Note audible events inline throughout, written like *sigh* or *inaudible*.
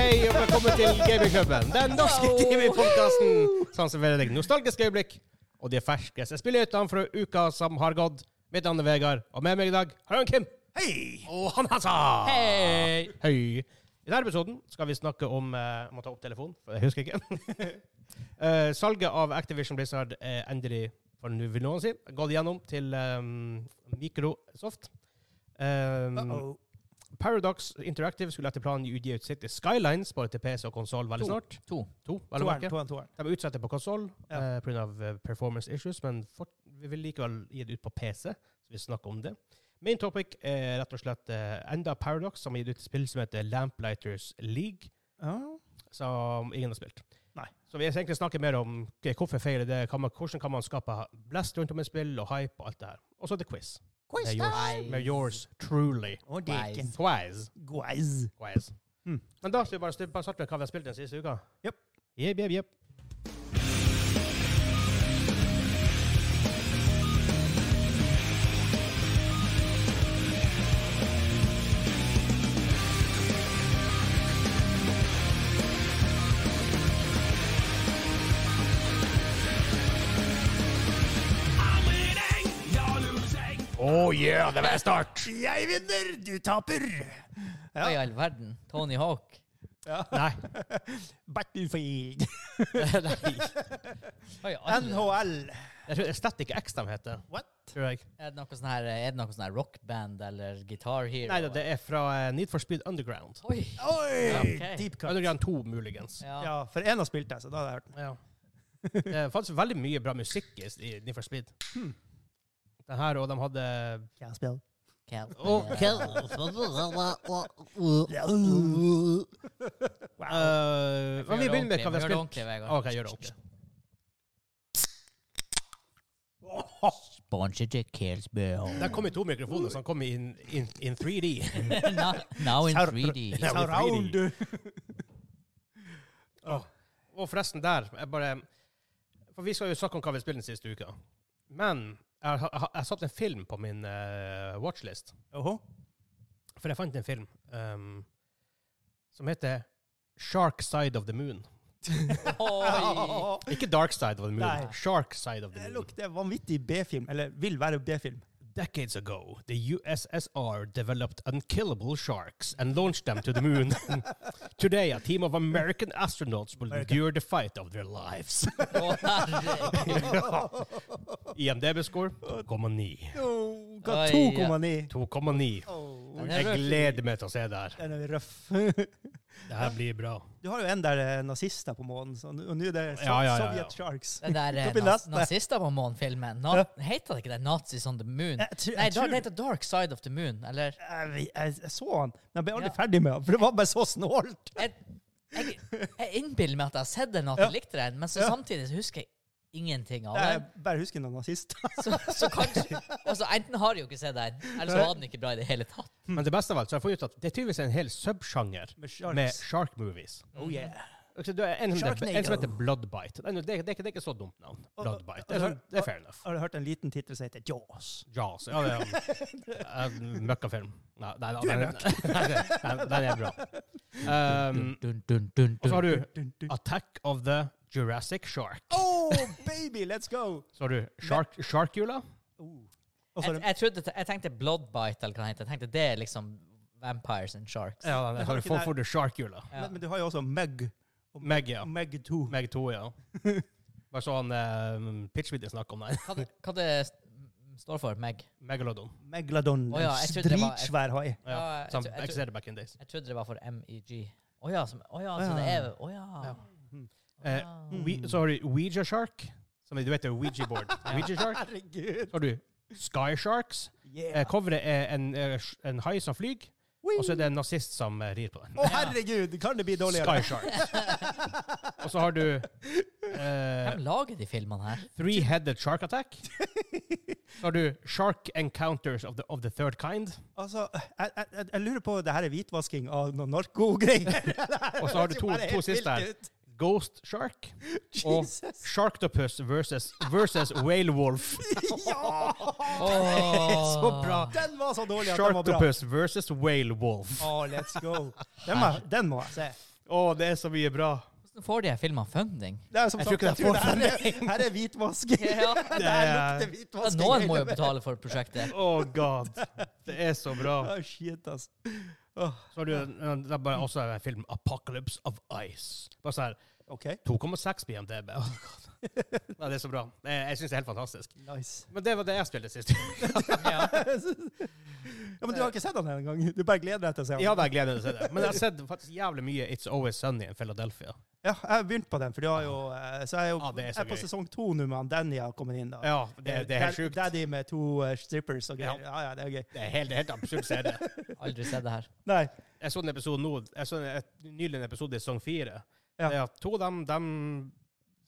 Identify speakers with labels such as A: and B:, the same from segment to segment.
A: Velkommen til Gamingklubben, den norske gamingpodkasten som serverer deg nostalgiske øyeblikk og de ferskeste spillnyhetene fra uka som har gått. Mitt navn er Vegard, og med meg i dag har jeg Kim. Hei! Og han Hansa.
B: Hei!
A: Hei. I denne episoden skal vi snakke om eh, Jeg må ta opp telefonen, for jeg husker ikke. *laughs* Eh, salget av Activision Blizzard er endelig, for nå vil noen si, gått igjennom til eh, Microsoft. Um,
B: Mm.
A: Paradox Interactive skulle etter planen gi ut sitt Skylines bare til PC og konsoll veldig snart.
B: To.
A: To, vel å
C: Toeren,
A: merke.
C: toeren, toeren.
A: De utsetter på konsoll
C: Ja.
A: eh, pga. eh, performance issues, men fort, vi vil likevel gi det ut på PC, så vi snakker om det. Main topic er rett og slett eh, enda Paradox, som har gitt ut et spill som heter Lamplighters League,
C: Ja.
A: som ingen har spilt.
C: Nei.
A: Så vi egentlig snakker mer om ok, hvorfor feiler det, kan man, hvordan kan man skape blest rundt om et spill, og hype og alt det her. Og så er det quiz. Med yours, med yours truly.
C: Og deken.
A: Quiz.
C: Guys.
A: Quiz.
C: Mm.
A: Men da skal vi bare, styr- bare starte med hva vi har spilt den siste uka.
C: Jep.
A: Hmm. Jep, jep, *laughs* jep. Oh yeah, det var start!
C: Jeg vinner, du taper. Ja.
B: Hva i all verden? Tony
A: *laughs*
B: Hawk?
A: Nei.
C: Battlefield.
A: Nei.
B: Hva i all altså,
C: NHL.
A: Jeg tror det er slett ikke X de heter.
C: What?
A: Tror jeg.
B: Er det noe sånn her, er det noe sånn her rockband eller Guitar Hero?
A: Nei, da, det er fra eh, Need for Speed Underground.
B: Oi!
C: Oi!
B: Ok.
C: Deep cut.
A: Underground 2, muligens.
B: Ja.
C: Ja, for én har spilt det, så da hadde jeg hørt den.
A: Ja. Det fantes veldig mye bra musikk i i Need for Speed. Den her, og de hadde
C: Can't spell.
B: Cal-
A: Eh, Men vi
B: Gjør det
A: begynner med hva vi har
B: ordentlig. Gjør det
A: spilt.
B: ordentlig, Vegard.
A: OK, gjør det ordentlig.
B: Sponsored to
A: *laughs*
B: Kelsbø.
A: Den kom i to mikrofoner, så den kom i in, in, in 3D.
B: now, now in
C: Sour-
B: 3D.
A: *laughs* Ja, men
C: Surround.
A: Åh. Og forresten, der jeg bare, For vi skal jo snakke om hva vi spiller den siste uka. Men jeg har- jeg har jeg har satt en film på min eh, watchlist.
C: Oho.
A: For jeg fant en film um, som heter Shark Side of the Moon.
B: Oi!
A: Ikke Dark Side of the Moon.
C: Nei.
A: Shark Side of the
C: Det
A: Moon.
C: lukter vanvittig B-film, eller vil være B-film.
B: *laughs*
A: Decades ago, the USSR developed unkillable sharks and launched them to the moon. *laughs* Today, a team of American astronauts will
C: American.
A: endure the fight of their lives. *laughs*
B: Å, herregud.
A: IMDb-score 2,9.
C: Oh, hva,
B: Oi,
C: 2,9.
A: 2,9.
C: Oh,
B: Den er
A: Jeg
B: røff.
A: gleder meg til å se det her.
C: den er røff. *laughs*
A: Det her blir bra.
C: Du har jo en der eh, nazister på månen, så, og nå er det so
A: Ja, ja, ja, ja.
C: Sovjet Sharks.
B: Den der eh,
C: Det blir
B: naz
C: neste.
B: nazister på månen-filmen. Na Heter det ikke det Nazis on the
A: Eh,
B: Moon?
C: Jeg tror-
B: Nei, da-
C: jeg tror-
B: det heter Dark Side of the Moon, eller?
C: Jeg, vet- jeg, jeg så han, men jeg ble aldri
B: Ja.
C: ferdig med han, for det var bare så snålt.
B: Jeg, jeg, jeg innbiller meg at jeg har sett den og at jeg likte den, men så
C: Ja.
B: samtidig så husker jeg ingenting av
C: Jeg
B: den.
C: bare husker noen nazister.
B: Så, så kanskje Altså, enten har jeg jo ikke sett den, eller så var den ikke bra i det hele tatt.
A: Men det beste av alt, så har jeg funnet ut at det er tydeligvis en hel subsjanger
C: Med sharks.
A: med shark movies.
C: Oh yeah.
A: Altså, det er en, som heter-
C: Sharknado.
A: en som heter Bloodbite. Det, er- det, er- det, er ikke- det er ikke så dumt navn. Bloodbite. Det er, sånn, det er fair enough.
C: Har du hørt en liten tittel som heter Jaws?
A: Jaws. Ja, *laughs* det er en møkkafilm. Nei, nei, nei, den, den, den er bra. Um,
B: Dun, dun, dun,
A: og så har du
C: Dun, dun.
A: Attack of the Jurassic Shark.
C: Oh, baby, let's go!
A: Så har du Shark, Sharkula.
C: Oh. Og så
B: Jeg,
C: er det-
B: jeg, trodde, jeg tenkte Bloodbite, eller hva det heter. Jeg tenkte det er liksom Vampires and Sharks.
A: Ja, den har du
C: ikke
A: for,
C: der-
A: for the Sharkula.
B: Ja.
C: men, men du har jo også Meg.
A: Meg, ja.
C: Meg 2.
A: Meg to,
B: *laughs*
A: ja. Bare så han eh, pitchvideo snakker om den.
B: Hva, det- hva det st- står for? Meg?
A: *laughs* Megalodon.
C: Megalodon.
B: Å ja,
C: en
B: jeg trodde det var-
C: Dritsvær hai.
A: Ja,
B: Ja, jeg
A: som
B: tror- jeg tror-
A: eksisterte back in days.
B: Jeg trodde det var for MEG. Å ja, som, å ja,
C: Å
B: så det
C: ja.
B: er Å ja.
A: Ja.
C: Mm.
B: Å
A: Eh,
B: ja.
A: We, så har du Ouija Shark, som du vet er Ouija board.
B: *laughs*
A: Ouija Shark.
C: Herregud.
A: Så har du Sky Sharks. Eh,
C: Yeah.
A: coveret er en, eh, sj- en hai som flyr,
C: Wee.
A: og så er det en nazist som eh, rir på den.
C: Å, herregud! Kan det bli dårligere?
A: Sky Sharks.
B: *laughs*
A: Og så har du eh,
B: Hvem lager de filmene her?
A: Three-headed shark
B: *laughs*
A: attack. Så har du Shark encounters of the, of the third kind.
C: Altså, jeg, jeg, jeg- jeg lurer på det her er hvitvasking av noen narkogreier.
A: Og så har du to-
C: Det ser bare helt
A: to siste
C: vilt
A: her.
C: ut. *laughs*
A: Ghost *laughs* Shark og
C: Jesus.
A: Sharktopus versus, *laughs* versus Whale Wolf.
C: Ja!
A: Så bra.
C: Den var så dårlig at den var bra.
A: Sharktopus versus Whale Wolf.
C: Å, let's go. Den må, den må jeg se.
A: det er så mye bra.
B: Hvordan får de her filmene funding?
C: Det er som
A: Jeg tror
C: sagt,
A: ikke
C: jeg
A: det
C: tror
A: får
C: det her er, her er hvitvasking.
B: Ja.
C: Det
A: Det
C: *laughs* her lukter
A: er-
B: Ja,
C: hvitvasking.
B: Noen
C: hele
B: må jo
C: veien.
B: betale for prosjektet.
A: Oh god. Det er så bra.
C: Ah, shit, ass. Åh,
A: Så har du eh, det er bare også en film, 'Apocalypse of Ice'. Bare sånn her,
C: OK,
A: 2,6 BMDB. Oh god. Nei, det er så bra. Det er- Jeg syns det er helt fantastisk.
C: nice.
A: Men det var det jeg spilte sist.
B: Ja.
C: *laughs* ja, men du har ikke sett han her engang? Du bare gleder deg til å se han?
A: Jeg hadde gledet meg til å se det. Men jeg har sett faktisk jævlig mye 'It's Always Sunny in Philadelphia'.
C: Ja, jeg har begynt på den, for de har jo, eh, så jeg er jo
A: Ah, det er så
C: jeg er på
A: gøy.
C: sesong to nå med han Danny har kommet inn. da.
A: Ja, det, det er helt sjukt.
C: Daddy med to eh, strippers og greier.
A: Ja.
C: Ja, ja, det er gøy.
A: Det er helt, helt absurd serie.
B: Aldri sett det her.
C: Nei,
A: Jeg så en episode nå, jeg så en, et, nylig en episode i sesong fire.
C: Ja.
A: Det at To av dem dem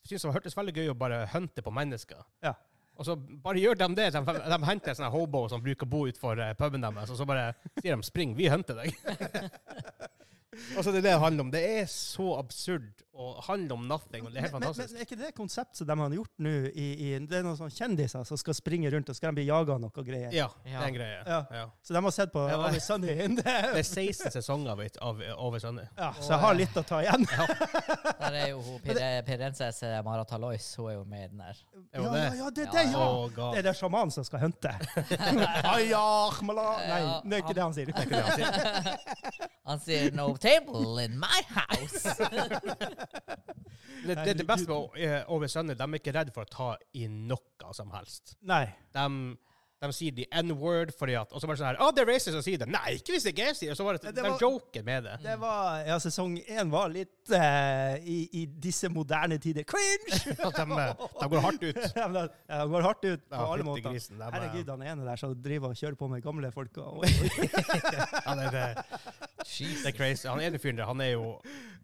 A: syntes det hørtes veldig gøy å bare hunte på mennesker.
C: Ja.
A: Og så bare gjør de det. De, de henter sånne hobo som bruker å bo utenfor eh, puben deres, og så bare sier de 'spring, vi hunter
C: *laughs*
A: deg'. og så det er det det handler om. Det er så absurd og handler om nothing. og Det er helt
C: men, men,
A: fantastisk.
C: men er ikke det konseptet som de har gjort nå i, i Det er noen sånne kjendiser som skal springe rundt og skal de bli jaga av noe greier.
A: ja, det er en greie.
C: Ja.
A: Ja.
C: Så de har sett på
A: Ja, men-
C: Always Sunny in the
A: Det er 16 sesonger av, it- av eh, Over Sunny.
C: *laughs* ja, Så jeg har litt å ta igjen.
B: Der er jo hun Pir- prinsesse Mara Talois. eh, Hun er jo med i den der.
A: Det
C: Ja,
A: var
C: ja,
A: det.
C: ja, det er
B: Ja,
C: det,
B: ja.
C: ja!
A: Å, God.
C: Det er det sjamanen som skal hunte. Ayahmala. Nei,
B: Ja,
C: det er ikke det han sier.
A: Det er ikke det han sier.
B: Han sier 'no table in my house'.
A: Det, det, det beste med eh, Over Sunny, de er ikke redd for å ta i noe som helst.
C: Nei.
A: De, de sier the N-word fordi at Og så bare sånn her Å, det er racist å si det! Nei, ikke hvis det ikke er sier det! Så bare
C: Ja,
A: at
C: det
A: de
C: var-
A: joker med det.
C: Det var, ja, Sesong én var litt eh, i, i disse moderne
A: *laughs*
C: tider cringe!
A: At de, eh, de går hardt ut.
C: Ja, men det går hardt ut på
A: Ja,
C: alle
A: fytti
C: måter.
A: grisen, det er bare-
C: Herregud, han ene der som driver og kjører på med gamle folk. Og,
A: Ja, det, det, det er
B: Jesus.
A: crazy. Han ene fyren der, han er jo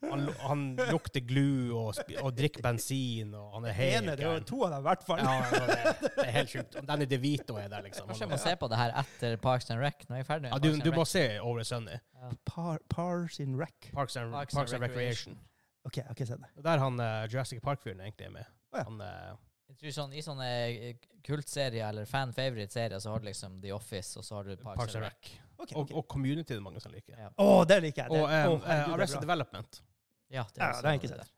A: Han, lu- han lukter glue og, sp- og drikker bensin, og han er helt
C: ene, det var
A: gæren.
C: to av dem i hvert fall.
A: Ja, ja, det, det er helt sjukt. Og Danny DeVito er der, liksom.
B: Kanskje jeg må se på det her etter Parks and Rec. Når jeg er ferdig med
A: Ja, du,
B: Parks and
A: du må
B: Rec.
A: se Over Sunny.
C: Par, Pars in Wreck.
A: Parks and,
B: Parks
A: Parks
B: and
A: and
B: Recreation.
A: Recreation.
C: OK, jeg har ikke sett det.
A: Det er Der han eh, Jurassic Park-fyren egentlig er med.
C: Å, ja.
A: Han, eh,
B: Jeg tror sånn, I sånne eh, kultserier eller fan favorite-serier så har du liksom The Office, og så har du Parks,
A: Parks
B: and
A: and
B: Rec.
A: Rec.
C: Ok,
A: Og,
C: ok.
A: og Community det er mange som liker.
B: Ja.
C: Å, det liker jeg!
A: Og
C: Det,
A: um,
C: å, herregud,
A: eh,
C: det er
A: Arrested
C: bra.
A: Development.
B: Ja, det
C: Ja,
B: også
C: det har jeg ikke
B: der.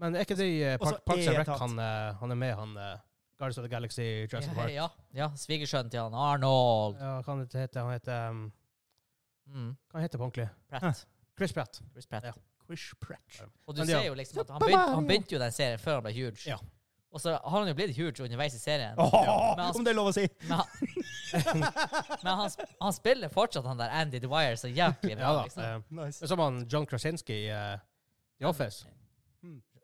A: Men er ikke det eh,
C: Og så
A: Park, Parks and
C: er
A: Rec
C: tatt.
A: han, eh, han er med, han eh, Guardians of the Galaxy, Jurassic
B: Ja,
A: Park? Ja,
B: ja, ja. Svigersønnen til han Arnold.
A: hva han heter han? heter um,
B: Mm.
A: Hva han heter på ordentlig?
B: Pratt.
A: Chris Pratt.
B: Chris Pratt.
A: Ja.
C: Quish Pratch.
B: Og du
A: Men ja.
B: ser jo liksom at han
C: Super
B: begynte, han
C: Mario.
B: begynte jo den serien før han ble huge.
A: Ja.
B: Og så har han jo blitt huge underveis i serien.
C: Åh,
B: Men han-
C: *laughs* om det er lov å si!
A: *laughs*
B: Men, han, men han, sp- han spiller fortsatt han der Andy Dwyer så jævlig bra.
A: Ja da.
B: liksom.
A: eh,
C: Nice.
A: Det er som han John Krasinski i eh, The Office.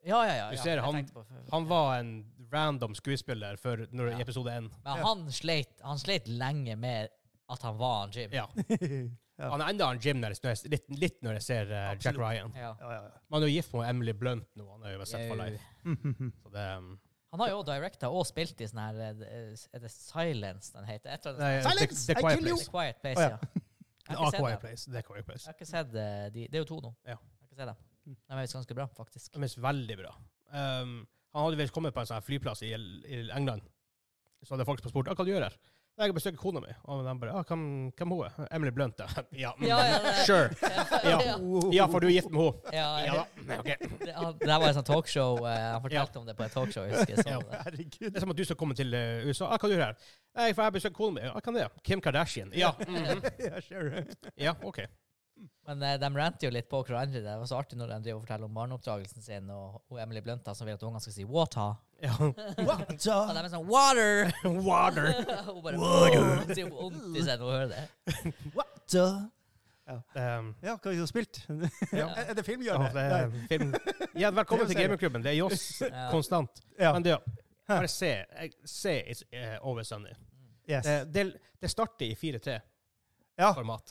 B: Ja, ja, ja.
A: Du
B: ja.
A: ser
B: Jeg
A: han-
B: tenkte på-
A: Han var en random skuespiller før, når,
B: Ja.
A: i episode én.
B: Men
C: Ja.
B: han sleit, han sleit lenge med at han var han Jim.
A: Ja.
C: *laughs* Ja.
A: Han er enda en Jim når jeg, når jeg, litt, litt når jeg ser eh, Jack
C: Absolutt.
A: Ryan.
B: Ja.
C: Ja, ja, ja.
A: Men Han er jo gift med Emily Blunt nå. Han er jo sett for
B: Jau.
A: life. *laughs* Så det, um,
B: Han har jo også directa og spilt i sånn her eh, Er det Silence den heter? Jeg tror det
A: nei,
B: er
A: The,
C: Silence!
A: the
C: I
A: Quiet
C: kill you!
B: The
A: Place.
B: Quiet Place,
C: Å, ja.
A: *laughs*
B: ja. Jeg
A: Ah,
B: har ikke
A: Quiet
B: sett dem.
A: Place. The Quiet Place.
B: Jeg har ikke sett eh, de. Det er jo to nå.
A: Ja. Hmm.
B: Jeg har ikke sett dem.
C: Mm.
B: De er visst ganske bra, faktisk.
A: De er veldig bra. Um, han hadde visst kommet på en sånn her flyplass i, i England. Så hadde folk spurt ah, hva du gjør her. «Nei, Jeg besøker kona mi. Og de bare ah, hvem, hvem hun er Emily Blunt, da. ja. *laughs* mm,
B: Ja, ja, det-
A: *laughs* Sure. *laughs* Ja.
B: ja.
A: Ja, for du er gift med henne.
B: Ja,
A: Ja da. ok.
B: Det, han, det her var et sånt talkshow. eh, han fortalte om det på et talkshow. jeg husker. Så,
A: Ja. Det
C: Herregud.
A: er som at du skal komme til eh, USA. Ah, hva du gjør her? Nei, for jeg besøker kona mi. Ah, hvem det er? Kim Kardashian. Ja. mhm.
C: Ja,
A: *laughs*
C: sure.
A: ja, OK.
B: Men eh, de ranter jo litt på hverandre. Det var så artig når de driver og forteller om barneoppdragelsen sin, og, og Emily Blunt da, som vil at ungene skal si 'water'.
A: Ja. *laughs*
B: Og de er sånn 'water'!
A: Water.
B: *laughs* Hun bare «Åh», Det gjør vondt i seg når hun hører det.
A: Um,
C: *laughs* Ja, hva har du spilt?
A: ja.
B: Ja.
C: Er
A: Ja,
C: det filmhjørnet?
A: det er film. ja, velkommen
C: Det er
A: til
C: jo
A: gamingklubben. Det er Joss
B: Ja.
A: konstant.
C: Ja.
A: Men det, bare se, jeg- se It's eh, Over Sunny.
C: Yes. Ah.
A: Det, det, det starter i 4-3-format,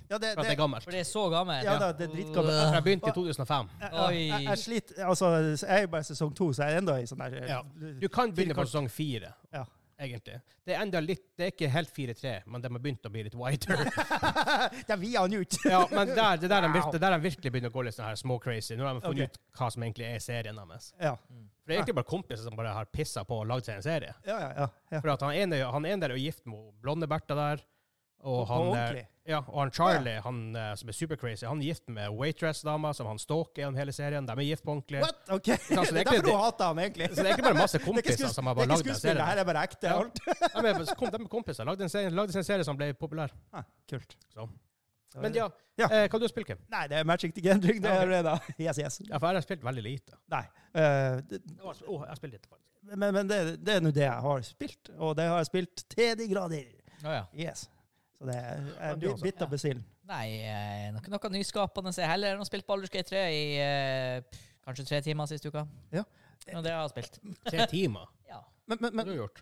C: Ja. Ja,
A: for at det er gammelt.
B: For det er så gammelt.
C: Ja, da, det er dritgammelt.
A: For Jeg
C: Ah.
A: begynte i 2005.
B: Oi.
C: Jeg, jeg, jeg sliter Altså, jeg er jo bare i sesong to, så jeg er enda i sånn der
A: Ja. Du kan begynne på sesong 4,
C: Ja.
A: egentlig. Det er enda litt, det er ikke helt 4-3, men de har begynt å bli litt wider.
C: *laughs*
A: *laughs*
C: Det er vi han ut!
A: ja, men der, det er der de
C: Wow.
A: virkelig, det er der de virkelig begynner å gå litt sånn her småcrazy. Nå har de funnet
C: Ok.
A: ut hva som egentlig er serien deres.
C: Ja.
A: For det er egentlig bare kompiser som bare har pissa på og lagd seg en serie.
C: Ja, ja, ja. ja.
A: For at han ene, han ene der er jo gift med blonde Bertha der. Og
C: på
A: han, eh,
C: ordentlig.
A: ja, og han Charlie, han eh, som er supercrazy, han er gift med waitress-dama, som han stalker gjennom hele serien. De er gift på ordentlig.
C: What? OK. Det
A: så
C: er
A: det er
C: derfor
A: egentlig-
C: hun hater ham, egentlig.
A: Så det er egentlig bare masse
C: *laughs* Det er ikke
A: kompiser
C: skuespill-
A: som har
C: det
A: bare
C: er ikke
A: lagd den
C: skuespill, det
A: serien.
C: her er bare ekte.
A: Ja.
C: alt.
A: De er, kom, de er kompiser. Lagde en, serie, lagde en serie som ble populær.
C: Ah, kult.
A: Så.
C: Da er
A: Men
C: det-
A: ja,
C: Ja.
A: Eh, hva du har spilt, Kim?
C: Nei, det er Magic the Gathering. Det
A: Ja,
C: er
A: ok.
C: det, da. *laughs* Yes, yes.
A: Ja, for jeg har spilt veldig lite.
C: Nei. eh, det,
A: Jeg har sp- Åh, jeg har spilt litt, faktisk.
C: men men det, det er nå det jeg har spilt, og det har jeg spilt til de grader.
B: Å ja.
C: Yes. Så det er
A: Ja,
C: jeg
A: du
C: blir
A: også.
C: bitt av
B: Ja.
C: basillen.
B: Nei, eh, nok, noe nyskapende jeg heller enn å spille Baldur's Gate 3 i eh, pff, kanskje tre timer sist uka.
C: Ja.
B: Og det har jeg spilt.
A: Tre timer.
B: Ja.
C: Men, *laughs* men,
A: Hva
C: men,
A: har du gjort?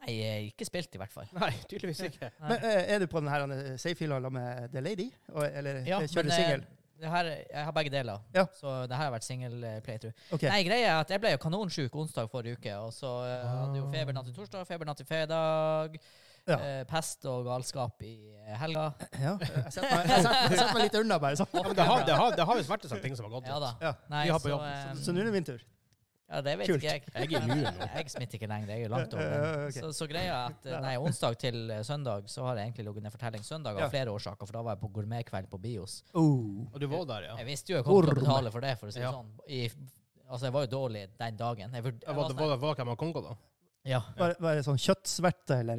B: Nei, eh, ikke spilt i hvert fall.
A: Nei, tydeligvis ikke.
B: Nei.
C: men eh, er du på den her eh, safefila med The Lady? Og, eller
B: Ja,
C: eh, kjører
B: men,
C: du
B: eh,
C: singel?
B: det her, jeg har begge deler,
C: Ja.
B: så det her har vært singel eh, playthrough.
C: Ok.
B: Nei, greia er at jeg ble jo kanonsjuk onsdag forrige uke, og så eh, hadde jo feber natt til torsdag, feber natt til fredag,
C: Ah. Ja.
B: eh, pest og galskap i eh, helga.
C: Ja, jeg setter meg, *laughs* jeg setter, jeg setter meg litt unna, bare
A: Ja,
C: sånn.
A: men det har, det har, det har visst vært en sånn ting som har gått
B: Ja da.
C: Ja.
B: Nei,
A: Vi har på
B: så,
A: jobb,
B: eh,
C: Så nå er det min tur.
B: ja, det vet
C: Kult.
B: ikke jeg.
A: Jeg er immun nå.
B: Jeg smitter ikke lenger, jeg er jo langt over.
C: Eh,
B: den.
C: eh, ok.
B: Så, så greia er at eh, nei, onsdag til eh, søndag så har jeg egentlig ligget ned fortelling. Søndag av
C: Ja.
B: flere årsaker, for da var jeg på gourmetkveld på Bios.
C: Oh.
A: Og du var der, ja.
B: Jeg visste jo jeg kom til å
C: Gourmet.
B: betale for det, for å si det
A: Ja.
B: sånn. I, altså, jeg var jo dårlig den dagen. Jeg, vurd- jeg
A: Var
B: var
A: det
B: sånn,
A: var det- var det hvem han Kongo, da?
C: *laughs*
B: ja.
C: Var, var det sånn kjøttsverte,
B: *laughs*
C: eller?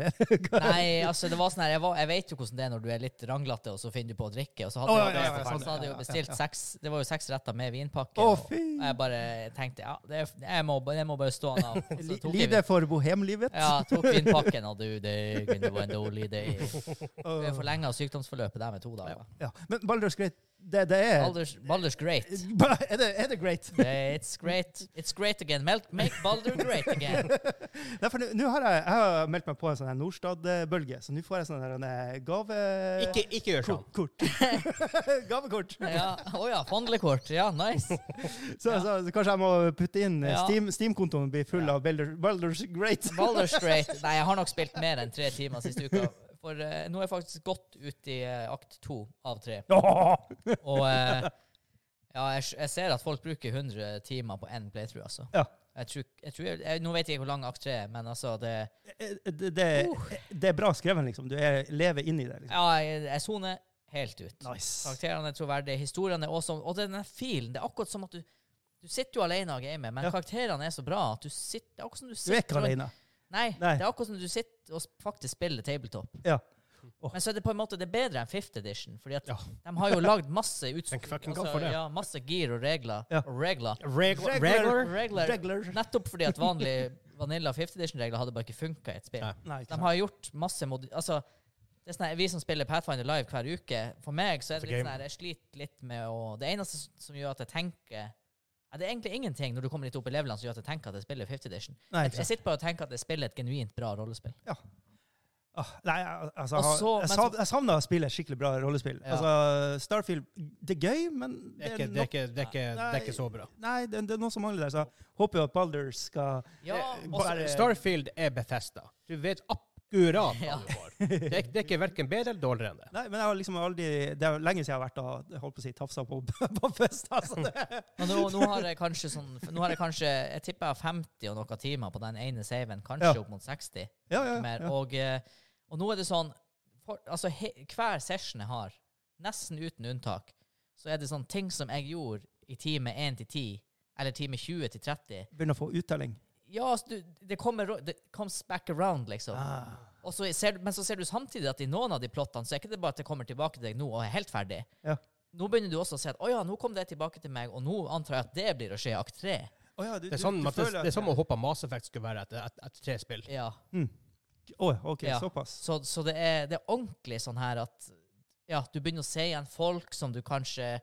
C: Hva-
B: Nei, altså, det var sånn her jeg, var, jeg vet jo hvordan det er når du er litt ranglete, og så finner du på å drikke. Og så hadde
C: Å,
B: jeg,
C: ja,
A: ja,
C: ja,
B: så
A: sånn,
B: hadde jeg
C: ja,
B: jo
C: ja,
B: bestilt
C: ja.
B: seks Det var jo seks retter med vinpakke.
C: Å,
B: og-
C: fy!
B: og jeg bare tenkte ja, det, er- jeg må, det må bare stå
C: *laughs*
B: av. Og så tok jeg
C: Lide for bohemlivet.
B: Ja, jeg tok vinpakken, og du, det kunne være en dårlig idé.
C: *laughs* Og-
B: Vi forlenga sykdomsforløpet der med to dager.
C: ja. Men Baldur's Great, det, det er
B: Baldur's, Baldur's great.
C: Ba- Er det, er det great?
B: It's great. It's great again. Mel- Make Baldur great again.
C: Nei, for nå- nå har jeg, jeg har meldt meg på en sånn her Nordstad-bølge, så nå får jeg sånn her en, eh, gave...
A: Ikke, ikke gjør sånn.
C: Kort. kort. *laughs* Gavekort.
B: Ja, Å ja, fondlekort. Ja, nice.
C: Så, så, så kanskje jeg må putte inn eh,
B: Ja.
C: Steam- Steam-kontoen blir full
B: Ja.
C: av Baldur- Baldur's Great. *laughs*
B: Baldur's great. Nei, jeg har nok spilt mer enn tre timer siste uka. For eh, nå er jeg faktisk gått ut i eh, akt to av tre.
C: Åh!
B: Og eh, ja, jeg, s- jeg ser at folk bruker 100 timer på én playthrough, altså.
C: Ja.
B: Jeg tror, jeg tror, jeg, nå vet jeg ikke hvor lang akt tre er, men altså det
C: Eh, Det, det, det er bra skrevet, liksom. Du er, lever inni det. Liksom.
B: Ja, jeg jeg soner helt ut.
C: Nice.
B: Karakterene er troverdige, historiene er awesome. Og den der filen, det er akkurat som at du du sitter jo alene og gamer, men
C: Ja.
B: karakterene er så bra at du sitter Det er akkurat som du
C: Du er
B: sitter
C: ikke
B: og-
C: alene.
B: Nei,
C: Nei.
B: det er akkurat som du sitter og s- faktisk spiller tabletop.
C: Ja.
B: Men så er det på en måte det er bedre enn fifth edition, fordi at
A: Ja.
B: de har jo lagd masse utstyr.
A: Tenk fucking godt for det.
B: Ja, masse gear og regler.
C: Ja.
B: Og regler.
A: Regular?
C: Regular.
B: Regler.
C: Regular.
B: Nettopp fordi at vanlige Vanilla fifth edition-regler hadde bare ikke funka i et spill.
A: Nei.
C: Nei, ikke
B: De
C: sant.
B: har gjort masse modi... Altså, det er sånn her, vi som spiller Pathfinder live hver uke, for meg så
A: It's a
B: er det litt
A: game.
B: sånn her, jeg sliter litt med å Det eneste s- som gjør at jeg tenker ja, Det er egentlig ingenting når du kommer litt opp i levelene som gjør at jeg tenker at jeg spiller 50 Edition.
C: Nei,
B: Jeg,
C: ikke sant.
B: jeg sitter bare og tenker at jeg spiller et genuint bra rollespill.
C: Ah, Nei, jeg- altså,
B: Og
C: jeg har-
B: så-
C: jeg,
B: men
C: savner, jeg savner å spille skikkelig bra rollespill.
B: Ja.
C: Altså, Starfield, det er gøy, men
A: Det er ikke, det er ikke, det er ikke, det er ikke så bra.
C: Nei, det, det er noe som mangler der, så jeg håper jo at Balder skal
B: Ja,
A: Det-
B: og så-
C: Eh, bare-
A: Altså, Starfield er Bethesda. Du vet *laughs* akkurat hva
B: Ja.
A: du får. Det er, det er ikke hverken bedre eller dårligere enn det.
C: Nei, men jeg har liksom aldri Det er jo lenge siden jeg har vært og jeg holdt på å si tafsa på, *laughs* på fest.
B: *laughs*
C: Altså. Det-
B: men nå, nå har jeg kanskje sånn Nå har jeg kanskje Jeg tipper jeg har 50 og noen timer på den ene saven, kanskje
C: Ja.
B: opp mot 60.
C: Ja, ja,
B: mer.
C: ja.
B: Og, eh, og nå er det sånn for, altså, he, Hver session jeg har, nesten uten unntak, så er det sånn ting som jeg gjorde i time 1 til 10, eller time 20 til 30
C: Begynner å få uttelling.
B: Ja, altså, du, det kommer ro- det comes back around, liksom.
C: Ah.
B: Og så ser, du- men så ser du samtidig at i noen av de plottene så er ikke det bare at det kommer tilbake til deg nå og er helt ferdig.
C: Ja.
B: Nå begynner du også å se at å ja, nå kom det tilbake til meg, og nå antar jeg at det blir å skje i akt tre.
C: Å ja, du,
A: Det er sånn,
C: du, du
A: at det,
C: føler at-
A: det er som å håpe Mass Effect skulle være etter et, et tre spill.
B: Ja.
C: Mm. Å, OK,
B: Ja.
C: såpass.
B: Så, så det, er, det er ordentlig sånn her at ja, du begynner å se igjen folk som du kanskje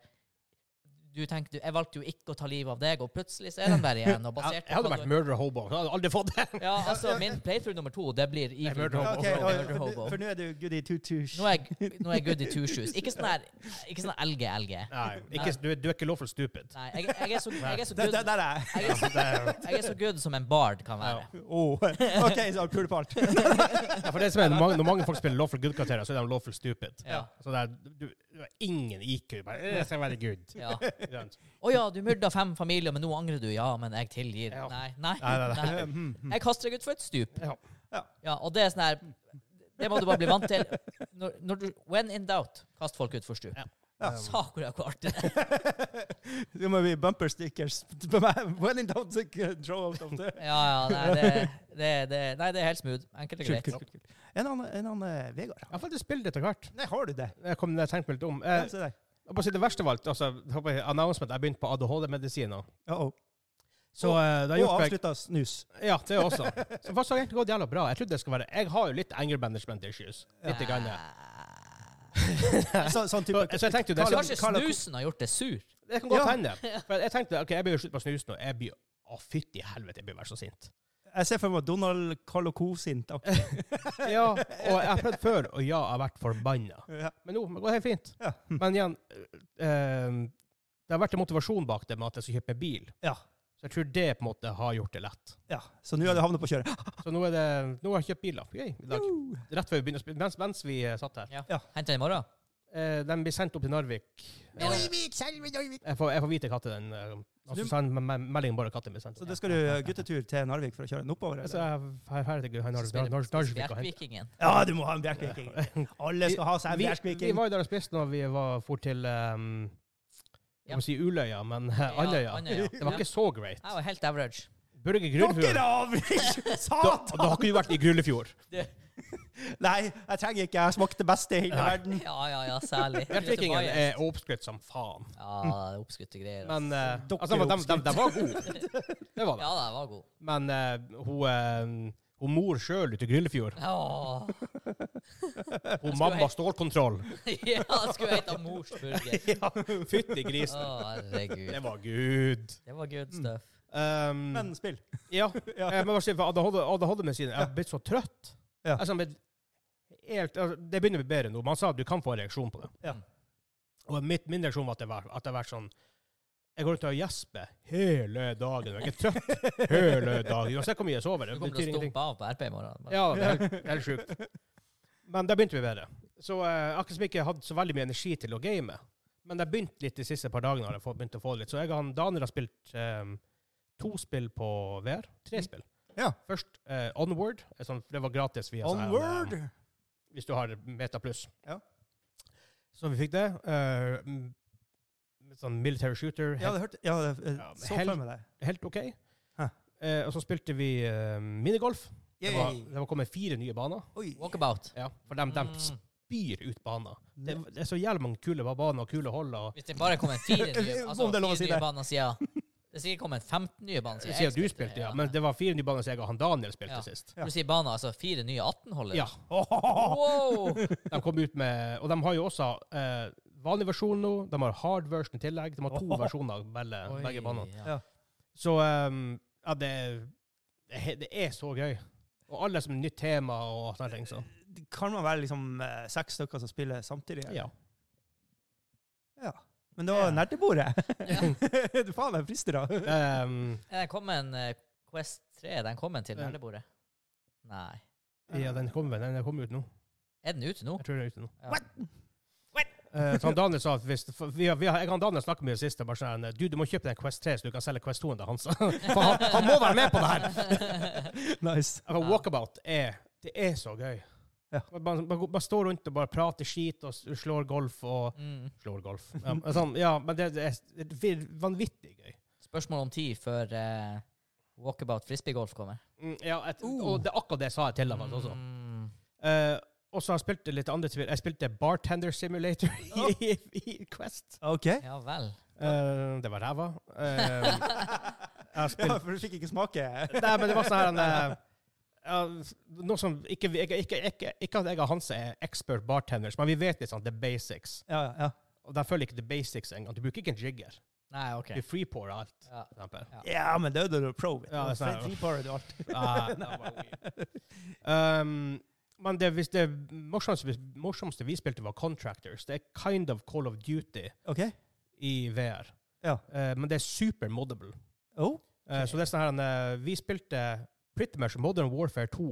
B: du tenker, du, Jeg valgte jo ikke å ta livet av deg, og plutselig så er de der
A: *laughs*
B: igjen. Og
A: Jeg,
B: basert
A: jeg hadde
B: på hva
A: vært
B: du-
A: murder hobo. Jeg hadde aldri fått det.
B: ja, altså, Min playthrough nummer to det blir
A: Nei,
B: Evil
A: Murder
B: Hobo.
A: Hobo.
C: Ja, ok, å, ja,
B: Murder
C: for
B: Hobo.
C: nå- for nå er du good i tutus.
B: Nå er jeg, nå er jeg good i two shoes. Ikke sånn her Ikke sånn her LG-LG.
A: *laughs* Nei, *laughs* ikke, du, du er ikke lawful stupid.
B: Nei, jeg, jeg, er så, jeg, er så
C: Der,
B: good,
C: der, der er jeg.
B: jeg, er så,
A: Det er,
B: jeg er så good som en bard kan være.
C: Oh, *laughs* OK, så han puler på alt.
A: ja, for det som er, når mange, når mange folk spiller lawful good-karakterer, så er de lawful stupid.
B: Ja.
A: Så det er, du, du har ingen IQ. Bare, «Eh, jeg skal være *laughs* good.
B: Ja.
A: Ikke sant?
B: Å ja, du myrda fem familier, men nå angrer du. Ja, men jeg tilgir.
A: Ja.
B: Nei, nei.
A: Nei, nei, nei.
B: nei. Jeg kaster deg utfor et stup.
A: Ja.
C: Ja.
B: Ja, og det er sånn her Det må du bare bli vant til. Når, når du, when in doubt, kast folk ut først, du.
A: Ja.
C: Ja.
B: Sa hvor jeg hvor artig det er.
C: *laughs* Det må bli bumper stickers. When in doubt, throw out of the
B: Ja, ja, nei, det, det, det, nei, det er helt smooth. Enkelt og
C: Kult,
B: greit.
C: kult, kult. kult. En annen, en annen eh, Vegard.
A: Jeg har faktisk spilt det etter hvert.
C: Nei, har du det?
A: Jeg kom jeg tenkte meg litt om.
C: Ja,
A: Eh,
C: se der.
A: og på å si det verste av alt, altså, jeg håper jeg- announcement, jeg begynte på ADHD-medisiner.
C: Ja, og-
A: Så eh, det har
C: Og
A: gjort meg
C: avslutta
A: *laughs*
C: snus.
A: Ja, det
C: *laughs*
A: også. Så faktisk har det egentlig gått jævla bra. Jeg trodde det skulle være Jeg har jo litt anger management issues. Litt grann.
C: Så, sånn type
A: Så, så jeg tenkte jo det
C: Karl-
B: Kanskje
C: Karl-
B: snusen har gjort det sur?
A: Det kan godt
C: *laughs* Ja.
A: hende. For jeg tenkte ok, jeg blir jo slutt på snus nå. Jeg blir Å, fytti helvete, jeg blir være så sint.
C: Jeg ser for meg Donald Carl Co.
A: *laughs*
C: sint. akkurat.
A: Ja, og jeg har prøvd før, og ja, jeg har vært forbanna.
C: Ja.
A: Men nå det går helt fint.
C: Ja. *laughs* Hm.
A: Men igjen, eh, det har vært en motivasjon bak det med at jeg skal kjøpe bil.
C: Ja.
A: Så jeg tror det på en måte har gjort det lett.
C: ja. Så nå er det havnet på kjøret.
A: Så nå, er det, nå har jeg kjøpt bil da. Yay, i dag.
C: Woo!
A: Rett før vi begynner å spille, mens, mens vi eh, satt her.
B: Henter den i morgen?
A: Eh, den blir sendt opp til Narvik. Eh,
C: Narvik, selve Narvik!
A: Jeg får, jeg får vite katten den. eh,
C: Så
A: Altså,
C: du-
A: send me- me- meldingen bare katten blir sendt.
C: Så da skal du eh, guttetur til Narvik for å kjøre den oppover?
A: Så
C: Eller?
A: jeg er ferdig til Narvik
B: Spiller-
A: Narvik- Narvik og hente.
B: Bjerkvikingen.
C: Ja, du må ha en bjerkviking. Alle skal ha seg en
A: Vi, vi
C: bjerkviking.
A: var jo der og spiste når vi var for til um, Jeg
B: Ja.
A: må si Uløya, men eh, *laughs* Andøya. Det var
B: Ja.
A: ikke så great.
B: Jeg var helt average.
A: Børge Grunnfjord
C: Dere
A: *laughs*
C: avviker!
A: da,
C: Satan!
A: da har ikke du vært i Grullefjord.
C: Nei, jeg trenger ikke. Jeg smakte det beste i hele
A: Nei. *laughs*
C: verden.
B: Ja, ja, ja, særlig.
A: Bjerkvikingen
B: Ute på
A: er oppskrytt som faen.
B: Ajax. Ja, det er oppskutte greier. ass.
A: eh. Men eh,
C: Dere
A: altså, de, de, de, de var gode. Det var
B: ja,
A: det.
B: den var god.
A: Men eh, hun, eh, hun mor sjøl ute i
C: *laughs*
A: Grullefjord,
B: Åh.
A: hun mamma
C: *laughs*
A: stålkontroll
B: *laughs* ja, det skulle hete mors
A: *laughs*
B: burger.
A: Ja, Fytti grisen.
B: Å, herregud.
A: Det Mm. var good.
B: Det var good stuff.
A: Um,
C: Men spill. *laughs*
A: Ja.
C: Ja.
A: Eh, Men hva sier du for ADHD, ADHD-medisiner? Jeg har blitt så trøtt.
C: Ja.
A: Altså, jeg har blitt helt, altså, det begynner å bli bedre nå. Man sa at du kan få en reaksjon på det.
C: Ja.
A: Og mitt, min reaksjon var at det var, at det var sånn Jeg går rundt og gjesper hele dagen. Jeg er ikke trøtt hele dagen. Uansett hvor mye jeg sover.
B: Du
A: Det
B: kommer
A: betyr
B: til å
A: ingenting.
B: stumpe av på RP i morgen.
A: Ja, det er helt, helt sjukt. Men da begynte vi bedre. Så eh, akkurat som jeg ikke hadde så veldig mye energi til å game. Men jeg begynte litt de siste par dagene. har jeg fått- begynt å få det litt. Så jeg og han Daniel har spilt eh, to spill på VR. Tre spill.
C: Mm. Ja.
A: Først eh, Onward. eh, Sånn, for det var gratis via sånn her,
C: Onward!
A: eh, hvis du har Meta Plus.
C: Ja.
A: Så vi fikk det. eh, m- sånn military shooter.
C: Ja,
A: Helt,
C: det hørte Ja, det eh,
A: Ja,
C: så
A: hel-
C: for meg det.
A: helt OK.
C: Hæ.
A: Eh, og så spilte vi eh, minigolf. Det var,
C: Yay.
A: det var kommet fire nye baner.
C: Oi.
B: Walkabout.
A: Ja, for de, de
B: Mm.
A: spyr ut baner. Det, det er så jævlig mange kule baner og kule hold. Og,
B: Hvis det bare kommer fire
A: *laughs*
B: nye, altså,
C: Om det er lov
B: fire
C: å si
B: nye
C: det.
B: baner siden Det er sikkert kommet 15 nye baner siden
A: sier
B: Altså, jeg
A: at du spilte, ja. Men det var fire nye baner som jeg og han Daniel spilte
B: Ja.
A: sist.
C: Ja.
B: Du sier baner, altså fire nye 18-holdere?
A: Ja, *laughs*
B: Wow!
A: de kom ut med, og de har jo også eh, vanlig versjon nå, de har hard version i tillegg, de har to
C: Ohoho.
A: versjoner av begge, begge banene.
B: Ja.
A: Så ehm, ja, det, det, he- det er så gøy. Og alle som nytt tema og sånne ting. Så.
C: Kan man være liksom eh, seks stykker som spiller samtidig?
A: Ja.
C: eller? Ja. Men det var
B: Ja.
C: nerdebordet. *laughs* du faen meg frister, da.
A: Ehm,
B: Er Den kom en eh, Quest 3, den kom en til
A: Den-
B: nerdebordet? Nei.
A: ja, den kommer den kommer ut nå.
B: Er den ute nå?
A: Jeg tror den er ute nå.
B: Ja.
C: What?
A: Eh, så han Daniel sa at hvis, for vi har, vi har, jeg og Daniel snakket mye sist. og Bare sånn, du, du må kjøpe den Quest 3, så du kan selge Quest 2 til han. sa. *laughs* For han, han må være med på det her!
C: *laughs* Nice.
A: Altså, walkabout er Det er så gøy.
C: Ja.
A: Man, man, man, man står rundt og bare prater skit og s- slår golf og
B: *laughs* Mm.
A: Slår golf. *laughs* Ja, men sånn, ja men det, det er det er vanvittig gøy.
B: Spørsmål om tid før eh, Walkabout frisbeegolf kommer.
A: Mm, ja, et,
C: Uh.
A: Og det er akkurat det sa jeg til ham altså, også.
B: Mm.
A: Eh, og så har jeg spilt litt andre spill. Jeg spilte Bartender Simulator *laughs* i, i, i Quest.
C: OK.
B: Ja vel.
A: Eh, det var ræva. Eh, jeg har
C: Ja,
A: spilt
C: for du fikk ikke
A: *laughs*
C: smake.
A: Nei, men det var sånn her en, eh, ja, Noe som ikke, ikke, ikke, ikke, ikke at jeg og Hanse er expert bartenders, men vi vet litt sånn the basics.
C: Ja, ja.
A: Og der følger ikke the basics engang. Du bruker ikke en jigger.
B: Nei, OK.
A: Du freeporer alt.
B: Ja.
A: For
B: *laughs*
A: eksempel.
C: ja, men det er jo det du er pro.
A: Ja, det er sant.
C: Friparer du alt.
A: Ah, det var weird. um, men det, hvis det morsomste, morsomste vi spilte, var Contractors. Det er kind of Call of Duty
C: *laughs* OK.
A: i VR.
C: Ja.
A: Eh, men det er super moddable.
C: Oh.
A: Eh, Så det er sånn her, en, eh, vi spilte pretty much Modern Warfare 2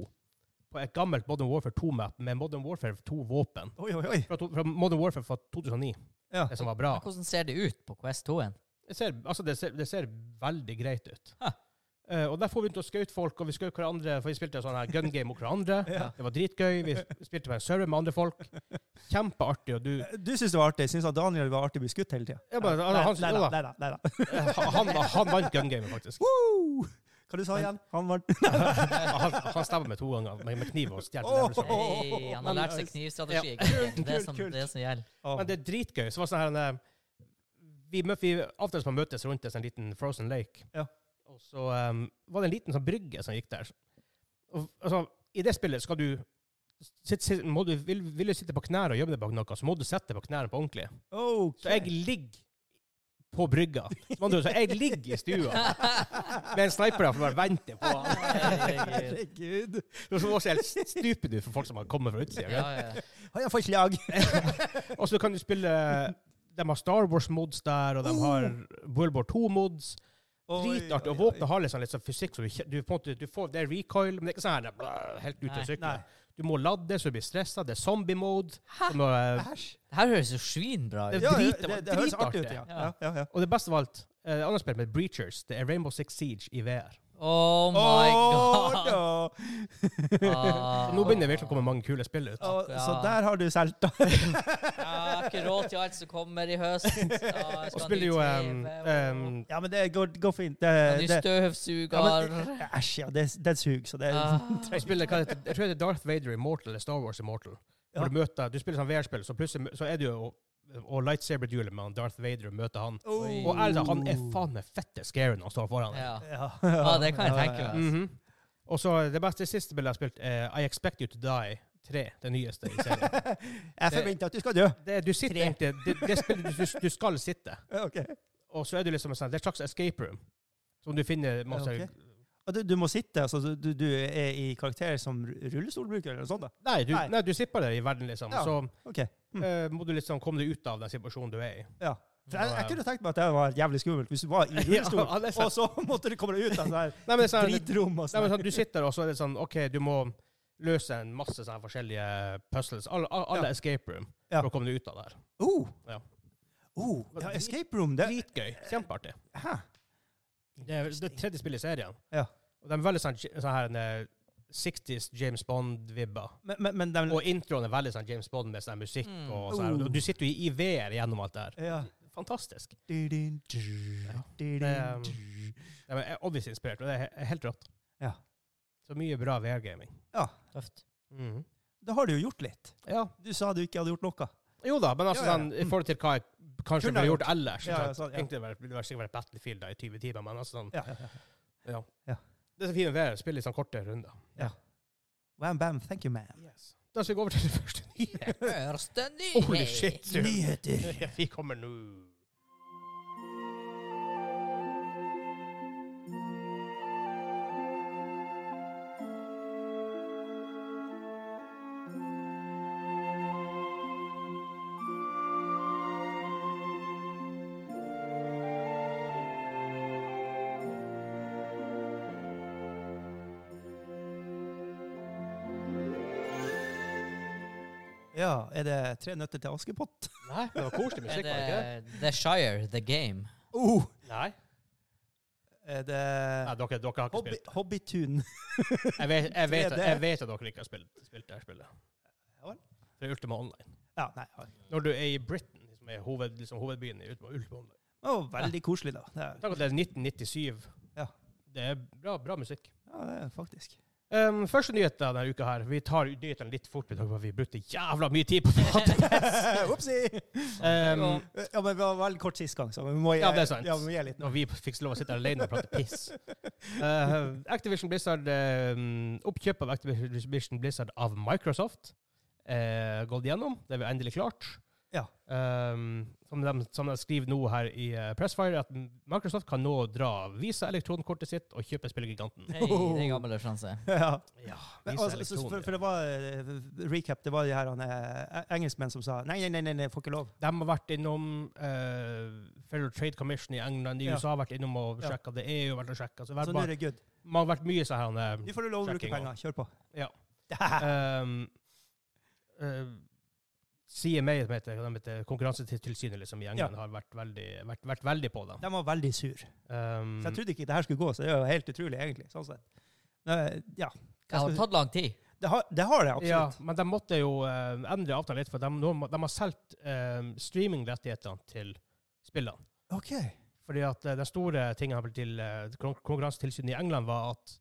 A: på et gammelt Modern Warfare 2-map med Modern Warfare 2-våpen.
C: Oi, oi, oi.
A: Fra, to- fra Modern Warfare fra 2009,
C: Ja.
A: det som var bra. *laughs*
B: Hvordan ser det ut på Quest 2-en?
A: Det ser, altså det ser, det ser veldig greit ut.
B: Hæ.
A: Eh, og derfor begynte vi å skaute folk, og vi skjøt hverandre, for vi spilte sånn her gun game mot hverandre.
C: *laughs* Ja.
A: Det var dritgøy. Vi spilte på en server med andre folk. Kjempeartig. Og du
C: Du syns det var artig. Jeg syns Daniel var artig å bli skutt hele tida.
A: Ja, bare- altså, han-
C: nei, nei, nei, nei, nei.
A: *laughs* han, han vant gun gamet,
C: *laughs*
A: faktisk.
C: Woo! Hva du sa
A: Men-
C: igjen? Han vant.
A: Han, han stabba meg to ganger med, med kniv og stjal
C: Åh!
A: levelsen.
B: Hey, han har
A: Men,
B: lært seg
A: eh,
B: knivstrategi.
A: oh, ja.
B: ikke? Det er
C: Kult,
B: som,
C: kult.
B: det er som
A: *laughs*
B: gjelder.
C: Åh.
A: Men det er dritgøy. Så var det sånn her en, eh, Vi, mø- vi avtalte oss på å møtes rundt en sånn liten frozen lake.
C: Ja.
A: Og så eh, var det en liten sånn brygge som gikk der. Og, altså, I det spillet skal du sitt, sitt, må du, vil, vil du sitte på knær og gjemme deg bak noe, så må du sette deg på knærne på ordentlig.
C: Ok.
A: Så jeg ligger på brygga. Som andre ord, Så jeg ligger i stua med en sniper der for å bare vente på han.
C: *laughs* Herregud.
A: Det var også helt stupid ut for folk som har kommet fra utsida.
B: *laughs* Ja, ja.
C: Har jeg forslag?
A: Og så kan du spille De har Star Wars-mods der, og de
C: Oh.
A: har World War 2-mods. Dritartig. Og våpenet har liksom litt sånn fysikk, så du, kje- du, på en måte, du får, det er recoil, men det er ikke sånn her det er blæ, helt ute
B: Nei.
A: å sykle.
C: Nei.
A: Du må lade, så du blir stressa. Det er zombie-mode. som er-
C: Æsj.
B: Det her høres jo svinbra
A: Det er
B: ut.
C: Ja, ja,
A: drit-
C: det, det,
A: det var
C: høres artig ut,
A: dritartig.
C: ja. ja, ja, ja.
A: Og det beste av alt, eh, et annet spill med Breachers, det er Rainbow Six Siege i VR.
B: Oh my
C: Åh,
A: *laughs*
B: god! Ah.
C: da.
A: Så nå begynner det virkelig å komme mange kule spill ut.
C: Åh,
B: Ja.
C: Så der har du
A: *laughs*
C: solgt, da.
B: Jeg har ikke råd til alt som kommer i
A: *laughs*
B: høst.
A: Og spiller jo em, em, eh,
C: Ja, men det går, går fint. Det,
B: Ny
C: det, ja,
B: støvsuger.
C: men, æsj, ja. Det, det suger, så det
B: Ah.
C: *laughs*
A: *laughs* Jeg, spiller, hva heter, jeg tror det er Darth Vader Immortal eller Star Wars Immortal. Hvor
C: Ja.
A: du, møter, du spiller sånn VR-spill, så plutselig mø- så er du jo og lightsaber-dueler med han Darth Vader og møter han.
C: Åh.
A: Og ærlig talt, han er faen meg fette scary når han står foran deg.
B: Ja.
C: Ja.
B: Ja, det kan jeg tenke meg.
A: Mhm. Og så det beste det siste bildet jeg har spilt, er I Expect You To Die 3. Det nyeste i
C: *laughs*
A: serien.
C: *laughs* Jeg forventer at du skal dø.
A: Det, du sitter egentlig det, det spillet du, du skal sitte,
C: Ja, Ok.
A: og så er du liksom en sånn Det er et slags escape room. Som du finner masse
C: Ja, ok. Og du, du må sitte, altså du, du er i karakter som rullestolbruker eller noe sånt? da.
A: Nei, du,
C: Nei.
A: nei, du sipper der i verden, liksom.
C: Ja.
A: Så
C: Ok. Mm.
A: eh, må du liksom komme deg ut av den situasjonen du er i.
C: Ja. For jeg, jeg
A: Ja.
C: kunne tenkt meg at det var jævlig skummelt hvis du var
A: *laughs*
C: i rullestol,
A: Ja, det er sant.
C: og så *laughs* måtte du komme deg ut av det her
A: Nei, men det er sånn,
C: dritrom
A: Nei,
C: og
A: men
C: sånn.
A: sånn, du sitter og så er det sånn OK, du må løse en masse sånne forskjellige puzzles. Alle, alle- alle
C: Ja.
A: escape room.
C: Ja.
A: For å komme deg ut av det her.
C: Oh.
A: sånn- Ja.
C: Oh, ja, escape room, det
A: Dritgøy. Kjempeartig.
C: Hæ?
A: Det er det er tredje spillet i serien.
C: Ja.
A: Og de er veldig sånn, sånn her en, eh, 60s James Bond-vibber.
C: Men, men, men den
A: Og introen er veldig sånn James Bond med sånn musikk
B: Mm.
A: og sånn. her. Og du- Du sitter jo i- i VR gjennom alt det her.
C: ja.
A: Fantastisk.
C: Du-dun, du, du-dun,
A: Det, um,
C: du.
A: De er obviously inspirert, og det er he- helt rått.
C: Ja.
A: Så mye bra VR-gaming.
B: Tøft.
A: Mhm.
C: Da har du jo gjort litt.
A: Ja.
C: Du sa du ikke hadde gjort noe.
A: Jo da, men altså
C: Ja, ja, ja.
A: sånn, i forhold til hva jeg kanskje
C: Kunne ha
A: ville gjort ellers.
C: Ja, ja,
A: ikke sant?
C: sånn, ja.
A: Egentlig ville det ville det sikkert vært Battlefield da, i 20 timer, men altså sånn, *laughs*
C: Ja, ja, ja.
A: ja.
C: Ja.
A: Det som er fint med VR, spiller i sånn korte runder.
C: Wam bam, thank you, man.
A: Da skal vi gå over til den første nye.
C: *laughs*
B: Første nyhet!
A: Holy shit! du.
C: Nyheter.
A: *laughs* Vi kommer nå.
C: Ja, er det tre nøtter til Askepott?
A: Nei, det var koselig
B: Er
A: musikk, var det ikke det?
B: det The Shire, The Game?
C: Oh,
A: Nei,
C: er det
A: Nei dere, dere har ikke
C: Hobby,
A: spilt.
C: Hobbytun?
A: Jeg vet, jeg, vet,
C: 3D.
A: jeg vet at dere ikke har spilt, spilt det her spillet.
C: Ja vel.
A: Det er Ultima Online.
C: Ja, nei. ja.
A: Når du er i Britain, som er hoved, liksom hovedbyen i Ultima Ultima Online.
C: Det var veldig koselig, da. Det er,
A: Takk at det er 1997.
C: Ja.
A: Det er bra, bra musikk.
C: ja, det er faktisk.
A: Um, første nyhet denne uka her. Vi tar nyhetene litt fort, med tanke på at vi brukte jævla mye tid på
C: *laughs*
A: podkast.
C: Opsi!
A: um,
C: Mm. Ja, men vi var veldig kort sist gang, så vi må gi,
A: Ja, det er sant.
C: Ja, vi må gi
A: *laughs*
C: litt nå.
A: når vi fikk lov å sitte alene og prate piss. Uh, Activision Blizzard um, Oppkjøp av Activision Blizzard av Microsoft uh, gått gjennom. Det er vi endelig klart.
C: Ja.
A: Um, som, de, som de skriver nå her i uh, Pressfire, at Microsoft kan nå dra Visa elektronkortet sitt og kjøpe spillegiganten.
B: Hei, det er gammel referanse.
C: Ja.
A: Ja,
C: Men,
A: Visa
C: altså, så, for,
A: elektron.
C: for det var eh, recap, det var de her han, eh, engelskmenn som sa nei, nei, nei, nei, nei, får ikke lov.
A: De har vært innom eh, Federal Trade Commission i England, i
C: Ja.
A: USA har vært innom og
C: Ja.
A: sjekka det EU har vært og sjekket, Så det har
C: Så nå
A: vært
C: er det good.
A: bare- man har vært mye sånn her
C: Nå får du lov å bruke
A: Sjekking
C: penger. Kjør på.
A: Ja.
C: Ja.
A: ehm, eh, um, eh, CMA, som heter, de heter Konkurransetilsynet liksom, i England,
C: Ja.
A: har vært veldig, vært, vært veldig på dem.
C: *laughs* De var veldig sur.
A: Um,
C: Så jeg trodde ikke det her skulle gå, så det er jo helt utrolig, egentlig. sånn sett. Men, eh, ja.
B: Det har tatt lang tid.
C: Det har det, har det
A: Ja,
C: absolutt.
A: men de måtte jo eh, endre avtalen litt, for de, nå må- de har solgt eh, streamingrettighetene til spillene.
C: OK.
A: Fordi at eh, den store tingen her til eh, kon- konkurransetilsynet i England var at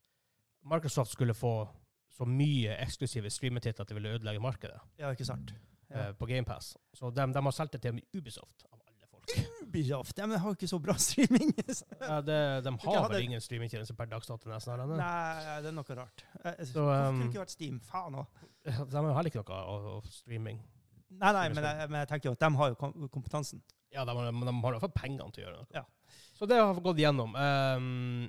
A: Microsoft skulle få så mye eksklusive streametitler at det ville ødelegge markedet
C: Ja, ikke sant. Ja.
A: eh, på GamePass. Så de, de har solgt det til Ubisoft, av alle
C: *laughs*
A: folk.
C: Ubisoft, de har jo ikke så bra *laughs* streaming.
A: Ja, det, de
C: ikke
A: har
C: ha
A: vel
C: det-
A: ingen streamingtjenester per dags dato, nesten? har de det?
C: Nei, det er noe rart. Eh,
A: Så, um,
C: Hvorfor kunne det ikke vært Steam? Faen òg.
A: De har heller ikke noe av av streaming.
C: Nei, nei, men jeg, men jeg tenker jo at de har jo kom kompetansen.
A: Ja, de, har- men de har i hvert fall pengene til å gjøre noe.
C: Ja.
A: Så det har gått gjennom. Ehm,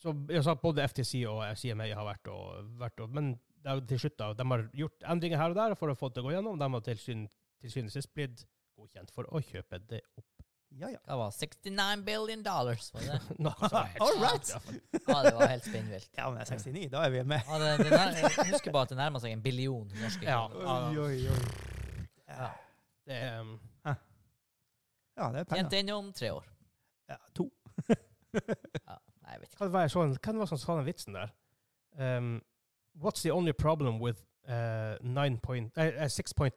A: så jeg sa at både FTC og CMA har vært og, vært og Men det er jo til slutt da, de har gjort endringer her og der for å få det til å gå gjennom. De har til syn- til syvende og sist blitt godkjent for å kjøpe det *laughs* opp.
C: Ja, ja.
B: Hva var det? 69 billion dollars? Var det?
A: Noe som er helt
C: All right.
A: sykt, i hvert fall.
B: Ja, det var helt spinnvilt.
C: Ja, men jeg er 69, da er vi med.
B: Ja, det, det nær, jeg husker bare at det nærmer seg en billion norske
A: Ja.
B: kroner.
C: Oi, oi, oi. Ja,
A: Det er, ehm,
C: Ja, det er
B: Tjent
C: penger.
B: inn om tre år.
C: Ja, to.
B: Ja, nei, jeg vet ikke.
A: hva var det sånn, hvem var det som sa den vitsen der? Ehm, what's the only problem with eh, 9 point- eh, eh, 6.9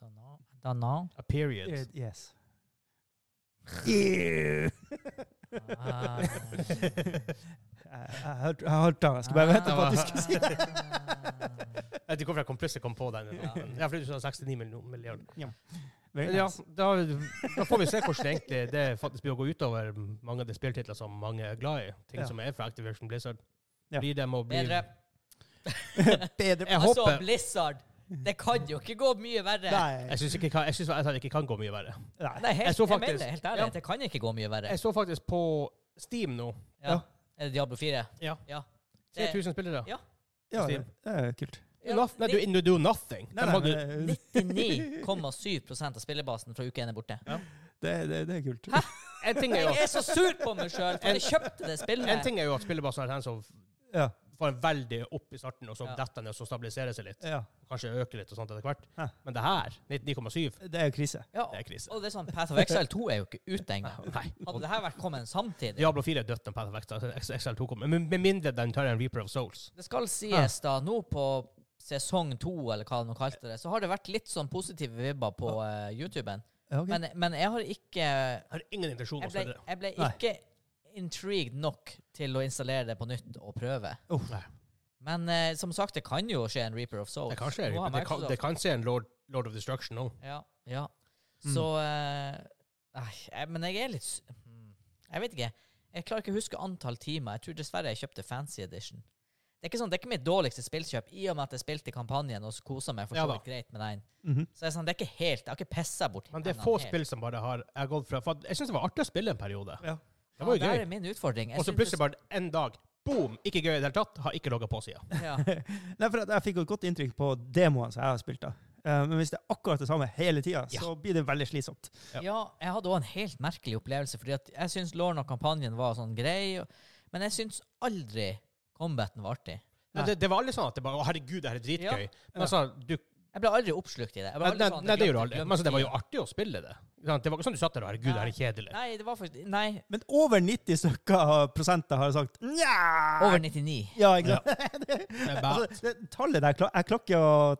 B: Dana? Dana?
A: a period?
C: Eh, Yes. Yeah.
B: Ah.
C: *laughs* Jeg jeg hørte jeg hørte han. Jeg skulle bare vente på at du skulle si det.
B: Ah. det.
A: Jeg vet ikke hvorfor jeg kom plutselig kom på *laughs* den.
B: Ja.
A: Jeg har flyttet 69 million- milliarder.
C: Very
A: Men ja,
C: nice.
A: da, da får vi se hvordan det egentlig det faktisk blir å gå utover mange av de spilltitler som mange er glad i. Ting
C: Ja.
A: som er fra Activision Blizzard.
C: Ja.
A: *laughs* Blir dem å bli
B: Bedre.
C: Bedre.
A: Jeg
B: altså,
A: håper-
B: Blizzard! Det kan jo ikke gå mye verre.
C: *laughs* Nei.
A: Jeg syns ikke, kan- jeg synes at det ikke kan gå mye verre.
C: Nei.
B: Nei, helt,
A: Jeg
B: jeg,
A: så faktisk-
B: mener det helt ærlig.
A: ja.
B: Det kan ikke gå mye verre.
A: Jeg så faktisk på Steam nå.
B: Ja. Er det Diablo 4?
A: Ja.
B: Ja. Det-
A: 3000 spillere.
B: Ja.
C: Ja,
A: Steam.
C: det er kult.
A: Du noth- Nei, du, du do nothing.
C: Nei,
A: De
C: nei,
A: hadde-
C: men, eh,
B: 99,7 av spillebasen fra uke 1 er borte.
C: det, det, det er kult.
A: en, ting er jo,
B: Jeg er så sur på meg sjøl, for jeg kjøpte det
A: en
B: spillet.
A: ting er jo at spillebasen har en som
C: Ja.
A: får veldig opp i starten, og så
B: Ja.
A: detter den, og så stabiliserer seg litt.
C: ja.
A: Kanskje øker litt og sånt etter hvert.
C: Hæ.
A: Men det her, 99,7,
C: Det er krise.
B: Ja,
A: det er krise.
B: og det er sånn, Path of Exile 2 er jo ikke ute engang.
A: Nei.
B: Hadde det her vært kommet samtidig
A: Diablo 4 er dødt når Path of Exile- Ex- Exile 2 kommer. Men Med mindre den tar en Reaper of Souls.
B: Det skal sies, da, nå på sesong to, eller hva de nå kalte det, så har det vært litt sånn positive vibber på eh, YouTuben.
C: Ja, ok.
B: Men, men jeg har ikke
A: Jeg har ingen intensjon om
B: Jeg
A: å
B: ble,
A: spille det.
B: jeg ble
C: Nei.
B: ikke intrigued nok til å installere det på nytt og prøve.
C: Oh.
B: Men eh, som sagt, det kan jo skje en Reaper of Souls.
A: Det kan skje.
B: Nå har
A: Det kan,
B: Microsoft-
A: det kan se en Lord, Lord of Destruction nå.
B: Ja, ja.
C: Mm.
B: Så eh, Nei, jeg- men jeg er litt s- mm, Jeg vet ikke. Jeg klarer ikke å huske antall timer. Jeg tror dessverre jeg kjøpte Fancy Edition. Det er ikke sånn, det er ikke mitt dårligste spillkjøp, i og med at jeg spilte kampanjen og kosa meg for
A: Ja
B: så
A: da.
B: vidt greit med den.
C: Mhm.
B: Så jeg er sånn, det er ikke helt, jeg har ikke pessa bort
A: Men det er
B: hendene
A: få
B: helt.
A: spill som bare har jeg har gått fra For at jeg syns det var artig å spille en periode.
C: Ja.
A: Det var jo
B: ja, der
A: gøy.
B: er min utfordring. Jeg
A: Og så
B: synes
A: plutselig bare en dag boom! Ikke gøy i det hele tatt. Har ikke logga på sida.
B: det- ja.
C: Nei, for at jeg fikk jo et godt inntrykk på demoene som jeg har spilt. da. Eh, Men hvis det er akkurat det samme hele tida,
A: Ja.
C: så blir det veldig slitsomt.
A: Ja.
B: ja, jeg hadde òg en helt merkelig opplevelse, fordi at jeg syns Lorne og kampanjen var sånn grei, og, men jeg syns aldri combaten var artig.
A: Men Det, det var aldri sånn at det bare Å, herregud, det her er dritgøy. Men altså, du
B: Jeg ble aldri oppslukt i det. Jeg ble
A: Nei,
B: aldri
A: nei,
B: sånn at
A: nei
B: jeg
A: det gjør du
B: glemte-
A: aldri.
B: glemte
A: Men altså, det var
B: tiden.
A: jo artig å spille det. Ikke sant? Det var ikke sånn du satt der og Herregud, det her er kjedelig.
B: Nei, det var faktisk Nei,
C: Men over 90 stykker av prosenter har sagt nja!
B: over 99.
C: Ja, ikke sant?
A: Det er bare-
C: altså, det, tallet der, kla- jeg klakker jo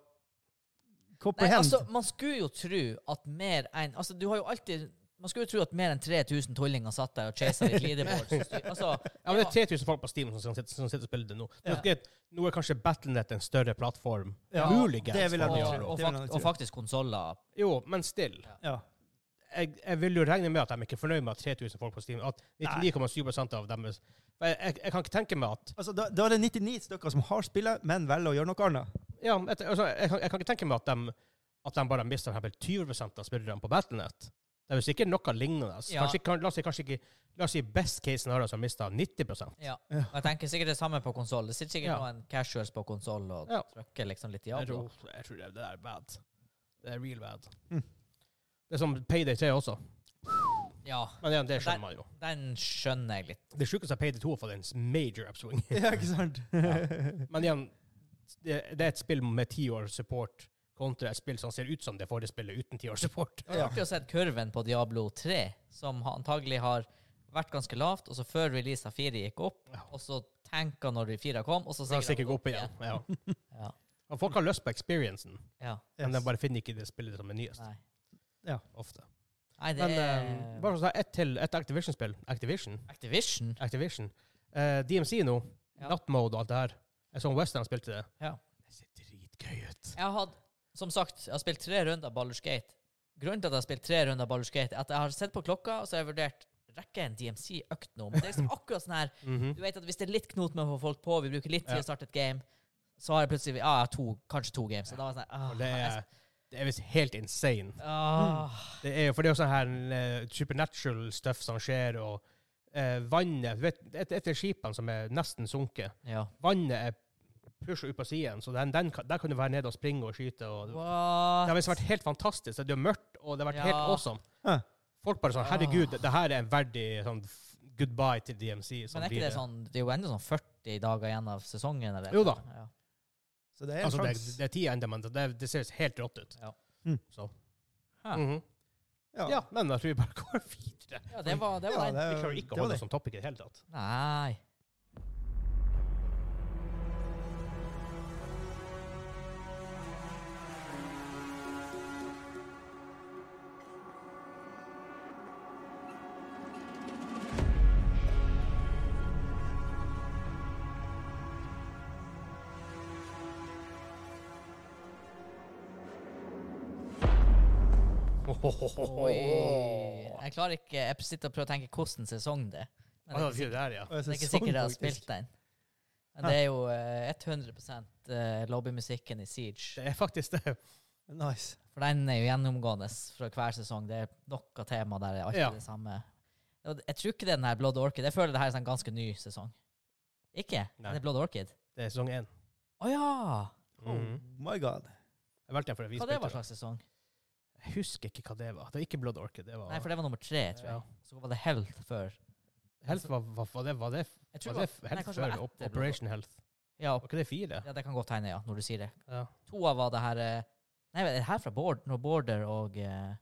B: Nei,
C: Comprehend.
B: altså, man skulle jo tro at mer enn Altså, du har jo alltid Man skulle jo tro at mer enn 3000 tullinger satt der og chasa litt leaderboards. og styr- Altså,
A: *laughs* Ja, men det er 3000 folk på Steam som sitter, som sitter og spiller det nå. Nå
C: Ja.
A: er- Nå er kanskje Battlenet en større plattform.
C: Ja,
A: Muligens.
C: det vil jeg
A: for
C: tro.
A: mange
B: og,
A: år.
B: og,
C: Det vil jeg
B: fakt,
C: tro.
B: og faktisk konsoller.
A: Jo, men still.
C: ja.
A: Jeg, jeg vil jo regne med at de ikke er fornøyd med at 3000 folk på Steam At 99,7 av dem er- For jeg, jeg, jeg kan ikke tenke meg at
C: altså, da, da er det 99 stykker som har spillet, men velger å gjøre noe annet.
A: Ja, men et, altså, jeg, kan, jeg kan ikke tenke meg at de, at de bare mister for eksempel 20 av spillerne på Battlenet. Det er jo sikkert noe lignende. Altså,
B: Ja.
A: Kanskje, kan, la oss si kanskje ikke La oss si best case scenario som mister 90
B: Ja.
C: Ja.
B: Og jeg tenker sikkert det samme på konsoll. Det sitter
A: Ja.
B: sikkert noen casuals på konsoll og
A: Ja.
B: trykker liksom litt
A: Jeg
B: Diablo.
A: tror, jeg tror det, det er bad. Det er real bad.
C: Mm.
A: Det er som Payday 3 også.
B: Ja.
A: Men igjen, det
B: Men
A: skjønner man jo.
B: Den skjønner jeg litt.
A: Det sjukeste er Payday 2 har fått en major upswing.
C: Ja, ikke sant?
A: Men igjen, det, det er et spill med ti år support kontra et spill som ser ut som det forrige spillet uten ti år support.
B: Det er artig å se kurven på Diablo 3, som ha- antagelig har vært ganske lavt, og så før release av 4 gikk opp,
A: Ja.
B: og så tanka når 4 kom, og så
A: Så det
B: *laughs* sikkert
A: stikker ikke opp igjen. Ja.
B: Ja.
A: Og folk har lyst på experiencen,
B: ja.
A: men de bare finner ikke det spillet som er nyest.
B: Nei.
A: ofte.
B: Nei, det
A: Men
B: er
A: eh, bare for å ta ett til, et Activision-spill. Activision?
B: Activision.
A: Activision. Eh, DMC nå,
B: Ja.
A: Night Mode og alt det her. Jeg så Western spilte det.
B: Ja.
A: Det ser dritgøy ut.
B: Jeg har hatt, som sagt, jeg har spilt tre runder Baldur's Gate. Grunnen til at jeg har spilt tre runder Baldur's Gate, er at jeg har sett på klokka, og så har jeg vurdert rekker jeg en DMC-økt nå. Men det er liksom akkurat sånn her
A: Mhm.
B: Du vet at hvis det er litt knot med å få folk på, vi bruker litt tid
A: Ja.
B: å starte et game, så har jeg plutselig Ja, jeg har to, kanskje to games. Og da var jeg sånn her,
A: Og det
B: ah,
A: er, det er visst helt insane.
B: jeg- ah.
A: Det er jo, for det er jo sånn her eh, supernatural stuff som skjer, og eh, vannet du vet, Et et av skipene som er nesten sunket,
B: Ja.
A: vannet er pusha ut på siden, så den, den, kan- der kan du være nede og springe og skyte. Og, det har
B: What?
A: visst vært helt fantastisk. Det er mørkt, og det har vært helt
B: Ja.
A: awesome.
C: Hæ.
A: Folk bare sånn
B: Ah.
A: Herregud, det, det her er en verdig sånn f- goodbye til DMC. som
B: Men er
A: blir
B: ikke det
A: det.
B: sånn Det er jo ennå sånn 40 dager igjen av sesongen? Eller?
A: Jo da.
B: Ja.
C: Så det er en
A: Altså, det,
C: sjanse.
A: det er tida ennå, men det, det ser helt rått ut.
B: Ja.
C: Mm.
A: Så.
B: Hæ.
A: Mhm.
C: Ja.
A: ja, men da tror vi bare *laughs* går videre.
B: ja, det var, det var
C: Ja,
B: den.
C: det er-
A: Vi klarer ikke
C: Eh, det
A: å
C: var
A: holde
C: det.
A: oss som topic i det hele tatt.
B: Nei. Oi. Jeg klarer ikke Jeg sitter og prøver å tenke hvordan sesong det er. Men
A: Ah, det
B: det er. ikke
A: betyr det her, ja.
C: Og jeg
B: sikkert- Det er
C: synes
B: ikke sikkert jeg har
C: sånn faktisk-
B: spilt den. Men det er jo eh, 100 eh, lobbymusikken i Siege.
A: Det er faktisk det.
C: Nice.
B: For den er jo gjennomgående fra hver sesong. Det er noe tema der det er alltid
A: Ja.
B: det samme. Og Jeg tror ikke det er den her Blood Orchid. Jeg føler det her er en sånn ganske ny sesong. Ikke?
A: Nei.
B: Det er Blood Orchid.
A: Det er sesong én.
B: Å ja!
C: Oh
A: Mhm.
C: my god.
A: Jeg valgte den fordi vi
B: Mm. Hva det
A: spilte
B: var sånn?
A: det.
B: slags sesong?
A: Jeg husker ikke hva det var. Det var ikke Blood Orchid. Det var
B: Nei, for det var nummer tre, tror jeg.
A: Ja.
B: Så var det Health før.
A: Health var, var, var det, var det,
B: Jeg
A: var
B: tror det
A: det
B: var, nei,
A: Health
B: kanskje det
A: før
B: var
A: Op-
B: etter
A: Operation Health?
B: ja,
A: Var ikke det fire?
B: ja, det kan godt hende, ja, når du sier det.
A: Ja.
B: To av var det her eh, Nei, er det her fra Bård, når Bårder og eh,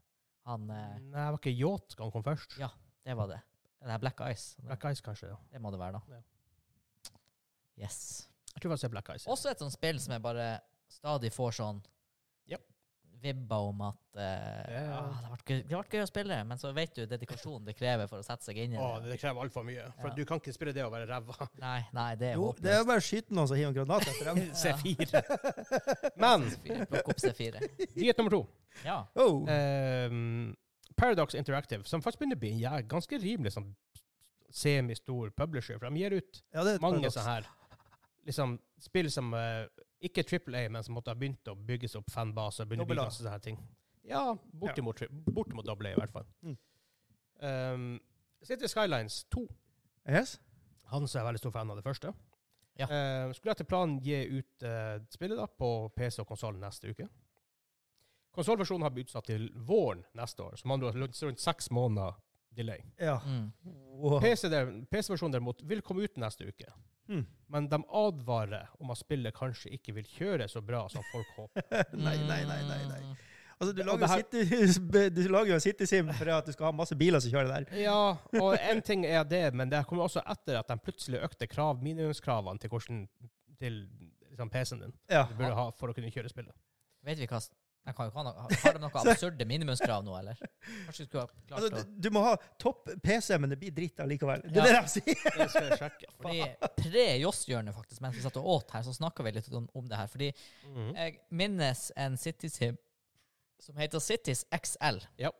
B: han eh,
A: Nei, det var ikke Yacht som kom først.
B: Ja. Det var det. Det her Black Eyes.
A: Black Eyes, kanskje. ja.
B: Det må det være,
A: Ja.
B: da. Yes.
A: Jeg tror faktisk det er Black Eyes. ja.
B: Også et sånt spill som jeg bare stadig får sånn
A: Japp.
B: vibba om at eh,
A: Ja, ja.
B: ah, det, har vært gøy, det har vært gøy å spille, men så vet du dedikasjonen det krever for å sette seg inn i
A: Å,
B: det.
A: det krever altfor mye. For
B: Ja.
A: du kan ikke spille det og være
B: *laughs*
A: ræva.
B: Nei, nei, det er
C: Jo, det
B: håpløst.
C: er jo bare å skyte noen som hiver en granat
A: *laughs*
C: etter dem.
A: C4. Men
B: C4. Plukk opp
C: *laughs*
B: C4.
A: nyhet nummer to.
B: Ja.
C: Oh.
A: Ehm, Paradox Interactive, som faktisk begynner å bli en jæ- ganske rimelig sånn semistor publisher, for de gir ut
C: Ja, det er et
A: mange
C: paradoks.
A: sånne her liksom, spill som eh, ikke Triple A, men som måtte ha begynt å bygges opp fanbase. begynne å bygge
C: Double A.
A: masse sånne her ting. Ja, bortimot, tri- bortimot Double A, i hvert fall.
C: Mm.
A: Ehm, City Skylines 2.
C: Yes?
A: Han som er veldig stor fan av det første.
B: Ja.
A: Eh, skulle etter planen gi ut eh, spillet da, på PC og konsoll neste uke. Konsollversjonen har blitt utsatt til våren neste år, så man har rundt rundt seks måneder delay.
C: Ja.
B: Mm.
C: Wow.
A: PC-versjonen derimot vil komme ut neste uke,
C: Hmm.
A: men de advarer om at spillet kanskje ikke vil kjøre så bra som folk håper.
C: *laughs* nei, nei, nei, nei, nei.
B: Mm.
C: Altså, du
A: Og
C: lager,
A: det her-
C: city, *laughs* du lager jo en citysim for at du skal ha masse biler som kjører der.
A: *laughs* Ja, og en ting er det, men det kommer også etter at de plutselig økte krav, minimumskravene til, hvordan, til liksom, PC-en din
C: Ja.
A: du burde ha for å kunne kjøre spillet.
B: Vet vi hva s- jeg kan jo ikke ha noe, Har de noen absurde minimumskrav nå, eller? Kanskje vi skulle ha klart
C: Altså, du, du må ha topp PC, men det blir dritt allikevel. Det
B: Ja.
C: er det de sier.
A: Det skal jeg *laughs* sjekke.
B: å Fordi Pre-Joss-hjørnet, faktisk, mens vi satt og åt her, så snakka vi litt om, om det her. Fordi
A: Mhm.
B: Jeg minnes en Cities-him som heter Cities XL.
A: Ja.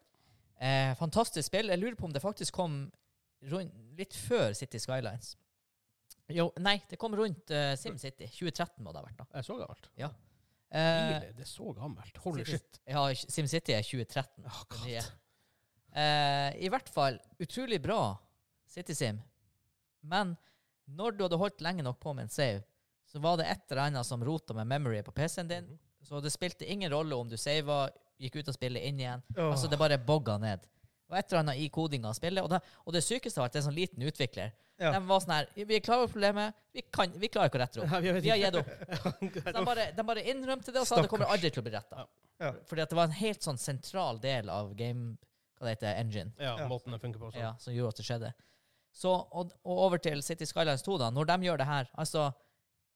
B: Eh, fantastisk spill. Jeg lurer på om det faktisk kom rundt, litt før City Skylines. Jo, nei, det kom rundt eh, SimCity. 2013 må det ha vært, da.
A: Det er så gammelt.
B: Eh,
A: Tidlig, det er så gammelt. Holy
B: City-
A: shit. *laughs*
B: ja, SimCity er 2013.
A: Åh,
B: det
A: God.
B: nye. Eh, I hvert fall utrolig bra CitySim. Men når du hadde holdt lenge nok på med en save, så var det et eller annet som rota med memory på PC-en din.
A: Mhm.
B: Så det spilte ingen rolle om du sava, gikk ut av spillet, inn igjen.
C: *laughs* Åh.
B: Altså, det bare bogga ned. Og et eller annet i kodinga av spillet. Og det, og det sykeste var at det er en sånn liten utvikler
C: Ja.
B: De var sånn her Vi er klar over problemet. Vi, kan, vi klarer ikke å rette det opp.
A: Ja, vet
B: Vi har
A: ikke.
B: gitt opp. Så de bare, de bare innrømte det og sa det kommer aldri til å bli retta.
C: Ja.
B: Fordi at det var en helt sånn sentral del av game Hva det heter engine
A: ja,
C: Ja.
A: måten det funker på. Så.
B: ja, som gjorde at det skjedde. Så, og, og over til City Skylines 2, da. Når de gjør det her Altså,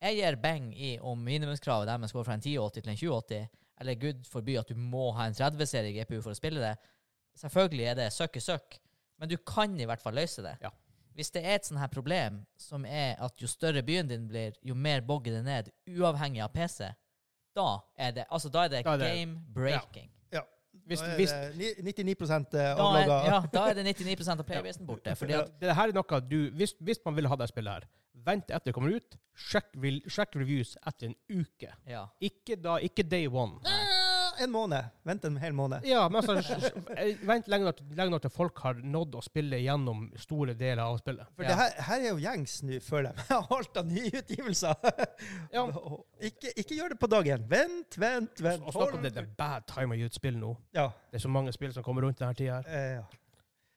B: jeg gir beng i om minimumskravet deres går fra en 1080 til en 2080, eller gud forby at du må ha en 30-serie GPU for å spille det. Selvfølgelig er det søkk i søkk, men du kan i hvert fall løse det.
A: Ja.
B: Hvis det er et sånt her problem, som er at jo større byen din blir, jo mer bogger det ned, uavhengig av PC, da er det, altså, da er det
A: Da er det-
B: game breaking.
A: Hvis,
C: Da er
A: hvis,
C: det ni- eh, 99
B: Da, er,
C: avlogga.
B: ja, da er det 99 av playbasen borte. Fordi at
A: det her er noe du, hvis, hvis man vil ha det spillet her, vent etter det kommer ut. Sjekk, vil, sjekk reviews etter en uke.
B: Ja.
A: Ikke da, ikke day one.
C: Ah, En måned. Vent en hel måned.
A: Ja, men
C: *laughs*
A: altså, sj- sj- vent lenge nok, lenge nok til folk har nådd å spille gjennom store deler av spillet.
C: For
B: Ja.
C: det her, her er jo gjengs nå, føler jeg, *laughs* med alt av nye utgivelser. *laughs*
A: Ja.
C: Og Ikke, ikke gjør det på dagen. Vent, vent, vent.
A: Og snakk om det, det er bad time å gi ut spill nå.
C: Ja.
A: Det er så mange spill som kommer rundt denne tida her.
C: eh, ja.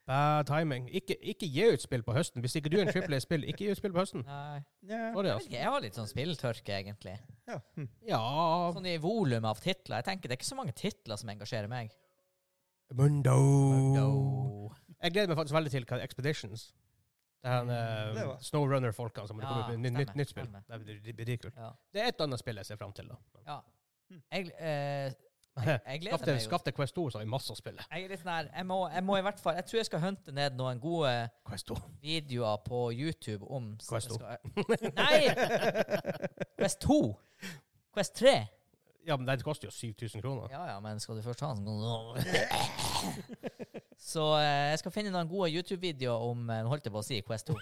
A: Bad timing. Ikke, ikke gi ut spill på høsten. Hvis ikke du er en triple A-spill, ikke gi ut spill på
C: *laughs*
A: høsten.
B: Nei.
C: Nja,
A: Sorry,
B: Jeg, vet
A: altså.
B: ikke, jeg har litt sånn spilltørke, egentlig.
C: ja. Hm.
A: Ja
B: Sånn i volum av titler. Jeg tenker Det er ikke så mange titler som engasjerer meg.
A: Mundo.
B: No.
A: Jeg gleder meg faktisk veldig til hva Expeditions. Det
B: Mm,
A: her
C: Det
A: eh,
C: var-
A: Snowrunner-folkene som
B: Ja,
A: kommer ut med nytt,
B: stemmer,
A: nytt spill.
B: stemmer.
A: Det blir- det blir dritkult.
B: Ja.
A: Det er et annet spill jeg ser fram til, da.
B: ja. Jeg, eh, jeg, jeg
A: Skaff
B: gleder
A: til-
B: meg jo.
A: Skaff til Quest 2, så har vi masse å spille.
B: Jeg er litt sånn her jeg må, jeg må i hvert fall Jeg tror jeg skal hunte ned noen gode
A: Quest 2.
B: videoer på YouTube om
A: Quest 2.
B: Skal- Nei! Quest 2. Quest 3.
A: Ja, men den koster jo 7000 kroner.
B: Ja ja, men skal du først ha den, så kan du- Så *laughs* eh, jeg skal finne noen gode YouTube-videoer om eh, Nå holdt jeg på å si Quest 2.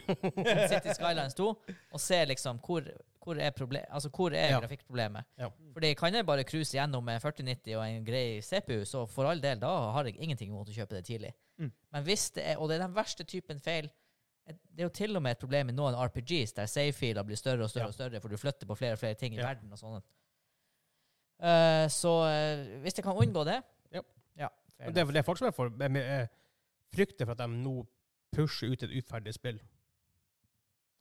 B: City Skylines 2, og se liksom hvor, hvor er, proble- altså, hvor er
A: Ja.
B: grafikkproblemet.
A: Ja.
B: Fordi kan jeg bare cruise gjennom med 4090 og en grei CPU, så for all del, da har jeg ingenting imot å kjøpe det tidlig.
C: Mm.
B: Men hvis det er, og det er den verste typen feil Det er jo til og med et problem i noen RPGs der save-filer blir større og større,
A: Ja.
B: og større, for du flytter på flere og flere ting i
A: Ja.
B: verden og sånne. Eh, så eh, hvis jeg kan unngå det
A: Ja.
B: ja fair
A: Og det,
B: enough.
A: er- det er folk som er for, er- er- frykter for at de nå pusher ut et uferdig spill.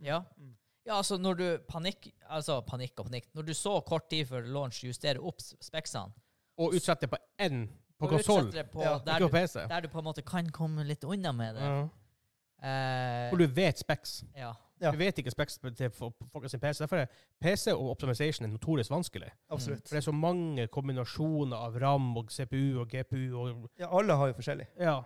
B: Ja.
C: Mm.
B: ja, altså når du panikk Altså panikk og panikk Når du så kort tid før launch justere opp s- speksene
A: Og utsetter på én på
B: og utsetter
A: konsoll,
B: det på-
C: Ja,
B: der,
A: ikke på
B: du-
A: PC.
B: der du på en måte kan komme litt unna med det.
A: Ja.
B: Eh,
A: Og du vet specs.
B: ja.
C: Ja.
A: Du vet ikke specs til fo- folk sin PC. Derfor er PC og optimization er notorisk vanskelig.
C: Absolutt.
A: For det er så mange kombinasjoner av RAM og CPU og GPU og
C: Ja, alle har jo forskjellig.
A: Ja.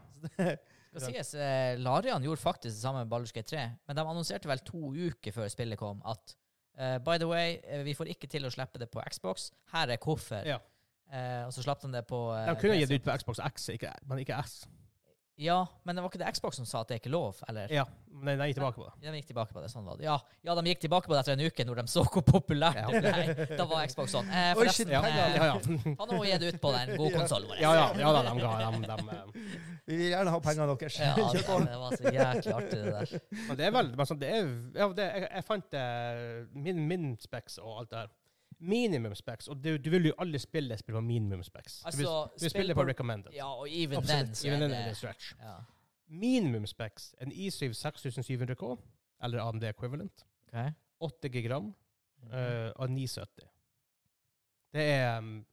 B: Skal sies, eh, Larian gjorde faktisk det samme med Baldur's Gate 3, men de annonserte vel to uker før spillet kom at eh, By the way, eh, vi får ikke til å slippe det på Xbox. Her er hvorfor.
A: Ja.
B: Eh, og så slapp de det på eh,
A: De kunne gitt det
B: PC.
A: ut på Xbox X, ikke, men ikke S.
B: Ja, men det var ikke det Xbox som sa at det er ikke lov, eller?
A: Ja, men jeg gikk tilbake på det.
B: De gikk tilbake på det, sånn var det. Ja, ja, de gikk tilbake på det etter en uke, når de så hvor populært det ble. Da var Xbox sånn. Eh,
C: Oi, shit,
B: forresten,
A: Ja,
B: eh,
A: ja, ja.
B: Han har gitt ut på den gode
C: Ja.
B: konsollen vår.
A: Ja, ja, ja da, de ga de, de, eh.
C: Vi vil gjerne ha pengene deres. *laughs*
B: Ja, det, det var så jæklig artig, det der.
A: Men det er vel men sånn, det er, ja, det, jeg, jeg fant eh, min, min specs og alt det her. Minimum specs. Og du, du vil jo alle spille spille på minimum specs. Du vil-
B: Altså,
A: du vil spille på recommended.
B: Ja, og even
A: Absolutt.
B: then, så
A: Even
B: er
A: then er det
B: det
A: stretch.
B: ja.
A: Minimum specs. En E i7 6700K, eller AMD equivalent. 8 gig ram eh, og 970. Det er, mm,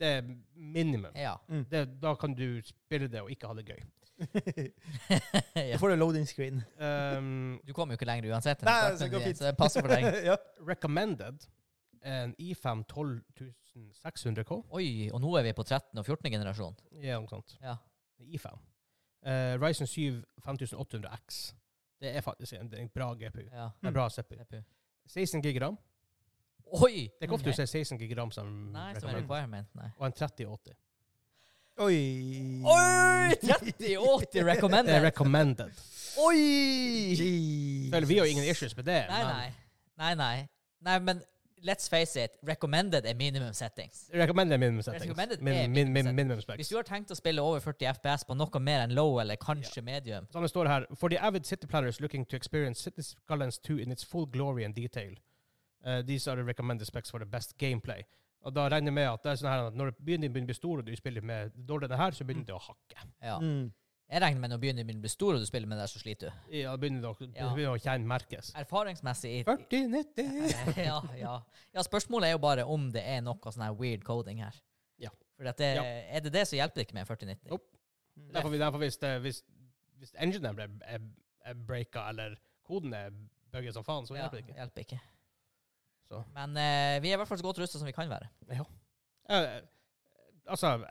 A: det er minimum.
B: Ja. *laughs*
A: Det, da kan du spille det og ikke ha det gøy.
C: Da
B: ja.
C: får du loading screen.
A: Um,
B: Du kommer jo ikke lenger uansett, enn
C: Nei,
B: starten
C: så det går
B: din,
C: fint.
B: så det passer for
A: *laughs*
B: deg.
C: *laughs* ja.
A: recommended en i5 12600K.
B: Oi, og nå er vi på 13- og 14.-generasjon.
A: Ja, noe sånt.
B: Ja.
A: i5. Eh, Ryzen 7 5800X. Det er faktisk en, det er en bra GPU. Det
B: ja.
A: er en bra CPU.
B: CPU.
A: 16 gig ram.
B: Oi!
A: Det er ikke ofte
B: Ok.
A: du ser 16 gig ram som
B: Nei, som er
A: recommended.
B: requirement, nei.
A: Og en 3080.
C: Oi.
B: Oi! 30-80
A: Det er
B: recommended!
A: recommended.
B: Oi!
A: Vel,
C: Jeez.
A: vi har jo ingen issues med det.
B: Nei, nei. Nei, nei. Nei, men let's face it, recommended er minimum settings.
A: men Recommended minimum settings.
B: Recommended er
A: min, min, min, minimum
B: Hvis
A: specs.
B: du har tenkt å spille over 40 FPS på noe mer enn low eller kanskje medium
A: Så det står her For the avid city planners looking to experience City Skylines 2 in its full glory and detail, eh, these are the recommended specs for the best gameplay. Og da regner jeg
B: Mm.
A: med at det er sånn her at når byen din begynner å bli stor, og du spiller med dårligere her, så begynner det å hakke.
B: ja.
C: Mm.
B: Jeg regner med når byen blir stor og du spiller med det, så sliter du.
A: Ja, det begynner, det å- det
B: Ja.
A: begynner å kjenne merkes.
B: Erfaringsmessig i-
A: 40-90
B: ja, ja. ja, spørsmålet er jo bare om det er noe sånn her weird coding her.
A: Ja.
B: For at det,
A: Ja.
B: er det det, så hjelper det ikke med 4090.
A: Nope. Derfor, derfor hvis, det, hvis, hvis enginen ble er, er breaka, eller koden er bugget som faen, så
B: Ja,
A: hjelper det ikke.
B: hjelper ikke.
A: Så.
B: Men eh, vi er i hvert fall så godt rusta som vi kan være.
A: Eh, altså,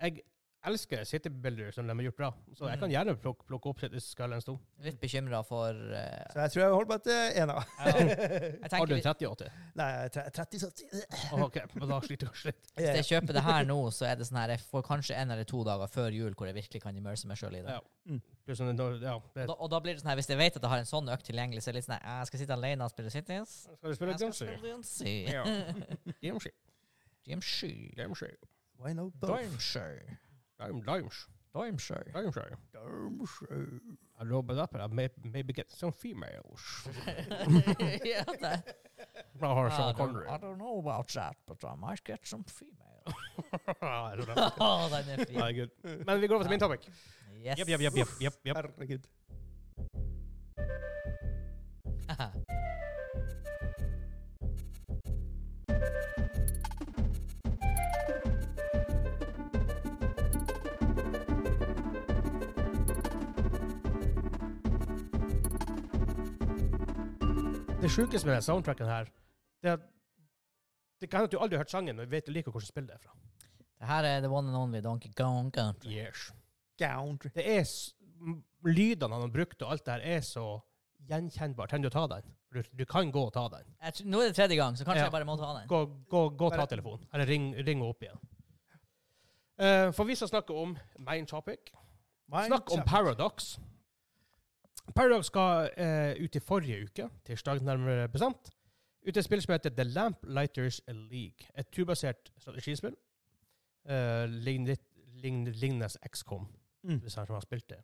A: jeg elsker City Builder som de har gjort bra, så
B: Mm.
A: jeg kan gjerne plukke, plukke opp City Skull en stund.
B: Litt bekymra for eh,
C: Så jeg tror jeg holder meg til én, da.
B: Jeg
A: *laughs* Har du
B: tenker
A: en
B: hvis
A: 38?
C: *laughs* Nei, jeg er tre- altså. Eh, 30 satt.
A: OK, men da sliter jeg kanskje litt.
B: jeg kjøper det her nå, så er det sånn her Jeg får kanskje en eller to dager før jul hvor jeg virkelig kan immerse meg sjøl i det.
A: Ja. Pluss en- Ja, det,
B: Og da, og da blir det sånn her Hvis jeg vet at jeg har en sånn økt tilgjengelig, så er det litt sånn her Jeg skal sitte alene og spille Cities.
A: skal du spille
B: Jeg skal
A: Gamesy?
B: spille Duncy.
A: Ja. Gamesy.
B: Dimshy.
A: Gamesy.
C: Why no both?
B: Dimshy.
A: Gamesy. Gamesy.
B: Dimshy.
C: Damn.
A: I love that, but I may, maybe get some females.
B: yeah, that,
A: Bra har
B: I,
A: Sean
B: don't, *laughs*
A: Connery. *laughs*
B: I don't know about that, but I might get some *laughs* female.
A: I don't know.
B: oh, den er fin.
A: Nei, good. Men vi går over til min topic.
B: Yes.
A: Jepp, jepp, jepp, jepp, jepp, jepp.
C: Herregud.
A: Det sjukeste med den soundtracken her, det er at det kan hende at du aldri har hørt sangen, men vet du liker hvordan spillet er fra.
B: *laughs* Det her er the one and only Donkey Kong Country.
A: Yes.
C: Country.
A: Det er s- m- Lydene han har brukt, og alt det her, er så gjenkjennbart. Trenger du å ta den? Du, du kan gå og ta den.
B: Jeg tr- Nå er det tredje gang, så kanskje
A: Ja.
B: jeg bare må ta den.
A: Gå, gå, gå og ta
C: Bare-
A: telefonen. Eller ring, ring opp igjen. Eh, for vi skal snakke om main topic. Snakk om Paradox. Paradox skal eh, ut i forrige uke, tirsdag nærmere bestemt, ut i et spill som heter The Lamplighters League. Et turbasert strategispill. Eh, lign litt, lign, lignes XCOM,
C: Mm.
A: hvis han som har spilt det.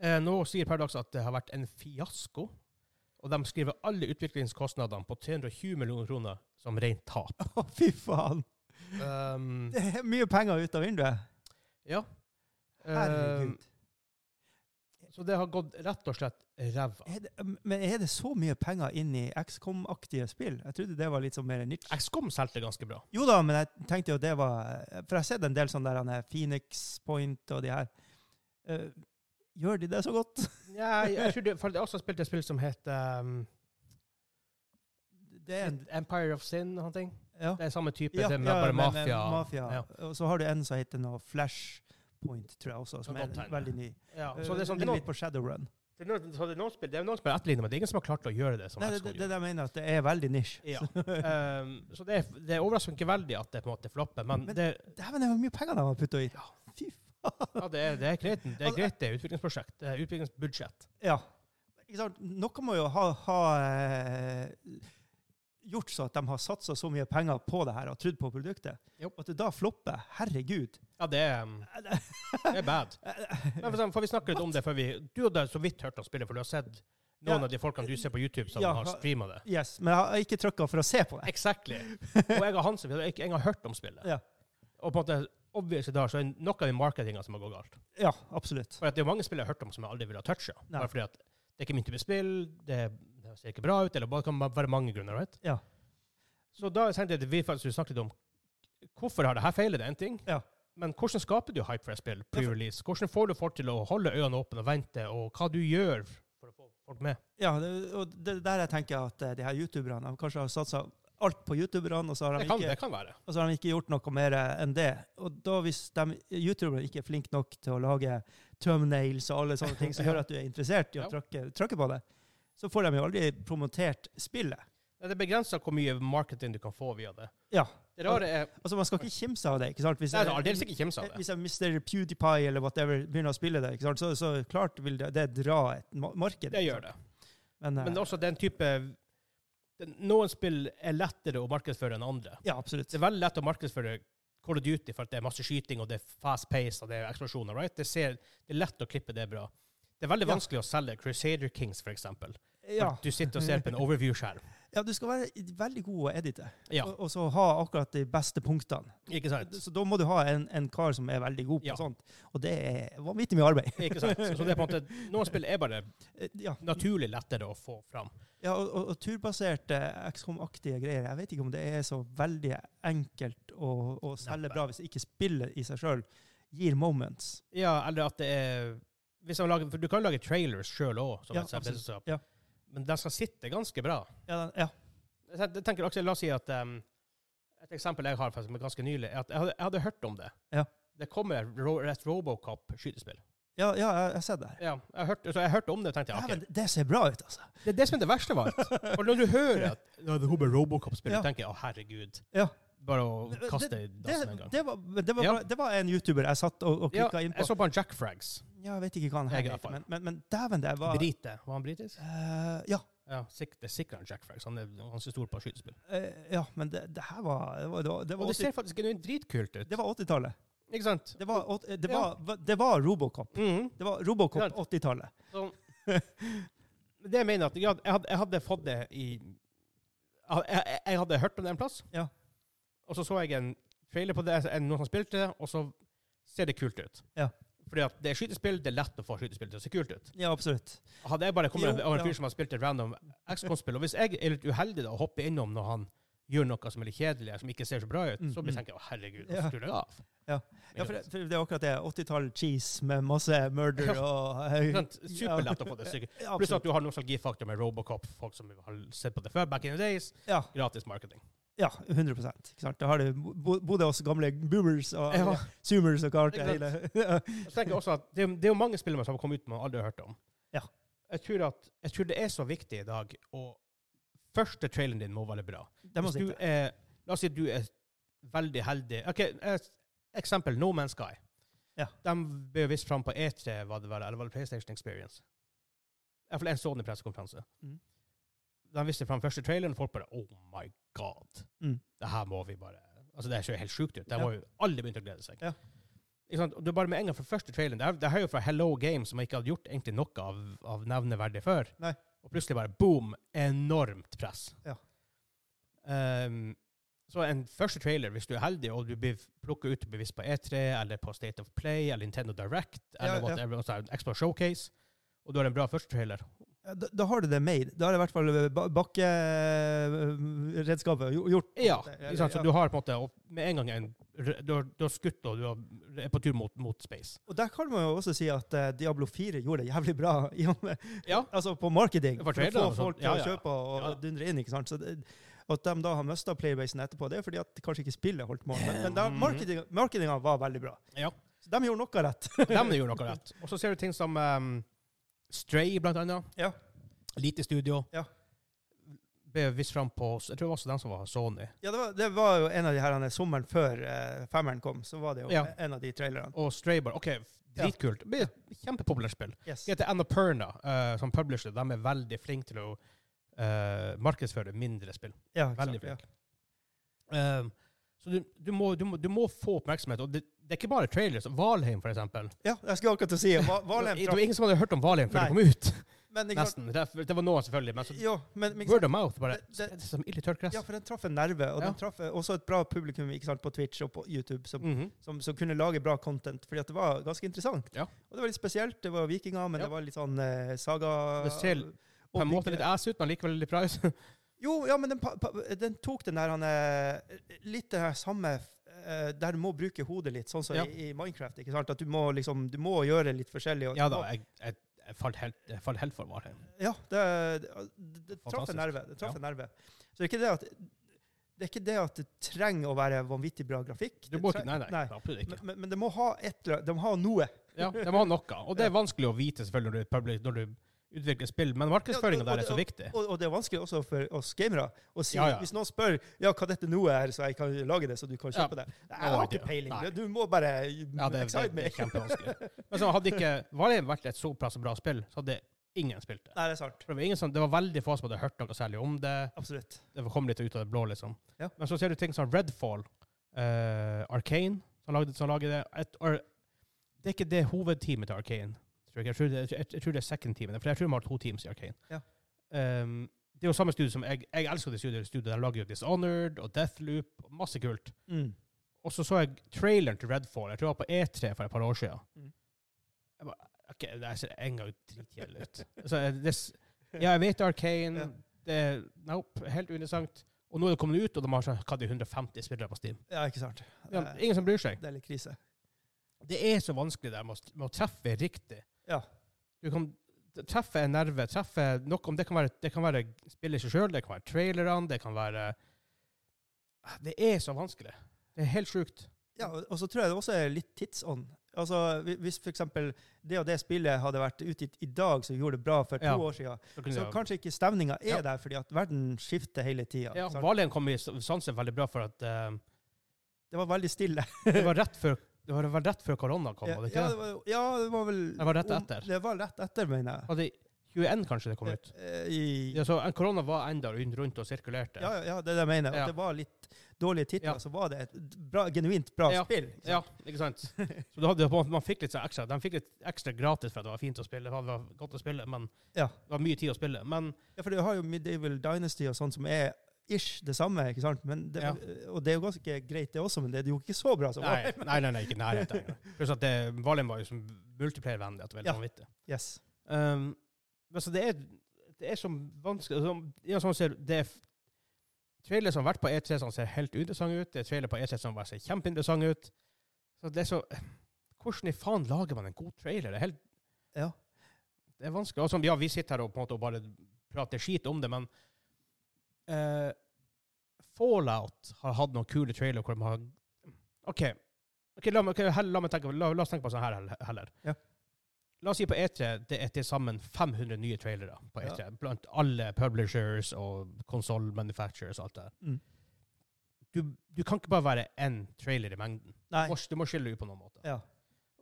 A: Eh, nå sier Paradox at det har vært en fiasko, og de skriver alle utviklingskostnadene på 320 millioner kroner som rent tap.
C: *laughs* Å, fy faen.
A: Um,
C: Det er mye penger ut av vinduet.
A: ja. Um,
C: Herregud.
A: Så det har gått rett og slett ræva.
C: Er det, men er det så mye penger inn i XCOM-aktige spill? Jeg trodde det var litt sånn mer nytt.
A: XCOM solgte ganske bra.
C: Jo da, men jeg tenkte jo det var For jeg har sett en del sånne der han er Phoenix Point og de her. Eh, gjør de det så godt? *laughs*
A: Ja, jeg tror det, for jeg har også spilt et spill som heter um,
C: Det er en
A: Empire of Sin og sånne ting.
C: Ja.
A: Det er samme type,
C: Ja,
A: det med
C: ja,
A: bare
C: men, eh,
A: mafia.
C: mafia.
A: Ja.
C: Og så har du en som heter noe Flashpoint, tror jeg også, som
A: Kan
C: er
A: godt hende.
C: veldig ny.
A: Ja, så det er sånn, det er
C: Ligner
A: noen,
C: litt på Shadowrun.
A: det er noen, så det er noen spill, det er noen spill etterlignet, men det er ingen som har klart å gjøre det som
C: Nei, det,
A: XCOM
C: det, det
A: gjorde.
C: jeg mener at det er veldig nisj.
A: Ja. Um, så det, er- det overrasker ikke veldig at det på en måte flopper, men,
C: Men-
A: det,
C: *laughs* Dæven, det var mye penger de har putta i. Fy faen.
A: ja, det, er, det er greit.
C: Altså,
A: Det er greit, det er utviklingsprosjekt. Det er utviklingsbudsjett.
C: Ja. Ikke sant? Noe må jo ha, ha eh, gjort så at de har satsa så mye penger på det her og trodd på produktet.
A: Jo.
C: At det da flopper. Herregud. Eh,
A: Ja, det er, um, det er bad. Men for eksempel, får vi snakke litt om det før vi Du og jeg så vidt hørte å spille, for du har sett noen
C: Ja.
A: av de folkene du ser på YouTube, som
C: Ja,
A: har
C: ha-
A: streama det.
C: Yes, men jeg har ikke trykka for å se på det.
A: Exactly. Og jeg og Hansen vi hadde ikke engang hørt om spillet.
C: Ja.
A: Og på en måte, obviously da, så er det noe i marketinga som har gått galt.
C: Ja, absolutt.
A: For at det er mange spill jeg har hørt om som jeg aldri ville ha toucha.
C: Nei.
A: Bare fordi at det er ikke min type spill, det, det ser ikke bra ut, eller det kan være mange grunner. right?
C: Ja.
A: Så da tenkte jeg at vi faktisk skulle snakke litt om hvorfor har det her feilet, det er én ting.
C: Ja.
A: Men hvordan skaper du hype for et spill pre-release? Hvordan får du folk til å holde øynene åpne og vente, og hva du gjør for å få folk med?
C: Ja, det, og det er der jeg tenker at eh, de her youtuberne de kanskje har satsa alt på youtuberne, og så har
A: Det
C: de
A: kan,
C: ikke
A: det kan være.
C: Og så har de ikke gjort noe mer enn det. Og da hvis de youtuberne ikke er flinke nok til å lage thumbnails og alle sånne
A: *laughs*
C: ting som gjør at du er interessert i å
A: Ja.
C: trykke, trykke på det, så får de jo aldri promotert spillet.
A: Det er begrensa hvor mye marketing du kan få via det.
C: Ja.
A: Det rare er
C: Altså, man skal ikke kimse av det, ikke sant? Hvis,
A: Nei, det er aldeles ikke kimsa av det.
C: Hvis jeg Mr. PewDiePie eller whatever begynner å spille det, ikke sant? Så, så klart vil det, det dra et ma- marked.
A: Det
C: ikke
A: gjør
C: sant?
A: det.
C: Men,
A: Men
C: eh,
A: også den type den, Noen spill er lettere å markedsføre enn andre.
C: ja, absolutt.
A: Det er veldig lett å markedsføre Call of Duty for at det er masse skyting, og det er fast pace, og det er eksplosjoner. right? Det, ser, det er lett å klippe det bra. Det er veldig
C: Ja.
A: vanskelig å selge Crusader Kings, for eksempel.
C: Ja.
A: Du sitter og ser på en overview-skjerm.
C: Ja, du skal være veldig god å edite,
A: Ja,
C: og, og så ha akkurat de beste punktene.
A: ikke sant?
C: Så da må du ha en, en kar som er veldig god på
A: Ja.
C: sånt. Og det er vanvittig mye arbeid.
A: *laughs* Ikke sant? Så det er på en måte, Noen spill er bare
C: Eh, Ja,
A: naturlig lettere å få fram.
C: ja og, og, og turbaserte XCOM-aktige greier. Jeg vet ikke om det er så veldig enkelt å, å selge
A: Neppe.
C: bra hvis ikke spillet i seg sjøl gir moments.
A: Ja, eller at det er hvis man lager, for Du kan lage trailers sjøl òg, som
C: Ja,
A: et eksempel.
C: absolutt. Ja.
A: Men de skal sitte ganske bra.
C: Ja, den- ja.
A: Jeg ten- jeg tenker Aksel, La oss si at em, Et eksempel jeg har faktisk, men ganske nylig, er at jeg hadde, jeg hadde hørt om det.
C: Ja.
A: Det kommer ro, et Robocop-skytespill.
C: Ja, ja, jeg- jeg har sett det her.
A: Ja, jeg hørte, så jeg hørte om det og tenkte ja,
C: Dæven,
A: ok.
C: det ser bra ut, altså.
A: Det er det som er det verste av *laughs* alt. For når du hører at ja, det kommer Robocop-spill,
C: Ja.
A: du tenker jeg, å herregud.
C: Ja.
A: Bare å
C: Det-
A: kaste det i dassen en
C: Det,
A: gang.
C: det, var, det, var
A: Ja.
C: bra. det var en YouTuber jeg satt og, og
A: ja,
C: klikka inn på.
A: jeg så på en Jack Frags.
C: Ja, jeg vet ikke hva han
A: Jeg
C: her
A: er
C: heter,
A: fan.
C: men, men, men dæven, det var
A: Brite. Var han britisk?
C: Eh, ja,
A: Ja, sik det er sikkert en Jack Frags. Han er ganske stor på skytespill.
C: eh, ja, men det, det her var Det var, det var, det var,
A: Og det
C: 80
A: ser faktisk genuint dritkult ut.
C: det var 80-tallet.
A: Ikke sant?
C: Det, var åt- eh, det,
A: Ja.
C: var- det var Robocop.
A: Mhm.
C: Det var
A: Klart.
C: Robocop 80-tallet.
A: Men Det jeg mener at jeg hadde, jeg hadde, jeg hadde fått det i jeg, jeg, jeg hadde hørt om det en plass,
C: Ja.
A: og så så jeg en trailer på det, en- noen som spilte det, og så ser det kult ut.
C: Ja.
A: Fordi at det er skytespill, det er lett å få skytespill til å se kult ut.
C: Ja, absolutt.
A: Hadde jeg bare kommet
C: Jo,
A: over en
C: ja.
A: fyr som har spilt et random XCOM-spill, og hvis jeg er litt uheldig da, og hopper innom når han gjør noe som er litt kjedelig, som ikke ser så bra ut,
C: Mm,
A: så blir jeg
C: mm.
A: tenker jeg, å herregud,
C: Ja.
A: så skrur jeg av.
C: Ja. Ja, for det, for det er akkurat det. 80-tall-cheese med masse murder
A: Ja.
C: og eh,
A: Sånn, Superlett å få det
C: *laughs*
A: stykket.
C: Ja,
A: Pluss at
C: absolutt.
A: du har nostalgifaktor med Robocop, folk som har sett på det før, back in the days.
C: Ja,
A: Gratis marketing.
C: ja, 100 ikke sant? Da har det bo- bodde oss gamle boomers og
A: Ja.
C: zoomers og kart.
A: Ikke
C: *laughs*
A: sant?
C: hele-
A: Jeg tenker også at det, er- det er jo mange spillere som har kommet ut med og aldri har hørt om.
C: Ja.
A: Jeg tror, at, jeg tror det er så viktig i dag å Første traileren din må være bra.
C: Det må
A: Hvis du
C: sitte.
A: er, la oss si at du er veldig heldig. Ok, et Eksempel No Man's Sky.
C: Ja.
A: De ble vist fram på E3, var det vel, eller var det PlayStation Experience? I hvert fall en sånn pressekonferanse.
C: Mm.
A: De viste fram første traileren, og folk bare Oh my god.
C: Mm.
A: Det her må vi bare Altså, det ser jo helt sjukt ut. Det
C: Ja.
A: var jo alle begynte å glede seg.
C: Ja.
A: Ikke sant? Og det er bare med en gang fra første traileren. Det er, det her er jo fra Hello Games, som jeg ikke hadde gjort egentlig noe av, av nevneverdig før.
C: Nei.
A: Og plutselig bare boom! Enormt press.
C: Ja.
A: Ehm, så en første trailer, hvis du er heldig, og du blir plukket ut bevisst på E3, eller på State of Play, eller Nintendo Direct, eller
C: Ja, ja.
A: whatever, altså Expo Showcase, og du har en bra første trailer
C: Ja, Da, da har du det made. Da har i hvert fall ba- bakkeredskapet jo- gjort.
A: Ja.
C: Det-
A: Ikke sant? Så
C: ja.
A: du har på en måte og med en gang en Du har, du har skutt, og du har, er på tur mot, mot space.
C: Og der kan man jo også si at eh, Diablo 4 gjorde det jævlig bra i og med,
A: Ja.
C: altså på marketing.
A: For
C: For,
A: traileren
C: å
A: og
C: få
A: sånt.
C: folk til
A: altså. Ja,
C: å
A: ja.
C: kjøpe og,
A: Ja.
C: og dundre inn. ikke sant? Så det, at de da har mista playbasen etterpå, det er fordi at kanskje ikke spillet holdt mål. Men, men da
A: Mhm.
C: marketing, marketinga var veldig bra.
A: Ja.
C: Så de gjorde noe rett.
A: *laughs* De gjorde noe rett. Og så ser du ting som ehm, Stray, blant annet.
C: Ja.
A: Lite studio.
C: Ja.
A: Ble vist fram på Jeg tror det var også den som var Sony.
C: Ja, det var, det var jo en av de her denne sommeren før eh, femmeren kom, så var det jo
A: Ja.
C: en av de trailerne.
A: Og Stray bare OK, dritkult. Det blir et Kjempepopulært spill.
C: Yes.
A: Det heter Annapurna, eh, som publisher. De er veldig flinke til å eh, markedsføre mindre spill.
C: Ja, ikke
A: Veldig
C: sant? Ja.
A: flink. Ehm, så du, du, må, du, må, du må få oppmerksomhet. Og det, det er ikke bare trailers. Valheim, for eksempel.
C: Ja, jeg skulle akkurat til å si Val- Valheim
A: *laughs* Det var
C: traff.
A: ingen som hadde hørt om Valheim før
C: Nei.
A: det kom ut.
C: Men, ikke sant?
A: Nesten. Det, er- det var noen, selvfølgelig. Men så,
C: Jo, men, men ikke sant?
A: word of mouth bare
C: Det- det-
A: det, er som ild i tørt gress.
C: Ja, for den traff en nerve, og
A: Ja.
C: den traff også et bra publikum ikke sant, på Twitch og på YouTube, som,
A: Mhm.
C: som, som kunne lage bra content, fordi at det var ganske interessant.
A: Ja.
C: Og det var litt spesielt, det var vikinger, men
A: Ja.
C: det var litt sånn eh, saga...
A: Det ser På en
C: og-
A: måte litt ass ut, men likevel litt bra ut.
C: Jo, ja, men den, pa, pa, den tok den der han, eh, litt det her samme eh, der du må bruke hodet litt, sånn som
A: Ja.
C: i, i Minecraft, ikke sant? At du må, liksom, du må gjøre litt forskjellig. og du
A: ja
C: må-
A: da, jeg, jeg, jeg falt helt, jeg falt helt for Valheim.
C: Ja, det, det, det traff
A: Fantastisk.
C: en nerve. Det traff
A: Ja.
C: en nerve. Så det er ikke det at det er ikke det at det trenger å være vanvittig bra grafikk.
A: Du
C: Det
A: må
C: tre-
A: ikke, nei, nei,
C: nei.
A: absolutt ikke.
C: Men, men- men det må ha et eller De må ha noe.
A: Ja, De må ha noe. Og det er vanskelig å vite selvfølgelig når du, public, når du utvikler spill, men markedsføringa
C: Ja, og-
A: der er så
C: og-
A: viktig.
C: Og, og det er vanskelig også for oss gamere å si
A: Ja, ja.
C: Hvis noen spør ja, hva dette noe er, så jeg kan lage det, så du kan
A: Ja.
C: kjøpe det Nei, Jeg har
A: idea.
C: ikke peiling.
A: Nei.
C: Du må bare
A: Ja, det, det,
C: excite
A: det
C: me.
A: er kjempevanskelig. Men så hadde ikke Valheim vært et såpass bra spill, så hadde ingen spilt det.
C: Nei, det er sant.
A: For Det var, ingen som, det var veldig få som hadde hørt noe særlig om det.
C: Absolutt.
A: Det kom litt ut av det blå, liksom.
C: Ja.
A: Men så ser du ting som Redfall, uh, Arcane, som lagde, som lager det. Et, or, det er ikke det hovedteamet til Arcane. Tror jeg. Jeg, tror det, jeg, jeg tror det er second teamet, for jeg tror de har to teams i Arcane.
C: Ja.
A: Ehm, Det er jo samme studio som jeg, jeg elsker det studioet. studioet der lager jo Dishonored og Deathloop. og Masse kult.
C: *laughs* Mm.
A: Og så så jeg traileren til Redfall. Jeg tror jeg var på E3 for et par år siden.
C: Mm.
A: Jeg bare, ok, det her ser engang dritkjedelig ut. Så jeg- det, s- ja, jeg vet Arcane.
C: Ja.
A: Det Nope. Helt uinteressant. Og nå er det kommet ut, og de har sånn, hva, det er 150 spillere på Steam.
C: Ja, ikke sant.
A: Ja,
C: Det,
A: ingen som bryr seg.
C: det er litt krise.
A: Det er så vanskelig der med å, med å treffe riktig.
C: Ja.
A: Du kan treffe en nerve, treffe noe om det kan være, det kan være spillet i seg sjøl, det kan være trailerne, det kan være Det er så vanskelig. Det er helt sjukt.
C: Ja, og og så tror jeg det også er litt tidsånd. Altså, hvi- Hvis f.eks. det og det spillet hadde vært utgitt i dag, som gjorde det bra for to
A: Ja.
C: år siden,
A: Så kunne
C: så
A: det-
C: kanskje ikke stemninga er
A: Ja.
C: der, fordi at verden skifter hele tida.
A: ja, Valheim kom i sansen veldig bra for at eh,
C: det var veldig stille.
A: det var rett før det var vel rett før korona kom,
C: Ja,
A: var det ikke
C: ja, det
A: det?
C: var, ja, det var vel
A: Det var rett
C: om-
A: etter.
C: Det var rett etter, mener jeg.
A: Hadde 21 kanskje det kom ut.
C: Eh, I,
A: Ja, så eh, Korona var enda rundt- rundt og sirkulerte.
C: Ja, ja, ja, det er det jeg mener.
A: Ja.
C: At det var litt dårlige titler,
A: Ja.
C: så var det et bra, genuint bra
A: Ja.
C: spill. ikke
A: Ja,
C: sant?
A: ikke sant? Så du hadde, man fikk litt sånn ekstra De fikk litt ekstra gratis for at det var fint å spille. Det var godt å spille, men
C: Ja.
A: det var mye tid å spille. Men
C: ja, for du har jo Medieval Dynasty og sånn som er ish det samme, ikke sant? Men det, eh,
A: Ja.
C: Og det er jo ganske greit det også, men det er jo ikke så bra som
A: nei,
C: var.
A: nei, nei, nei ikke i nærheten
C: *laughs*
A: engang. Pluss at det, Valheim var jo som multiplayer-vennlig. at det var helt
C: Ja.
A: vanvittig.
C: Yes.
A: Um, men så det er, det er så vanskelig sånn- ja, sånn ser, Det er f- trailere som har vært på E3 som ser helt uinteressante ut. Det er trailere på E3 som bare ser kjempeinteressante ut. Så det er så Hvordan i faen lager man en god trailer? Det er, helt,
C: Ja.
A: det er vanskelig. Og sånn, ja, vi sitter her og på en måte og bare prater skit om det, men eh, Fallout har hatt noen kule trailere hvor de har OK, Ok, la, meg, ok, hell- la, meg tenke, la, la oss tenke på sånn her hell- heller.
C: Ja.
A: La oss si på E3 det er til sammen 500 nye trailere på
C: Ja.
A: E3, blant alle publishers og konsoll manufacturers og alt det der.
C: Mm.
A: Du, du kan ikke bare være én trailer i mengden.
C: Nei.
A: Du må, du må skille ut på noen måte.
C: Ja.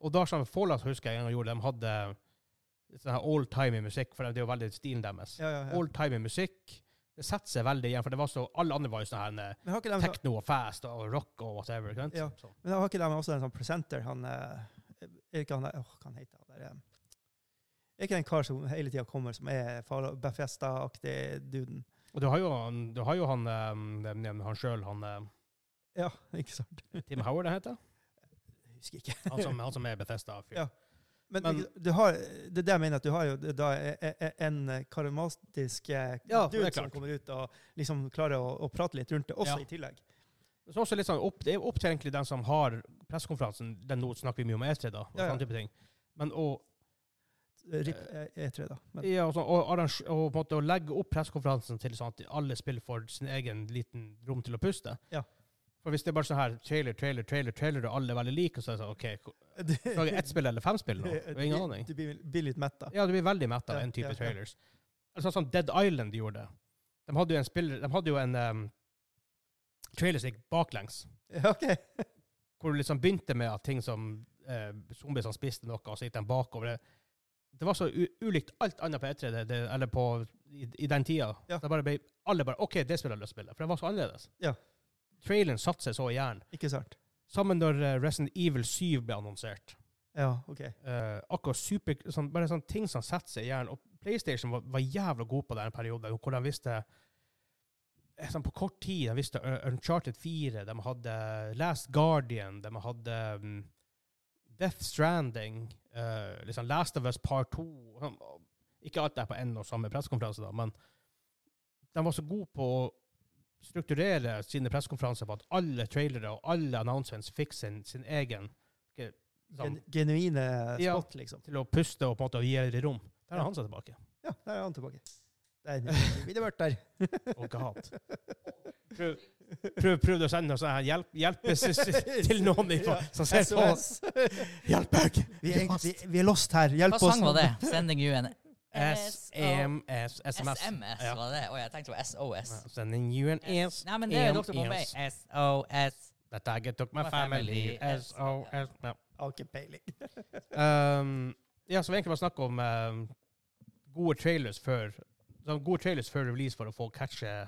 A: Og da som Fallout husker jeg en gang gjorde, de hadde sånn her old-timey musikk, for det er jo veldig stilen deres.
C: Ja, ja, ja.
A: Old-timey musikk. Det setter seg veldig igjen, for det var så, alle andre var jo sånn her eh,
C: Men har ikke de,
A: techno og fast og rock og whatever. ikke sant?
C: Ja.
A: Så.
C: men har ikke de også en sånn presenter, han eh, Er ikke han der Åh, hva han heter han der? eh, Er ikke en kar som hele tida kommer, som er Befesta-aktig duden?
A: Og du har jo han, du har jo han, ehm, nevn- nevn han sjøl, han ehm,
C: Ja, *laughs* ikke sant?
A: Tim Howard, det heter?
C: Jeg husker ikke.
A: Han
C: *laughs*
A: som, han som er Bethesda. fyr
C: Ja. Men,
A: Men-
C: ikke- du har, det er det jeg mener, at du har jo da e- e- en karismatisk eh,
A: Ja, det er
C: dude som
A: klart.
C: kommer ut og liksom klarer å, å prate litt rundt det, også
A: Ja.
C: i tillegg.
A: Så også litt sånn opp, det er opp til egentlig den som har pressekonferansen. Den nå snakker vi mye om E3, da. og
C: Ja, ja.
A: sånne type ting. Men å
C: RIP eh, E3, da. Men,
A: ja, og sånn, og arrange, og på en måte å legge opp pressekonferansen til sånn at alle spiller får sin egen liten rom til å puste
C: Ja.
A: For hvis det er bare sånn her trailer, trailer, trailer, trailer, og alle er veldig like, og så er det sånn OK, ko-
C: *laughs* du,
A: lager jeg ett spill eller fem
C: *laughs*
A: spill nå? Det er ingen aning.
C: Du blir, blir litt mett, da.
A: Ja, du blir veldig mett av
C: Ja,
A: den type
C: ja, ja.
A: trailers. Altså, sånn Dead Island gjorde det. De hadde jo en, spiller, de hadde jo en em, trailer som gikk baklengs,
C: *laughs* Ja, OK.
A: hvor du liksom begynte med at ting som eh, zombier som spiste noe, og så gikk de bakover. Det, det var så u ulikt alt annet på E3, det, det, eller på, i, i den tida.
C: Ja.
A: Det bare ble, alle bare OK, det spiller jeg lyst til å spille. For det var så annerledes.
C: Ja.
A: Traileren satte seg så i hjernen.
C: Ikke sant?
A: Sammen når eh, Resident Evil 7 ble annonsert.
C: Ja, OK.
A: Eh, akkurat super, sånn, bare sånne ting som setter seg i hjernen. Og PlayStation var, var jævla god på den perioden, hvor de visste eh, sånn, På kort tid de visste eh, Uncharted 4, de hadde Last Guardian, de hadde mm, Death Stranding, eh, liksom Last of Us Part 2 sånn, og Ikke alt det er på én og samme pressekonferanse, da, men de var så gode på å strukturere sine pressekonferanser på at alle trailere og alle announcements fikk sin, sin egen ikke, sånn,
C: Gen, genuine
A: Ja.
C: spot, liksom.
A: til å puste og på en måte gi det rom. Der er
C: Ja.
A: han seg tilbake.
C: Ja, der er han tilbake.
A: *laughs*
C: Der ville vært der.
A: Oh god. *laughs* Prøv, prøv, prøv å sende noe sånn her hjelp, hjelpes *laughs* til noen i-
C: Ja,
A: som ser på oss.
C: SOS.
A: Hjelp meg!
C: Vi er, vi, vi er lost her. Hjelp
B: Hva
C: oss.
B: sang var det? 'Sending *laughs* you an E
A: SMS. SMS.
B: SMS,
A: Ja.
B: var det? Å, jeg tenkte det var SOS.
A: Ja, Sending you an S.
B: Nei, men det er jo dere på
A: SMS.
B: meg. SOS.
A: That I get took my
B: My
A: family.
B: family.
A: SOS. Ja.
C: Jeg har ikke peiling.
A: Um, ja, så vi egentlig bare snakke om um, gode trailers før sånn gode trailers før release for å få catche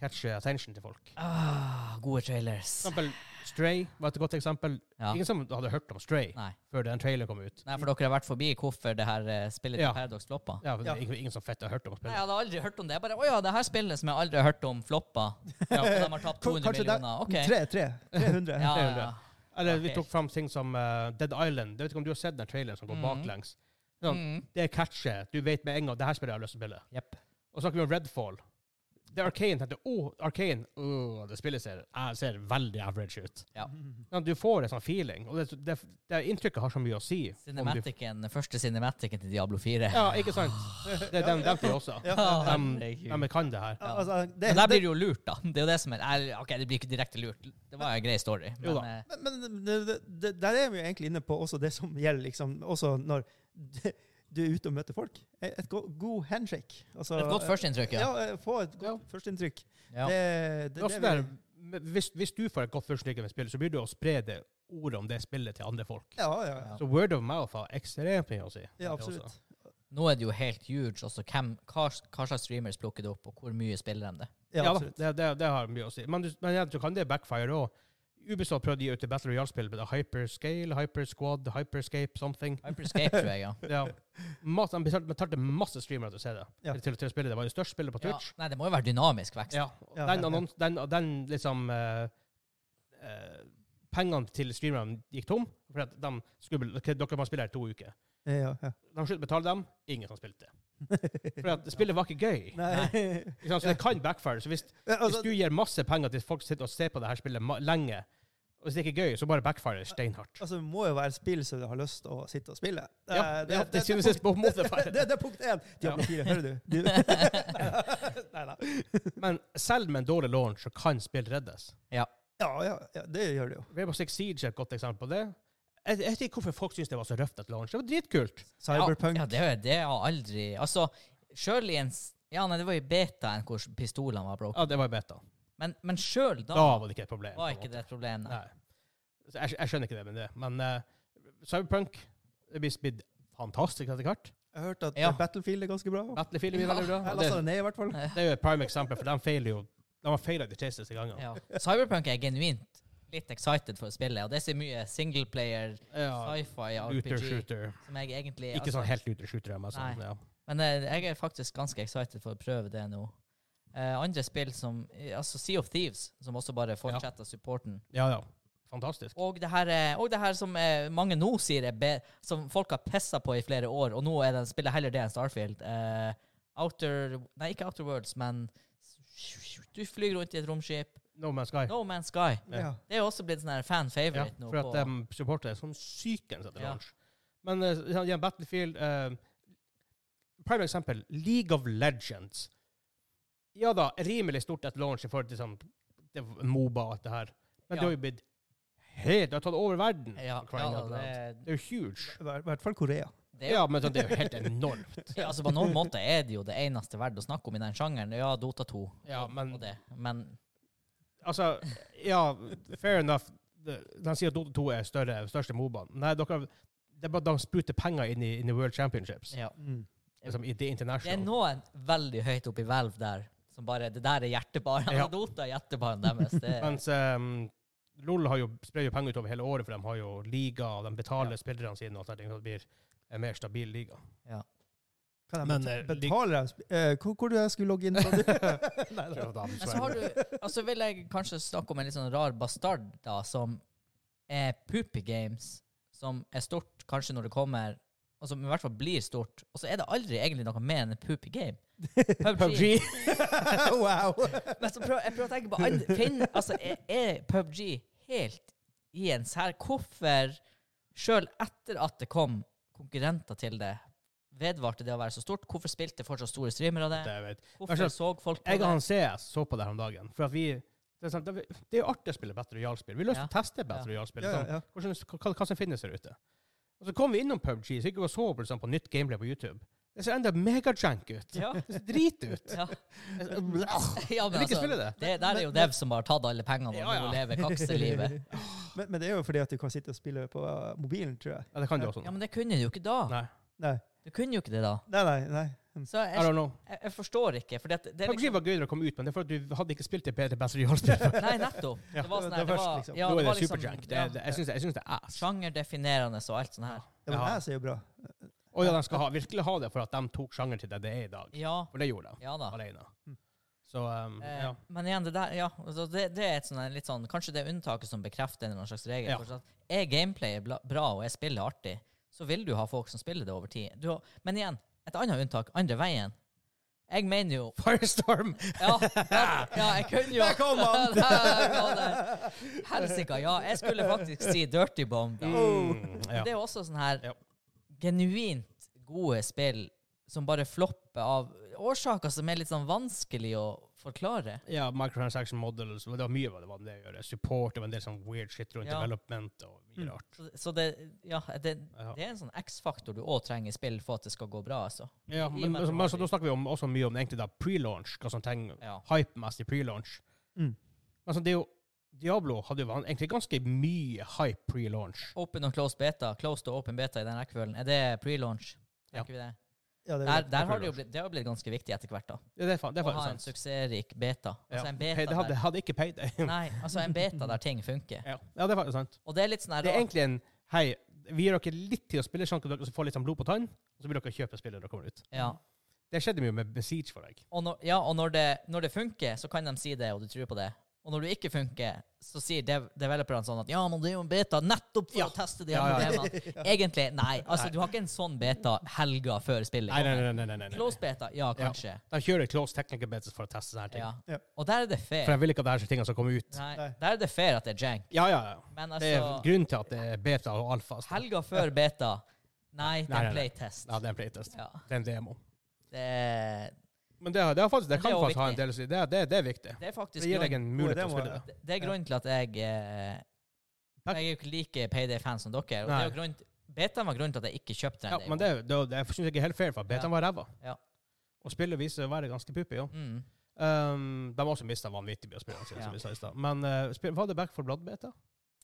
A: catche attention til folk.
B: Ah, gode trailers.
A: For eksempel Stray var et godt eksempel.
B: Ja.
A: Ingen som hadde hørt om Stray
B: Nei.
A: før den traileren kom ut.
B: Nei, for dere har vært forbi hvorfor det her eh, spillet til
A: Ja.
B: Paradox floppa.
A: Ja, for det
C: Ja.
A: er Ingen, ingen som fett har hørt om
B: Nei,
A: spillet.
B: jeg hadde aldri hørt om det. Jeg bare, Å ja, det her spillet som jeg aldri har hørt om, floppa. Ja, og de har tapt
C: Kan-
B: 200
C: kanskje det-
B: millioner. OK.
C: Tre, tre. 300.
B: Ja, ja,
A: det er jo
B: ja.
A: det. Eller vi
B: Ok.
A: tok fram ting som eh, Dead Island. Jeg vet ikke om du har sett den traileren som går
B: Mhm.
A: baklengs. Ja.
B: Mm.
A: Det catcher. Du vet med en gang det her spillet jeg har lyst til å spille.
B: Jepp.
A: Og snakker vi om Redfall. Det Arcane tenkte Å, Arcane, åh, det spillet ser, jeg ser veldig average ut.
B: Ja.
A: Ja, du får en sånn feeling, og det, det, det inntrykket har så mye å si. om Du,
B: Cinematicen, første cinematicen til Diablo 4.
A: ja, ikke
B: *sighs*
A: sant? Det er dem, dem til også.
C: Ja,
B: *laughs* Ah,
C: ja.
A: Dem-
B: herregud.
A: Ja, men kan det her.
C: Ja, altså, det,
B: Men der blir
C: det,
B: du jo lurt, da. Det er jo det som er Nei, OK, det blir ikke direkte lurt. Det var en grei story.
A: Jo da.
B: Men eh,
C: men men det, det, det, der er vi jo egentlig inne på også det som gjelder liksom, også når du er ute og møter folk. Et go god handshake. Altså,
B: et godt førsteinntrykk, ja.
C: Ja, eh, få et godt førsteinntrykk.
B: ja.
C: Det,
A: Men
C: det,
A: også sånn
C: det
A: der,
C: vil-
A: men hvis, hvis du får et godt førsteinntrykk av et spill, så blir du å spre det ordet om det spillet til andre folk.
C: ja, ja, ja.
B: Ja.
A: Så word of mouth har ekstremt mye å si.
C: ja,
A: Det også.
C: absolutt.
B: Nå er det jo helt huge også hvem, hva, hva slags streamers plukker det opp, og hvor mye spiller de det.
A: Ja,
C: Ja,
A: da,
C: absolutt.
A: det, det, det har mye å si. Men, du, men ja, du kan det backfire òg. Ubisoft prøvde å gi ut et Battle Royale-spill med det Hyperscale, Hypersquad, Hyperscape, something.
B: Hyperscape, tror jeg, ja.
A: Ja.
C: *laughs*
A: Masse, de betalte masse streamere til å se det.
C: Ja.
A: Til, til å spille det. Det var jo størst spillet på
B: ja.
A: Twitch.
B: Nei, det må jo være dynamisk vekst.
A: Ja. og
C: Ja,
A: Den,
C: ja, ja.
A: annons, den, den liksom eh, eh, Pengene til streamerne gikk tom. For at de skulle, ok, dere må spille her i to uker.
C: Ja, ja.
A: De skulle betale dem. Ingen som spilte.
B: *laughs*
A: For at spillet var ikke gøy.
C: *laughs* Nei.
A: Ikke sant? Så det kan backfire. Så hvis,
C: Ja,
A: hvis
C: altså,
A: du gir masse penger til folk som sitter og ser på det her spillet ma- lenge, og hvis det ikke er gøy, så bare backfire det steinhardt.
C: altså, det må jo være spill som du har lyst til å sitte og spille.
A: Ja, ja, det synes jeg på en måte
C: det,
A: feil.
C: det, det er punkt én. Diablo 4, hører
A: *laughs*
C: du? du. *laughs* nei, nei.
A: Men selv med en dårlig launch, så kan spill reddes.
C: Ja, ja, ja, det gjør det jo.
A: Rainbow Six Siege er et godt eksempel på det. Jeg, jeg vet ikke hvorfor folk syns det var så røft et launch. Det var dritkult.
C: Cyberpunk.
B: Ja, ja det, er- det har aldri Altså, sjøl i en s- Ja, nei, det var i betaen hvor pistolene var broken.
A: Ja, det var i beta.
B: Men, men sjøl
A: Da,
B: da
A: var det ikke et problem.
B: var ikke det et problem. Nei.
A: Nei. Så jeg, jeg skjønner ikke det, men det. Men eh, Cyberpunk det blir spidd fantastisk etter hvert.
C: Jeg har hørt at
B: Ja.
C: Battlefield er ganske bra.
A: Battlefield blir veldig bra.
C: Jeg
A: og Det,
C: lasta det ned, i hvert fall.
A: det er jo et prime eksempel, for de feiler jo De har feilet de tre siste gangene.
B: Ja. Cyberpunk er genuint litt excited for å spille, og det er så mye singleplayer,
A: Ja,
B: sci-fi,
A: looter
B: RPG
A: shooter.
B: som jeg egentlig
A: Ikke sånn helt looter shooter, men sånn,
B: Nei.
A: ja.
B: Men eh, jeg er faktisk ganske excited for å prøve det nå. Eh, andre spill som eh, Altså Sea of Thieves, som også bare fortsetter supporten.
A: ja, ja. Fantastisk.
B: Og det her, eh, og det her som eh, mange nå sier er be som folk har pissa på i flere år, og nå er det, spiller heller det enn Starfield. Eh, outer Nei, ikke Outer Worlds, men du flyr rundt i et romskip.
A: No Man's Sky.
B: No Man's Sky.
A: Ja.
C: Ja.
B: Det er jo også blitt sånn her fan
A: Ja,
B: favorite nå.
A: for at
B: på,
A: de supporter er sånn sykens etter
B: Ja.
A: launch. Men eh, sånn, igjen, Battlefield eh, Prime eksempel League of Legends. Ja da, rimelig stort et launch i forhold til sånn det, var Moba og alt det her. Men
B: Ja.
A: det har jo blitt helt Det har tatt over verden.
B: ja,
A: for
B: ja,
A: crying out
B: det,
A: loud. det er jo huge.
C: I hver- hvert fall Korea.
B: det er jo
A: Ja, men sånn, det er jo helt enormt.
B: *laughs* Ja, altså På noen måter er det jo det eneste verdt å snakke om i den sjangeren. Ja, Dota 2
A: Ja,
B: og,
A: men-
B: og det. Men
A: Altså, ja, fair enough. De, de sier at Dota 2 er større, største Mobaen. Nei, dere, det er bare de spruter penger inn i, inn i World Championships.
B: ja.
C: Mm.
A: Liksom, i The
B: det er
A: International.
B: noen veldig høyt oppe i hvelv der som bare Det der er hjertebaren.
A: Ja.
B: Dota er hjertebaren deres.
A: *laughs*
B: Det,
A: Mens ehm, LOL har jo, sprer jo penger utover hele året, for de har jo liga, og de betaler spillerne sine, og sånne ting, så det blir en mer stabil liga.
C: Kan jeg
A: Men,
C: beta-
A: eh, lig-
C: betaler jeg sp- eh, hvor, hvor du jeg skulle
A: *laughs*
C: logge inn? sa du? Nei,
A: Så
C: da.
A: da-
B: men så har du Altså vil jeg kanskje snakke om en litt sånn rar bastard, da, som er Poopy Games, som er stort kanskje når det kommer og som i hvert fall blir stort. Og så er det aldri egentlig noe mer enn en poopy
A: *laughs*
B: game. PUBG.
A: PUBG.
C: *laughs* wow!
B: Men så prøver jeg prøver å tenke på andre Finn, altså, er, er PubG helt i en sær? Hvorfor, sjøl etter at det kom konkurrenter til det, vedvarte det å være så stort? Hvorfor spilte fortsatt store streamere det?
A: Det vet.
B: Hvorfor så folk på
A: Jeg og
B: det?
A: han CS så på det her om dagen, for at vi det er, sant, det er- det er jo artig å spille Battle Royale-spill. Vi har lyst til å teste Battle Royale-spill.
C: Ja, ja,
A: Sånn,
C: ja.
A: hvordan- hva, hva som finnes her ute. Og så kom vi innom PubG, så gikk vi og så på, liksom, på nytt gameplay på YouTube. Det ser enda megajank ut.
B: Ja.
A: Det ser drit
B: *laughs*
A: ut. *laughs*
B: Ja.
A: Jeg
B: ja, men
A: vil ikke
B: altså,
A: spille det.
B: det, der er jo Dev som har tatt alle pengene og
A: Ja, ja.
B: nå lever
A: *laughs*
B: kakselivet.
C: Men, men det er jo fordi at du kan sitte og spille på eh, mobilen, tror jeg.
A: Ja, det kan du også.
B: Ja, men det kunne du jo ikke da.
A: Nei.
C: Nei,
B: Du kunne jo ikke det da.
C: nei, nei. nei.
B: Så
A: I
B: jeg,
A: don't know.
B: jeg, jeg forstår ikke, for det, det er
A: PUBG
B: liksom
A: var gøyere å komme ut, men det er fordi du hadde ikke spilt det bedre Battle Royale-spillet.
B: Nei, nettopp.
A: Ja,
B: Det var sånn her,
C: det var
B: det
C: først,
B: var,
C: liksom.
B: ja,
A: Nå er
B: det
A: det
B: var liksom
A: superjunk. Det,
B: ja,
A: det, jeg syns det, jeg synes det er ass.
B: Sjangerdefinerende og alt sånt her.
C: Ja, men
A: Ja.
C: jeg sier jo bra.
A: Å ja, de skal ha, virkelig ha det for at de tok sjanger til det det er i dag.
B: Ja,
A: For det gjorde de,
B: ja da.
A: alene.
C: Mm.
A: Så um,
B: Eh,
A: ja.
B: Men igjen, det der Ja, altså, det, det er et sånn, litt sånn Kanskje det er unntaket som bekrefter en eller annen slags regel.
A: Ja.
B: for sånn at Er gameplayet bla- bra, og er spillet artig, så vil du ha folk som spiller det over tid. Du har, men igjen, et annet unntak. Andre veien. Jeg mener jo
A: Firestorm!
B: Ja, ja, ja jeg kunne jo
C: Der kom han!
B: *laughs* Der kom det. Helsika, ja. Jeg skulle faktisk si Dirty Bomb. da.
A: Mm,
B: Men
A: ja.
B: Oh. Det er jo også sånn her
A: Ja.
B: genuint gode spill som bare flopper av årsaker som er litt sånn vanskelig å forklare.
A: ja, microtransaction models, og det var mye hva det var med det å gjøre. Support og en del sånn weird shit rundt
B: Ja. Hm.
A: development og mye
C: Mm.
A: rart.
B: Så, så det, ja, det,
A: Ja.
B: det er en sånn X-faktor du òg trenger i spill for at det skal gå bra, altså.
A: Ja, men,
B: I og med at
A: men,
B: det
A: men
B: var
A: så, da
B: dyrt.
A: snakker vi om, også mye om egentlig da pre-launch, hva som trenger
B: Ja.
A: hype-messig pre-launch.
C: Mm.
A: Altså, det er jo Diablo hadde jo van- egentlig ganske mye hype pre-launch.
B: Open og closed beta. Closed og open beta i den rekkefølgen. Er det pre-launch?
A: Ja.
B: Tenker vi det?
C: Ja, det er
B: Der,
C: bra.
B: der har det jo blitt, det har blitt ganske viktig etter hvert, da.
A: Det, det er faen, det er
B: Å ha
A: faen
B: en
A: sant.
B: suksessrik beta.
A: Ja.
B: Altså en
A: Pay-
B: beta
A: det hadde,
B: der.
A: hadde ikke payday. *laughs*
B: Nei, altså en beta der ting funker.
A: ja. ja, det er faktisk sant.
B: Og det er litt sånn her
A: Det er
B: rart.
A: egentlig en Hei, vi gir dere litt tid å spille, sånn at dere får litt sånn blod på tann, og så vil dere kjøpe spillet når dere kommer ut.
B: Ja.
A: Det skjedde mye med Besiege for deg.
B: Og, når, ja, og når, det, når det funker, så kan de si det, og du tror på det. Og når du ikke funker, så sier dev developerne sånn at ja, men det er jo en beta nettopp for
A: Ja.
B: å teste de
A: Ja, *laughs*
B: her
A: ja, ja.
B: problemene. Egentlig, nei. Altså,
A: Nei.
B: du har ikke en sånn beta helga før spillet.
A: Nei, nei, nei.
B: kommer.
A: nei, nei, nei, nei.
B: Close beta, ja, kanskje.
A: De kjører close technical bets for å teste sånne her ting.
B: Ja.
C: Ja.
B: Og der er det
A: For
B: fair.
A: jeg vil ikke at det her er ting som kommer ut.
B: Nei,
C: Nei.
B: der er det fair at det er jank.
A: Ja, ja, ja.
B: Men
A: Det er
B: altså,
A: grunnen til at det er beta og alfa. altså.
B: helga før beta Nei, det
A: Nei, nei,
B: er
A: nei.
B: playtest.
A: Ja, det er en playtest.
B: Ja.
A: Det er en demo.
B: Det, er-
A: Men det, det, er faktisk, det
B: Men det
A: kan
B: er jo
A: faktisk ha en
B: viktig.
A: del å si. Det, er- det, det er viktig.
B: det er faktisk
A: Det gir deg
B: grunnen,
A: en mulighet til å
C: Gode
A: spille
C: demoer,
A: det.
B: det er grunnen til at jeg eh, Jeg er jo ikke like Payday-fan som dere. Og det er jo grunnen, betaen var grunnen til at jeg ikke kjøpte den.
A: Ja,
B: demoen.
A: men det, det, det syns jeg ikke er helt fair, for betaen var ræva.
B: Ja.
A: Og spillet viser seg å være ganske puppig, ja.
B: Mm.
A: Um, de har også mista vanvittig mye av spillene sine,
B: Ja.
A: som vi sa i stad. Men eh, spil, var det Back for Blood-beta?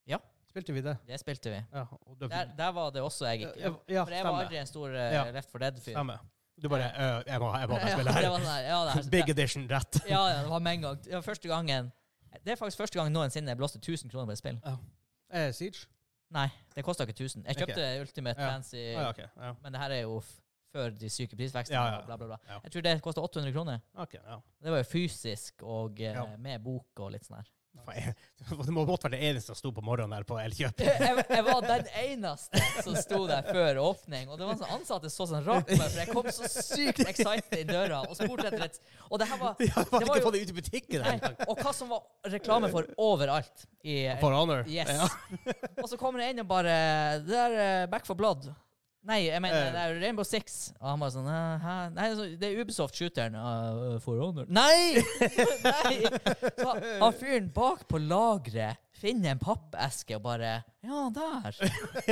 B: Ja.
A: Spilte vi det?
B: Det spilte vi.
A: Ja. Og det,
B: Der, der var det også jeg ikke.
A: ja, ja,
B: For jeg var
A: stemmer.
B: aldri en stor eh,
A: Ja.
B: Left for Dead-fyr.
A: stemmer. Du bare «Øh, Jeg må jeg må bare
B: *laughs* Ja,
A: spille
B: det
A: her.
B: var sånn her, ja,
A: *laughs*
B: det her-
A: Big edition rett.
B: ja, ja, det var med en gang. Det var første gangen Det er faktisk første gang noensinne jeg blåste 1000 kroner på et spill.
A: Eh, Siege?
B: Nei, det kosta ikke 1000. Jeg kjøpte Ultimate
A: Ja.
B: Fancy,
A: Ah, ja, ok. Ja.
B: men det her er jo f før de syke prisvekstene
A: Ja, ja.
B: og bla, bla, bla.
A: Ja.
B: Jeg tror det kosta 800 kroner.
A: Ok, ja.
B: Det var jo fysisk og eh,
A: Ja.
B: med bok og litt sånn her.
A: Faen, *laughs* jeg- Det må måtte være det eneste som sto på morgenen der på Elkjøp.
B: jeg, jeg var den eneste som sto der før åpning. Og det var sånn ansatte så sånn rart på meg, for jeg kom så sykt excited i døra og spurte etter et Og det her
A: *laughs*
B: var
A: Jeg har
B: var
A: ikke
B: jo-
A: fått det ut i butikken
B: nei,
A: engang.
B: Og hva som var reklame for overalt. I,
A: For honor.
B: yes.
A: Ja.
B: *laughs* Og så kommer det en og bare Det der eh, Back for Blood. Nei, jeg mener
A: Eh.
B: det er Rainbow Six. Og han bare sånn eh, Hæ? Nei, så- det er Ubisoft-shooteren. eh, for honor. Nei! *laughs* Nei! Så han- han fyren bak på lageret finner en pappeske og bare Ja, der.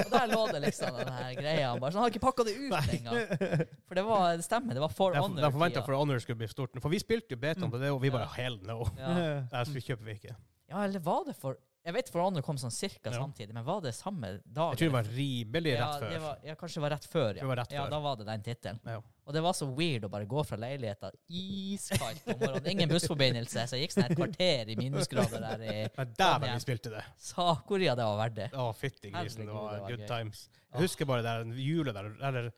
B: Og der lå det liksom den her greia. Han bare, så han hadde ikke pakka det ut engang. For det var, det stemmer, det var for
A: Jeg,
B: honor. Mm.
A: jeg forventa for honor skulle bli stort. For vi spilte jo betaen på det, og vi bare
B: Ja.
A: hell no. *laughs*
B: ja.
C: eh,
A: Det her kjøper vi ikke.
B: ja, eller var det for Jeg vet for honor kom sånn cirka
A: Ja.
B: samtidig, men var det samme
A: Jeg tror
B: dag?
A: det var rimelig
B: ja,
A: rett før.
B: det var, ja, kanskje det var rett før, ja.
A: Det var rett
B: ja
A: før.
B: da var det den tittelen.
A: Ja.
B: Og det var så weird å bare gå fra leiligheta iskaldt om morgenen. Ingen bussforbindelse, så jeg gikk sånn et kvarter i minusgrader der i
A: Men dæven,
B: Ja.
A: vi spilte det!
B: Sa-Korea. Det var verdt det.
A: Å, fytti grisen.
B: Herregud,
A: Det var
B: det var
A: good
B: gøy.
A: times.
B: Åh.
A: Jeg husker bare det der jula der Eller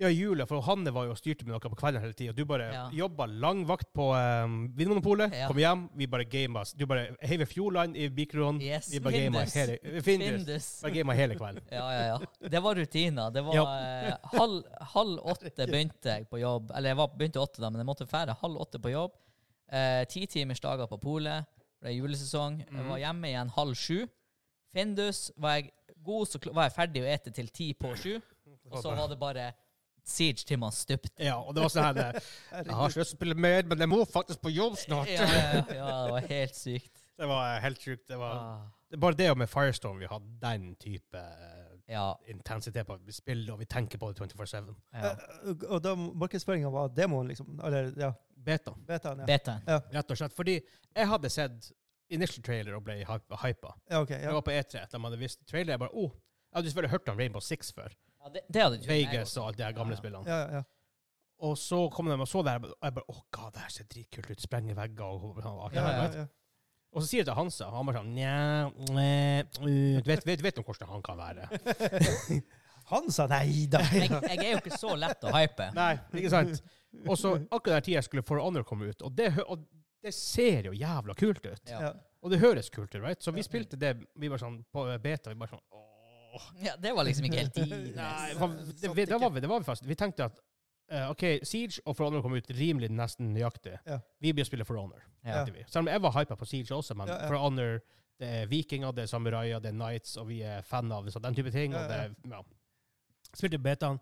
A: ja, jula, for Hanne var jo og styrte med noe på kvelden hele tida. Du bare
B: Ja.
A: jobba lang vakt på um, Vinmonopolet,
B: Ja.
A: kom hjem, vi bare gama. Du bare heiv Fjordland i mikroen,
B: Yes,
A: vi bare gama
B: Findus.
A: hele Findus.
B: Findus.
A: Bare gama hele kvelden.
B: Ja, ja, ja. Det var rutiner. Det var
A: Ja.
B: eh, halv, halv åtte begynte jeg på jobb. Eller jeg var, begynte åtte, da, men jeg måtte fære halv åtte på jobb. Eh, ti timers dager på polet. Det er julesesong. Jeg
A: Mhm.
B: var hjemme igjen halv sju. Findus var jeg god, så kl- var jeg ferdig å ete til ti på sju. Og så var det bare Siege til man stupte.
A: Ja, og det var sånn her eh, Jeg har ikke lyst til å spille mer, men jeg må faktisk på jobb
B: Ja,
A: snart.
B: ja, ja, ja, det var helt sykt.
A: Det var eh, helt sjukt. Det var
B: Ah.
A: Det er Bare det med Firestorm, vi har den type eh,
B: Ja,
A: intensitet på at vi spiller, og vi tenker på det 24-7.
B: ja.
C: eh, Og da markedsføringa var demoen, liksom. Eller, ja.
A: Beta,
C: Betaen, ja.
B: Betaen.
A: rett og slett. Fordi jeg hadde sett initial trailer og ble hy- hypa.
C: Ja, OK.
A: Jeg
C: Ja.
A: var på E E3, de hadde vist trailer, jeg bare oh, jeg hadde selvfølgelig hørt om Rainbow Six før.
B: Ja, det, det hadde du
A: Vegas og alle de her gamle spillene.
C: Ja, ja, ja.
A: Og så kom de og så det her, og jeg bare Å, god, det her ser dritkult ut. Sprenge vegger og og-
C: Ja, ja, ja.
A: Og så sier jeg til Hansa, og han bare sånn Nja, eh, uh, du vet, vet, vet nå hvordan han kan være.
C: *laughs* Han sa nei da.
B: Jeg, jeg er jo ikke så lett å hype.
A: Nei, ikke sant? Og så akkurat den tida skulle For Honor komme ut, og det, hø- og det ser jo jævla kult ut.
B: Ja.
C: Ja.
A: Og det høres kult ut, right? Så vi spilte det vi var sånn på beta. vi bare sånn, åh.
B: Ja, det var
A: *laughs*
B: liksom ikke helt
A: Nei,
B: tidenes.
A: for, det, vi, det, var sånn vi, det var vi fast. Vi tenkte at eh, OK, Siege og For Honor kom ut rimelig nesten nøyaktig.
C: Ja.
A: Vi blir å spille For Honor.
B: Ja.
A: tenkte vi. Selv om jeg var hypa på Siege også, men
C: Ja, ja.
A: For Honor det er vikinger, det er samuraier, det er knights, og vi er fan av så den type ting.
C: Ja,
A: og det
C: ja.
A: er, ja. Spilte betaen.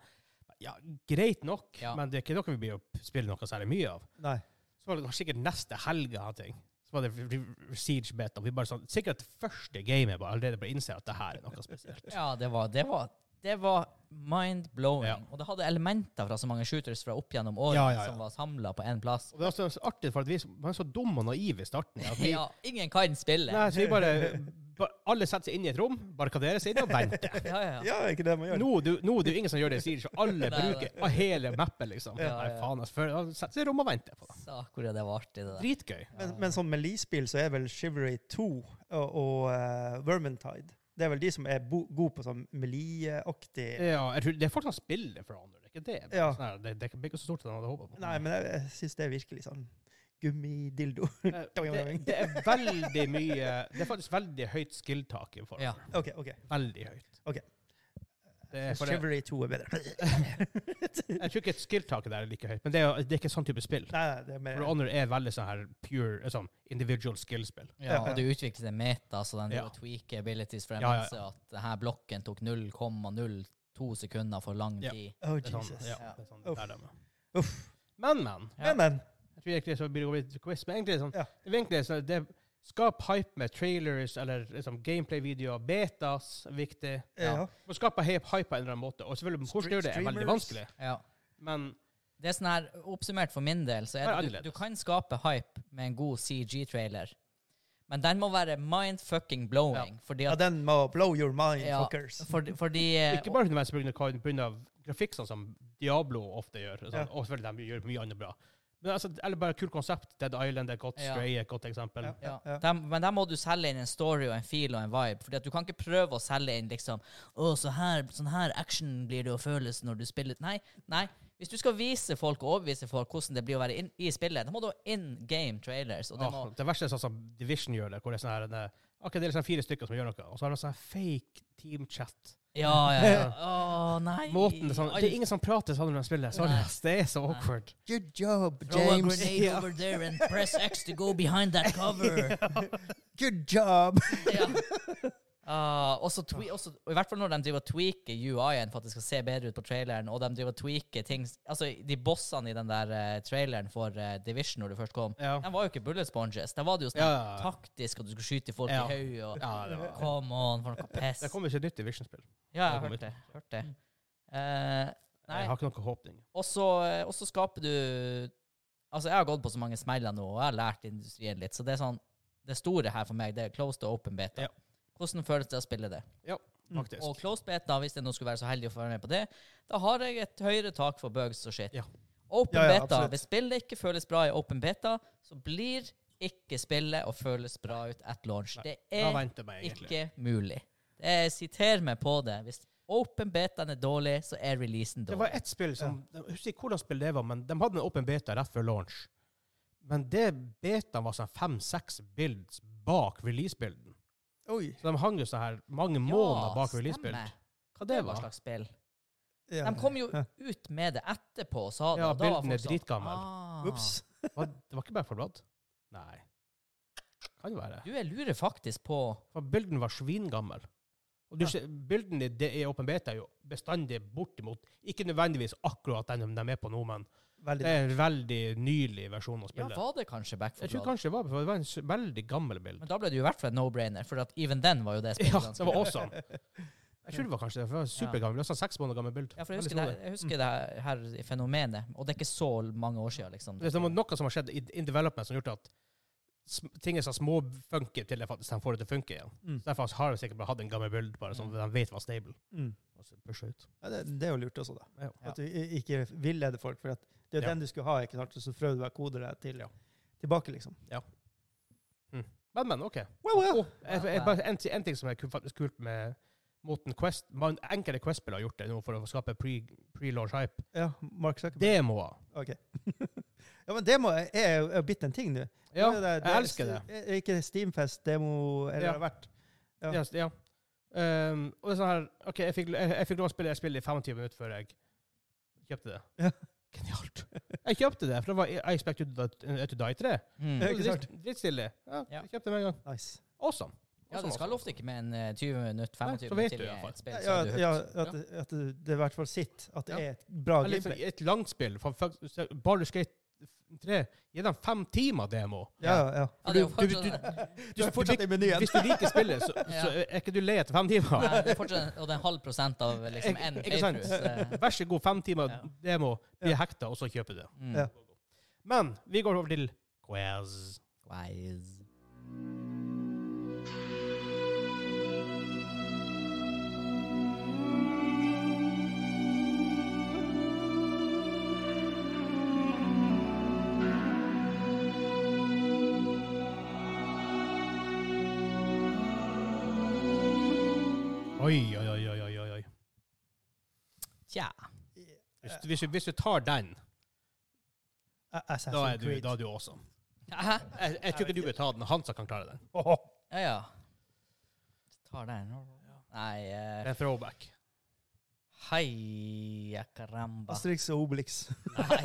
A: Ja, greit nok,
B: Ja.
A: men det er ikke noe vi blir å spille noe særlig mye av.
C: Nei.
A: Så var det sikkert neste helg jeg hadde ting. Så var det Siege Beta. Vi bare sånn, sikkert første game jeg bare allerede bare innser at det her er noe spesielt.
B: Ja, det var, det var, det var mind-blowing.
A: Ja.
B: Og det hadde elementer fra så mange shooters fra opp gjennom året
A: Ja, ja, ja.
B: som var samla på én
A: *laughs*
B: plass.
A: Og det var så så artig, for at vi var så dumme og naive i starten. At
C: *laughs*
A: vi,
B: Ja, ingen kan spille.
A: nei, så vi bare, ba, alle setter seg inn i et rom, barrikaderer seg inn og venter.
B: Ja, ja, ja.
C: Ja, er ikke det man gjør?
A: Nå, er det jo- nå er det jo ingen som gjør det i Siege, og alle
B: *laughs* Nei, nei.
A: bruker av hele mappet, liksom.
B: Ja,
A: Nei,
B: ja.
A: faen, altså. før- da Setter seg i rom og venter på det.
B: Sa hvor det var artig, det der.
A: Dritgøy.
C: Men, men sånn Melee-spill så er vel Shivery 2 og, og eh, Vermintide Det er vel de som er bo gode på sånn Melee-aktig
A: Ja, jeg tror det er folk som spiller for andre, det er ikke det. men
C: Ja.
A: Sånn her, det, det blir ikke så stort som jeg hadde håpet på.
C: Nei, men jeg, jeg syns det er virkelig sånn gummidildo. *laughs*
A: Eh, det, det er veldig mye Det er faktisk veldig høyt skill-tak i forhold.
B: Ja.
C: OK, OK.
A: Veldig høyt.
C: Ok.
A: Det er for det,
C: Shivery 2 er bedre. *laughs*
A: jeg tror ikke et skill-taket der er like høyt, men det er, jo- det er ikke sånn type spill.
C: Nei, nei, det er mer
A: For Honor er veldig sånn her pure eh, sånn individual skill-spill.
B: Ja, og du utvikler en meta, så den
A: Ja.
B: ja. tweaker abilities for en
A: Ja, ja, ja.
B: masse at denne blokken tok 0,02 sekunder for lang
A: Ja.
B: tid.
C: Oh,
A: Det er sånn,
C: Jesus.
A: ja, det er sånn det
C: Uff.
A: er dem, ja.
C: Uff.
A: Men, men.
B: Ja.
C: Men, men.
A: Jeg tror egentlig så blir det å bli et quiz, men egentlig er det sånn,
C: Ja.
A: det er egentlig sånn, det Skap hype med trailers eller liksom gameplay-videoer. Betas er viktig.
C: Ja.
A: Må skape hype, hype på en eller annen måte. Og selvfølgelig, hvordan du gjør det, er veldig
C: Streamers.
A: vanskelig.
B: Ja.
A: Men
B: Det er sånn her, Oppsummert for min del, så er
A: Bare
B: det du,
A: annerledes.
B: du kan skape hype med en god CG-trailer, men den må være mind fucking blowing. Fordi
C: ja,
B: at,
C: den må blow your mind,
B: Ja.
C: fuckers.
B: fordi, fordi eh,
A: Ikke bare nødvendigvis pga. hva- på grunn av grafikk, sånn som Diablo ofte gjør. Sånn,
C: Ja.
A: Og selvfølgelig de gjør mye annet bra. Men altså, eller bare kult konsept. Dead Island er et godt.
B: Ja.
A: Stray er et godt eksempel.
C: Ja.
B: Ja. Dem- men der må du selge inn en story og en feel og en vibe. Fordi at du kan ikke prøve å selge inn liksom Å, så her, sånn her action blir det å føles når du spiller Nei. nei. Hvis du skal vise folk og overbevise folk hvordan det blir å være inn, i spillet, da må du ha in game trailers. Og det må,
A: Åh, det verste er sånn som Division gjør det, hvor det er sånn her det, Ok, det er liksom fire stykker som gjør noe, og så har de sånn her fake teamchat.
B: ja, ja, ja. Å, nei.
A: Måten, det, er sånn, det er ingen som prater sånn når de spiller. Sorry,
B: Nei.
A: ass, det er så awkward.
C: Good job,
B: Throw a grenade over there and press X to go
A: *laughs*
B: behind that cover.
C: Good job.
B: ja. Ah, også twe også, og I hvert fall når de driver og tweaker UI-en for at det skal se bedre ut på traileren, og de driver og tweaker ting Altså, de bossene i den der eh, traileren for eh, Division når du først kom,
A: Ja.
B: de var jo ikke bullet sponges. Der var det jo sånn
A: Ja, ja, ja.
B: taktisk at du skulle skyte folk
A: Ja.
B: i hodet og
A: Ja, det var
B: Come on, for noe piss.
A: Det kommer ikke et nytt Division-spill.
B: Ja,
A: det
B: jeg
A: kom ut.
B: hørte det. Hørte det. Eh, nei,
A: Jeg har ikke noen håpning.
B: og så eh, og så skaper du Altså, jeg har gått på så mange smeller nå, og jeg har lært industrien litt, så det er sånn Det store her for meg, det er close to open beta.
A: Ja.
B: Hvordan føles det å spille det?
A: Faktisk.
B: Og closed beta, hvis jeg nå skulle være så heldig å få være med på det, da har jeg et høyere tak for bugs og shit.
A: Ja.
B: Open
C: Ja, ja,
B: beta.
C: absolutt.
B: Hvis spillet ikke føles bra i open beta, så blir ikke spillet å føles bra ut at launch.
A: Nei,
B: Det
A: Da
B: er
A: venter jeg meg egentlig.
B: ikke mulig. Jeg siterer meg på det. Hvis open betaen er dårlig, så er releasen
A: Det
B: dårlig.
A: var ett spill som Jeg husker ikke hvordan spill det var, men de hadde en åpen beta rett før launch. Men det betaen var sånn fem-seks bilds bak release-bilden.
C: *laughs* Oi.
A: Så de hang jo sånn her mange måneder bak
B: stemmer.
A: release-bild. Hva det
B: Det var
A: var?
B: slags spill.
C: Ja.
B: De kom jo
C: Ja.
B: ut med det etterpå og sa det.
A: Ja,
B: og da var
A: bildene er
B: folk sånn,
A: dritgammel.
B: ah,
C: Ups.
A: Hva- Det var ikke bare for blad? Nei. Kan jo være.
B: Du, jeg lurer faktisk på
A: For bilden var svingammel. Og du ser, bilden i det i åpen beta er jo bestandig bortimot Ikke nødvendigvis akkurat den de er på nå, men det
B: Ah.
C: Veldig
A: er en veldig nylig versjon å
B: Ja,
A: spille.
B: var det kanskje Back
A: Jeg tror
B: 4 Blood?
A: kanskje det var, for det var en s- veldig gammel bild.
B: Men da ble det jo i hvert fall en no-brainer, for at even then var jo det spillet
A: *laughs* Ja,
B: ganske
A: det var
B: bra.
A: awesome. Jeg tror det var kanskje det, for det var supergammelt. Det var sånn seks måneder gammelt bilde.
B: Ja, for jeg husker, det, her- jeg
A: Mm.
B: husker det her- her fenomenet, og det er ikke så mange år siden, liksom.
A: Det er som om noe som har skjedd i in development som har gjort at sm- ting er så småfunky til det faktisk de får det til å funke igjen. Så
C: Mm.
A: derfor har de sikkert bare hatt en gammel bild, bare sånn at de vet hva stable
C: Mm.
A: og så pusher ut.
C: Ja, det, det er jo lurt også, da.
A: Ja.
C: At du i- ikke villeder folk. For at Det er jo
A: Ja.
C: den du skulle ha, ikke sant? så prøvde du å kode deg til,
A: Ja.
C: tilbake, liksom.
A: Men, men, OK.
C: Wow, wow.
A: Og, eh, eh, bare en, ti- en ting som er ku- faktisk kult med måten Quest man, Enkelte Quest-spill har gjort det nå for å skape pre- pre-launch hype.
C: Ja, Mark Zuckerberg.
A: Demoer.
C: Ok. *laughs* ja, men demo er er jo er jo blitt en ting, du.
A: Ja,
C: Det er jo det-
A: jeg elsker det.
C: er Ikke Steamfest, demo, eller
A: Ja.
C: har vært. Ja.
A: Yes, ja. Ehm, og det er sånn her OK, jeg fikk, jeg, jeg fikk lov å spille spillet i 25 minutter før jeg kjøpte det.
C: Ja.
A: *laughs* Genialt. Jeg kjøpte det, for det var I Expect You to Die- to Die 3.
D: Mm.
C: Ja, ikke sant?
A: Drittstilig. Ja,
B: Ja.
A: jeg kjøpte det med en gang.
C: Nice.
A: Awesome.
D: Ja, det
A: sånn Awesome,
D: skal
A: awesome.
D: ofte ikke med en eh, 20 minutter,
A: Nei,
D: 25
A: så vet
D: minutter
A: du
D: til
A: i hvert fall.
D: et spill.
C: Ja,
D: så
C: ja,
D: er du hooked.
C: ja, at,
D: Ja.
C: det- at det det er i hvert fall sitt. At det
A: Ja.
C: er et bra
A: Det er litt-
C: gameplay.
A: Et langt spill. For, for, så Baldur's Gate 3 gir dem fem timer demo.
C: Ja, ja. ja.
B: Ja, det er jo
A: Du- du-
B: fortsatt,
C: Du er fortsatt i menyen.
A: Hvis du liker spillet, så,
B: *laughs* Ja.
A: så er ikke du lei etter fem timer.
B: Nei, det er fortsatt og det er en halv prosent av
A: *laughs*
B: liksom
A: Ik-
B: en
A: ikke sant?
B: playthrough. så-
A: Vær så god, fem timer
B: Ja.
A: demo, bli
C: Ja.
A: hekta, og så kjøper du det.
D: Mm.
C: Ja.
A: Men vi går over til quiz.
B: Quiz.
A: Oi, oi, oi, oi, oi, oi, oi.
B: Tja.
C: uh,
A: Hvis, du- hvis, du- hvis du tar den, da er
C: Assassin's
A: du, da er
C: Creed.
A: du awesome.
B: Hæ?
A: Jeg, jeg tror ikke du vil ta den. Hansa kan klare den.
C: Åhå.
B: Ja, ja. Tar den. Nei
A: Det
B: eh,
A: er en throwback.
B: Hei, caramba.
C: Asterix og Obelix.
B: Nei,
C: *laughs*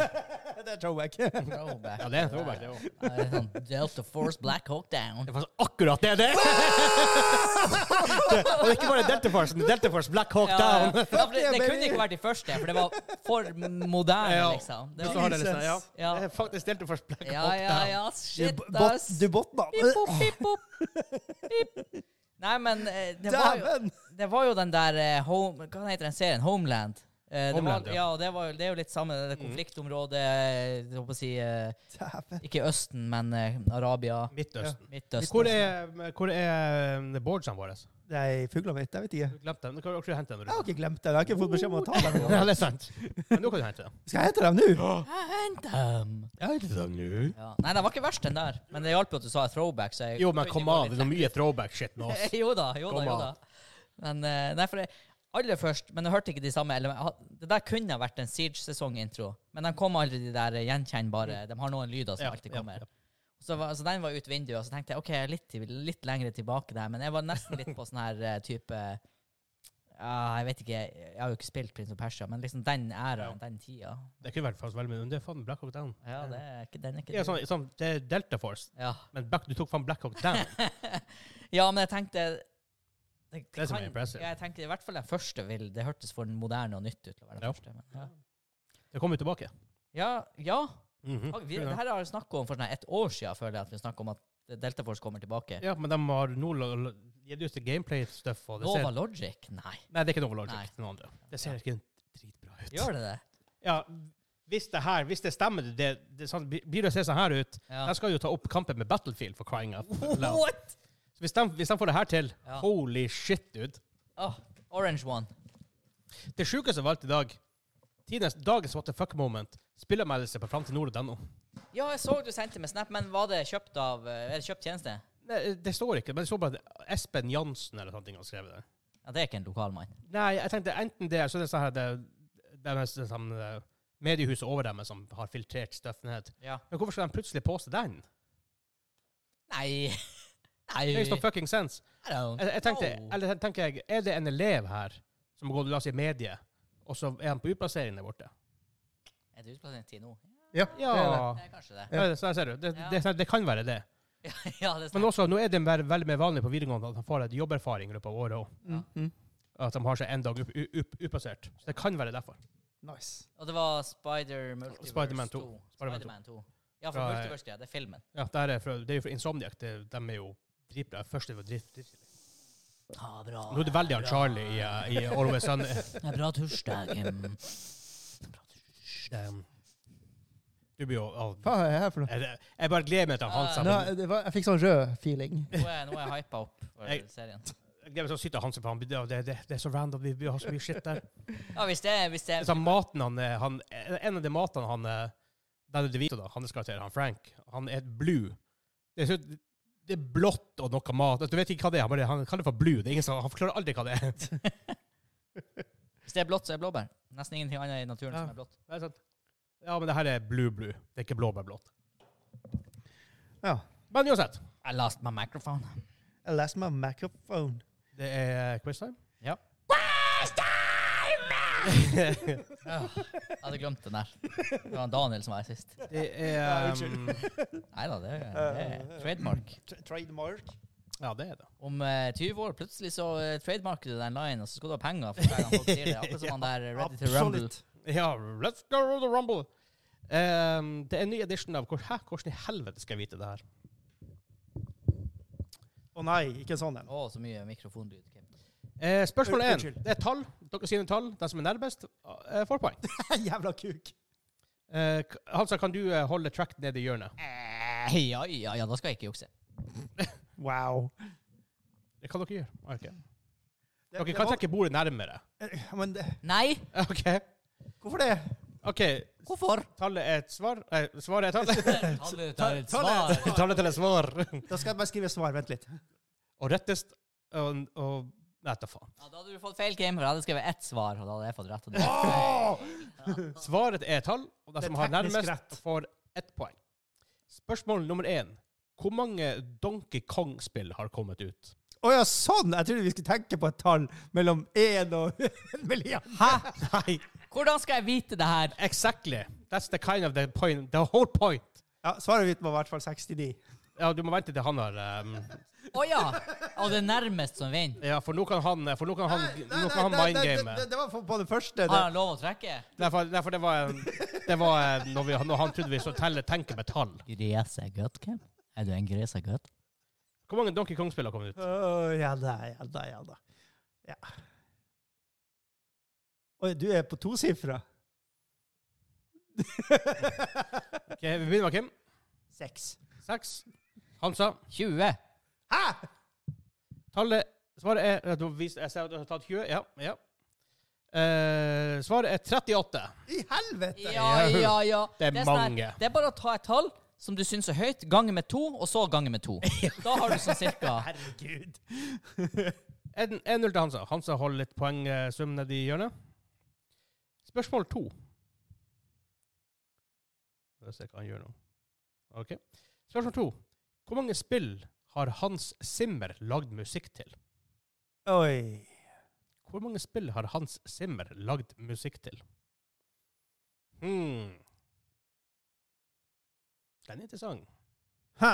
C: det er throwback.
B: throwback.
A: Ja, det er en throwback, det òg.
B: Nei, det er sånn Delta Force Black Hawk Down.
A: Det var akkurat
B: *laughs*
A: det *laughs* det er! Det- Og det er ikke bare Delta Force, men Delta Force Black Hawk
B: Ja, ja.
A: Down.
B: Ja, for det,
C: Fuck yeah,
B: det kunne
C: baby.
B: ikke vært de første, for det var for moderne,
A: Ja.
B: liksom. Det
A: Men så
B: var,
A: har det litt sånn, ja.
B: ja.
A: Det er faktisk Delta Force Black
B: ja,
A: Hawk
B: ja,
A: Down.
B: ja.
C: Du
B: Shit,
C: bot-
B: ass.
C: Du botna.
B: Pip, pop, pip, pop. Pip. Nei, men eh, det var, jo,
C: Dæven!
B: det var jo den der eh, home, Hva heter den serien? Homeland. Eh,
A: Homeland,
B: det
A: ja. Mm.
B: var, ja. og det, var, jo- det er jo litt samme det konfliktområdet eh, Jeg håper å si eh,
C: Dæven.
B: Ikke Østen, men eh, Arabia.
A: Midtøsten.
B: Midtøsten.
A: Hvor er, hvor er um, boardsene våre?
C: Nei, fuglene vet jeg vet ikke.
A: Du glemte dem. Du kan også hente dem.
C: Jeg har ikke glemt det. Jeg har ikke fått beskjed om å ta dem.
A: Ja, det er sant. Men nå kan du hente dem.
C: Skal jeg hente dem nå?
B: Hent dem!
A: Jeg henter dem nå.
B: Ja. Nei, den var ikke verst, den der. Men det hjalp jo at du sa throwback. Så jeg
A: Jo, men kom av.
B: litt-
A: Det er så mye throwback-shit med oss.
B: *laughs* jo da, jo da,
A: Kom
B: jo
A: an.
B: da. Men eh, nei, for det, aller først, men jeg hørte ikke de samme eller, ha- Det der kunne ha vært en Siege-sesongintro, men de kom aldri de der eh, gjenkjennbare. De har noen lyder som
A: Ja,
B: alltid
A: ja,
B: kommer. Så, var, så den var ut vinduet, og så tenkte jeg OK, jeg er litt, til- litt lengre tilbake der, men jeg var nesten litt på sånn her eh, type ja, jeg vet ikke, jeg har jo ikke spilt Prince of Persia, men liksom den æraen, den tida
A: Det kunne vært faktisk veldig mye. Men det er faen Black Hawk Down.
B: Ja, det er ikke, den er ikke
A: Ja,
B: dum.
A: sånn, sånn, det er Delta Force,
B: ja.
A: men Black, du tok faen Black Hawk
B: *laughs*
A: Down.
B: ja, men jeg tenkte det,
A: Det er som er impressive.
B: Jeg tenkte I hvert fall den første vil Det hørtes for moderne og nytt ut til å være den
A: Ja.
B: første. Men, ja.
A: Det kommer jo tilbake.
B: ja, ja. Ah,
A: Mhm.
B: Vi, det her har vi snakket om for sånn et år siden, føler jeg, at vi snakket om at Delta Force kommer tilbake.
A: Ja, men de har nå la- la- gitt ut gameplay-stuff. og det ser-
B: Nova Logic? Nei.
A: Nei, det er ikke Nova
B: Nei.
A: Logic. Noen andre. Det ser ikke dritbra ut.
B: Gjør det det?
A: Ja, hvis det her, hvis det stemmer, det, det, sånn, blir det å se sånn her ut
B: Ja.
A: De skal jo ta opp kampen med Battlefield for crying out loud.
B: What?!
A: Så hvis, de, hvis de får det her til,
B: Ja.
A: holy shit, dude.
B: Åh, Ah, orange one.
A: Det sjukeste valgt i dag, tidens, dagens what the fuck moment, spillemeldelse på framtidnord.no.
B: Ja, jeg så du sendte med Snap, men var det kjøpt av eh, Er det kjøpt tjeneste?
A: Nei, det står ikke, men det står bare at Espen Jansen eller noe har skrevet det.
B: Ja, det er ikke en lokalmann.
A: Nei, jeg tenkte enten det, så er det sånn her det, det er sånn, eh, mediehuset over dem som har filtrert støffen ned.
B: Ja.
A: Men hvorfor skal de plutselig poste den?
B: Nei. *laughs* Nei.
A: Det makes no fucking sense.
B: I don't
A: Jeg, jeg tenkte,
B: know.
A: eller tenker jeg, er det en elev her som går la oss si, i medie, og så er han på utplassering der borte?
B: Er det utplassering til nå?
C: Ja.
A: Ja,
C: det er det.
B: Det er kanskje det. *laughs*
A: ja. Så her ser du. Det,
B: Ja.
A: det, det kan være det.
B: ja, det er
A: Men også, nå er det veldig, veldig mer vanlig på videregående at han får litt jobberfaring i løpet av året òg.
C: Mm, mm.
A: At de har seg en dag opp- u- opp- utplassert. Så det kan være derfor.
C: Nice.
B: Og det var Spider Multiverse
A: Spider-Man 2. Spider-Man
B: Spider-Man 2. Ja, for
A: Fra, eh,
B: Multiverse, ja. Det er filmen.
A: Ja, det, her er fra, det er jo fra Insomniac. Det, de er jo dritbra. Første var drit, drit.
B: Ja, bra.
A: Nå er det veldig han Charlie i, uh, i Always Sunny.
B: Det er bra *laughs* torsdag. em.
A: Um, Du blir jo oh,
C: Hva er det her for noe?
A: jeg, jeg bare gleder meg til han
B: Ja,
A: Hansa.
C: Nå, det var, jeg fikk sånn rød feeling.
B: Nå er, nå er jeg hypa opp for
A: Jeg-
B: serien.
A: Jeg gleder meg sånn sykt til Hansen, for han, det, det, det er så random. Vi, vi har så mye shit der.
B: Ja, hvis det, hvis det
A: Det er sånn maten han, eh, han En av de matene han eh, Danny DeVito, da, hans karakter, han Frank, han er blue. Det er, så, det er blått og noe mat. Altså, Du vet ikke hva det er. Han, bare, han kaller det for blue. Det er ingen som, han forklarer aldri hva det er.
B: Hvis det er blått, så er det blåbær. Nesten ingenting annet i naturen
A: Ja.
B: som er blått.
A: Det er sant. Ja, men det her er blue-blue. Det er ikke blåbærblått.
C: Ja.
A: Men uansett.
B: I lost my microphone.
C: I lost my microphone.
A: Det er *laughs* quiztime.
B: Ja. *laughs* Ja, jeg hadde glemt den der. Det var Daniel som var her sist.
A: Det
C: Ja,
A: er um,
C: unnskyld.
B: Nei da, det, er- det er trademark.
C: Tra- Trademark.
A: Ja, det er det.
B: Om eh, 20 år plutselig så eh, trademarker du den linen, og så skal du ha penger for hver gang folk sier det. Akkurat som han der eh, Ready to Rumble.
C: Absolutt.
A: Ja, let's go to the rumble! Ehm, det er en ny edition av hvor- Hæ, hvordan i helvete skal jeg vite det her?
C: Å nei, ikke sånn en. *laughs*
B: Å, så mye mikrofonlyd. Kim.
A: Eh, spørsmål
C: Ur-
A: én.
C: unnskyld.
A: Det er tall. Dere sier en tall. Den som er nærmest, eh, får poeng.
C: Jævla kuk.
A: Eh, k- Hansa, kan du eh, holde track nede i hjørnet?
B: Eh, Ja, ja, ja, da skal jeg ikke jukse.
C: Wow.
A: Det kan dere gjøre. Ah, ok.
C: Det-
A: Dere
C: det
A: kan
C: var-
A: trekke bordet nærmere. *laughs*
C: Eh, Men det,
B: Nei!
A: OK.
C: hvorfor det?
A: ok.
B: Hvorfor?
A: Tallet er et svar. Eh, svaret
C: *laughs*
A: er tallet.
B: *laughs* Ta det, ta det,
C: Ta- ta
B: svar.
A: *laughs* tallet til et svar.
C: Da skal jeg bare skrive svar. Vent litt.
A: Og rettest og, og Nei, da faen.
B: Ja, da hadde du fått feil, Kim, for jeg hadde skrevet ett svar, og da hadde jeg fått rett. Og det.
A: Svaret er tall, og den
C: Det er
A: som har
C: teknisk
A: nærmest,
C: rett.
A: får ett poeng. Spørsmål nummer én. Hvor mange Donkey Kong-spill har kommet ut?
C: Å ja, sånn! Jeg trodde vi skulle tenke på et tall mellom én og *laughs* en milliard.
B: Hæ?
A: Nei,
B: Hvordan skal jeg vite det her?
A: exactly. That's the kind of the point. The whole point.
C: Ja, svaret mitt var i hvert fall 69.
A: Ja, du må vente til han har um,
B: Å ja! Og det er nærmest som vinner.
A: Ja, for nå kan han For nå kan han, nå kan han Ah. mindgame.
C: det, det var på den første.
B: Har
C: Det.
B: han lov å trekke?
A: Derfor, derfor det var um, Det var um, når, vi, når han trodde vi så telle, tenke med tall.
B: Gres er godt, Kim. Er du en gres er godt?
A: Hvor mange Donkey Kong-spill har kommet ut?
C: Å, ja da, ja da, ja da. Ja. Oi, du er på tosifra?
A: Ok, vi begynner med Kim.
C: Seks.
A: Seks. Hansa.
B: 20.
C: Hæ?!
A: Tallet Svaret er ja, du vis- Jeg ser at du har tatt 20. Ja. ja. Eh, svaret er 38.
C: I helvete!
B: Ja, ja, ja.
A: Det er
B: sånn her-
A: mange.
B: Det er bare å ta et tall som du syns er høyt, gange med to, og så gange *laughs* med to. Da har du sånn cirka
C: Herregud.
A: 1-0 til Hansa. Hansa holder litt eh, poengsum nedi hjørnet. Spørsmål to. La oss se hva han gjør nå. OK. Spørsmål to. Hvor mange spill har Hans Zimmer lagd musikk til?
C: Oi.
A: Hvor mange spill har Hans Zimmer lagd musikk til? Hmm. Den er interessant.
C: Hæ.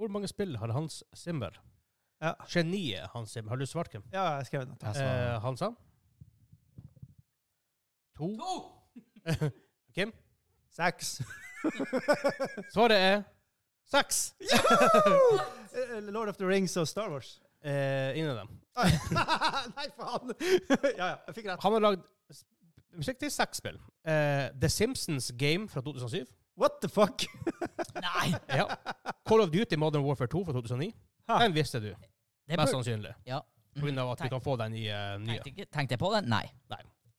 A: Hvor mange spill har Hans Zimmer?
C: Ja.
A: Geniet Hans Zimmer. Har du svart, Kim?
C: Ja, jeg skrev noe.
A: Eh, Hansa? To.
B: To!
A: *laughs* Kim?
C: Seks.
A: *laughs* Svaret er seks.
C: Eh, Lord of the Rings og Star Wars.
A: Eh, ingen av dem.
C: Oi. *laughs* Nei, faen! *laughs* ja, ja, jeg fikk rett.
A: Han har lagd s- musikk til seks spill. Eh, The Simpsons Game fra 2007.
C: What the fuck?
B: Eh, Nei!
A: Ja. Call of Duty Modern Warfare 2 fra 2009.
C: Ha.
A: Den visste du,
B: Det
A: mest
B: burde-
A: sannsynlig.
B: Ja.
A: På grunn av at du
B: Tenk-
A: kan få den i eh, nye.
B: Tenkte, ikke, tenkte jeg på den? Nei.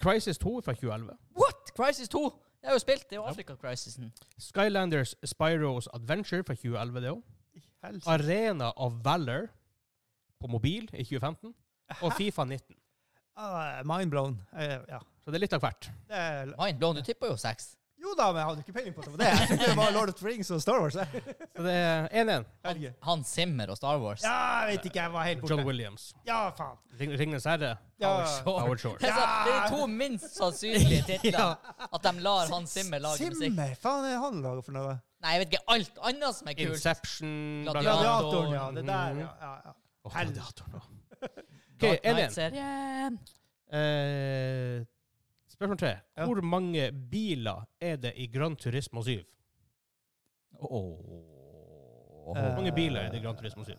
A: Crisis 2 fra 2011.
B: What? Crisis 2? Det har jo spilt. Det er jo Afrika-crisisen.
A: Skylanders Spyros Adventure fra 2011, det òg.
C: I helsike.
A: Arena of Valor på mobil i 2015. Og Fifa 19.
C: Ah, mind blown. Eh, ja.
A: Så det er litt av hvert.
C: Det er,
B: Mind blown, du tipper jo seks.
C: jo da, men jeg hadde ikke peiling på at det var det. Jeg trodde det var Lord of the Rings og Star Wars. jeg.
A: Så det er 1-1.
C: Herregud.
B: Hans Zimmer og Star Wars.
C: Ja, jeg vet ikke. Jeg var helt
A: John
C: borte.
A: Williams.
C: Ja, faen.
A: Ring- Ringenes herre.
C: Ja.
B: Shore. *laughs*
A: Howard Shore.
C: *laughs*
B: Det er så- det er de to minst sannsynlige titlene. At de lar Hans Zimmer lage musikk.
C: Simmer, faen er han laget for noe?
B: Nei, jeg vet ikke. Alt annet som er kult.
A: Inception bla, bla, bla.
C: Gladiatoren, ja. Det der, ja. ja, ja.
A: Åh,
C: Helvete.
A: Gladiatoren, ja. OK,
B: Dark
A: 1-1.
B: Knight-serien.
A: Eh, spørsmål tre.
C: Ja.
A: Hvor mange biler er det i Gran Turismo 7?
C: Eh,
A: Hvor mange biler er det i Gran Turismo 7?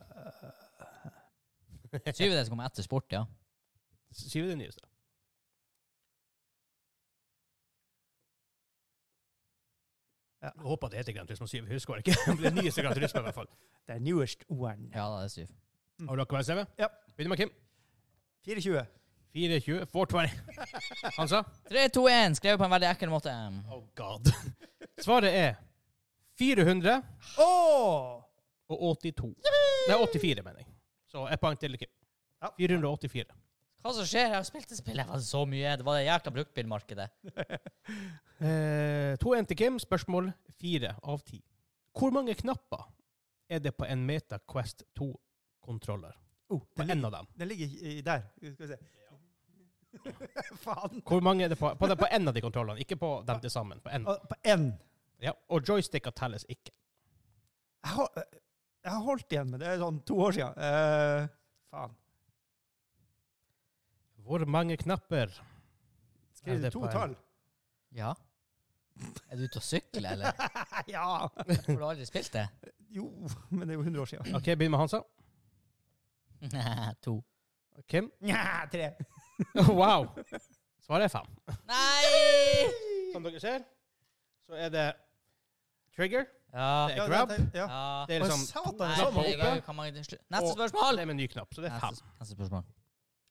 B: Syvende som kommer etter sport, ja.
A: Syv er det nyeste.
C: Ja.
A: Jeg *laughs* håper det heter Gran Turismo 7. Jeg Husker jeg ikke. Det blir nyeste Gran Turismo, i hvert fall.
C: The newest one.
B: Ja, da er det syv.
C: Mm.
A: Har du akkurat CV?
C: Ja.
A: Begynner med Kim.
C: 24.
A: 24,
C: *laughs*
A: 420. Han sa?
B: 3, 2, 1. Skrevet på en veldig ekkel måte.
A: Oh
C: *laughs*
A: god. Svaret er 400
C: Å!
A: og 82. Nei, 84, mener jeg. Så ett poeng til Kim.
C: Ja.
A: 484.
B: Hva som skjer? Jeg har spilt det spillet jeg var så mye. Det var det jækla bruktbilmarkedet.
A: Eh, 2-1 til Kim. Spørsmål 4 av 10. Hvor mange knapper er det på en Meta Quest 2-kontroller?
C: Oh,
A: På
C: den,
A: en
C: ligger,
A: av dem.
C: den ligger i- i der. Skal vi se. *laughs* Faen.
A: Hvor mange er det på, på, den- på en av de kontrollene, ikke på dem til sammen. På en.
C: Og På én.
A: Ja. Og joysticker telles ikke.
C: Jeg har, eh, jeg har holdt igjen, men det er sånn to år siden. Eh, faen.
A: Hvor mange knapper Er
C: Skriv
A: det
C: to
A: på en-
C: tall.
B: Ja. Er du ute og sykler, eller?
C: *laughs* ja.
B: Har du aldri spilt det?
C: Jo, men det er jo 100 år siden.
A: OK, begynn med Hansa.
B: *laughs* to.
A: Kim. *laughs*
C: Nja, tre.
A: Wow! Svaret er fem.
B: Nei!
A: Som dere ser, så er det trigger.
B: Ja.
A: Det er
C: Ja,
A: grab.
C: det er- ja.
B: ja.
A: Det er
C: Å,
A: liksom
C: satan,
B: Nei,
C: det
A: Knappen
C: er sånn.
A: opp.
B: herregud,
A: oppe.
B: hvor mange til slutt? Neste
A: Og-
B: spørsmål!
A: Det er med en ny knapp, så det er fem.
B: Neste, neste spørsmål.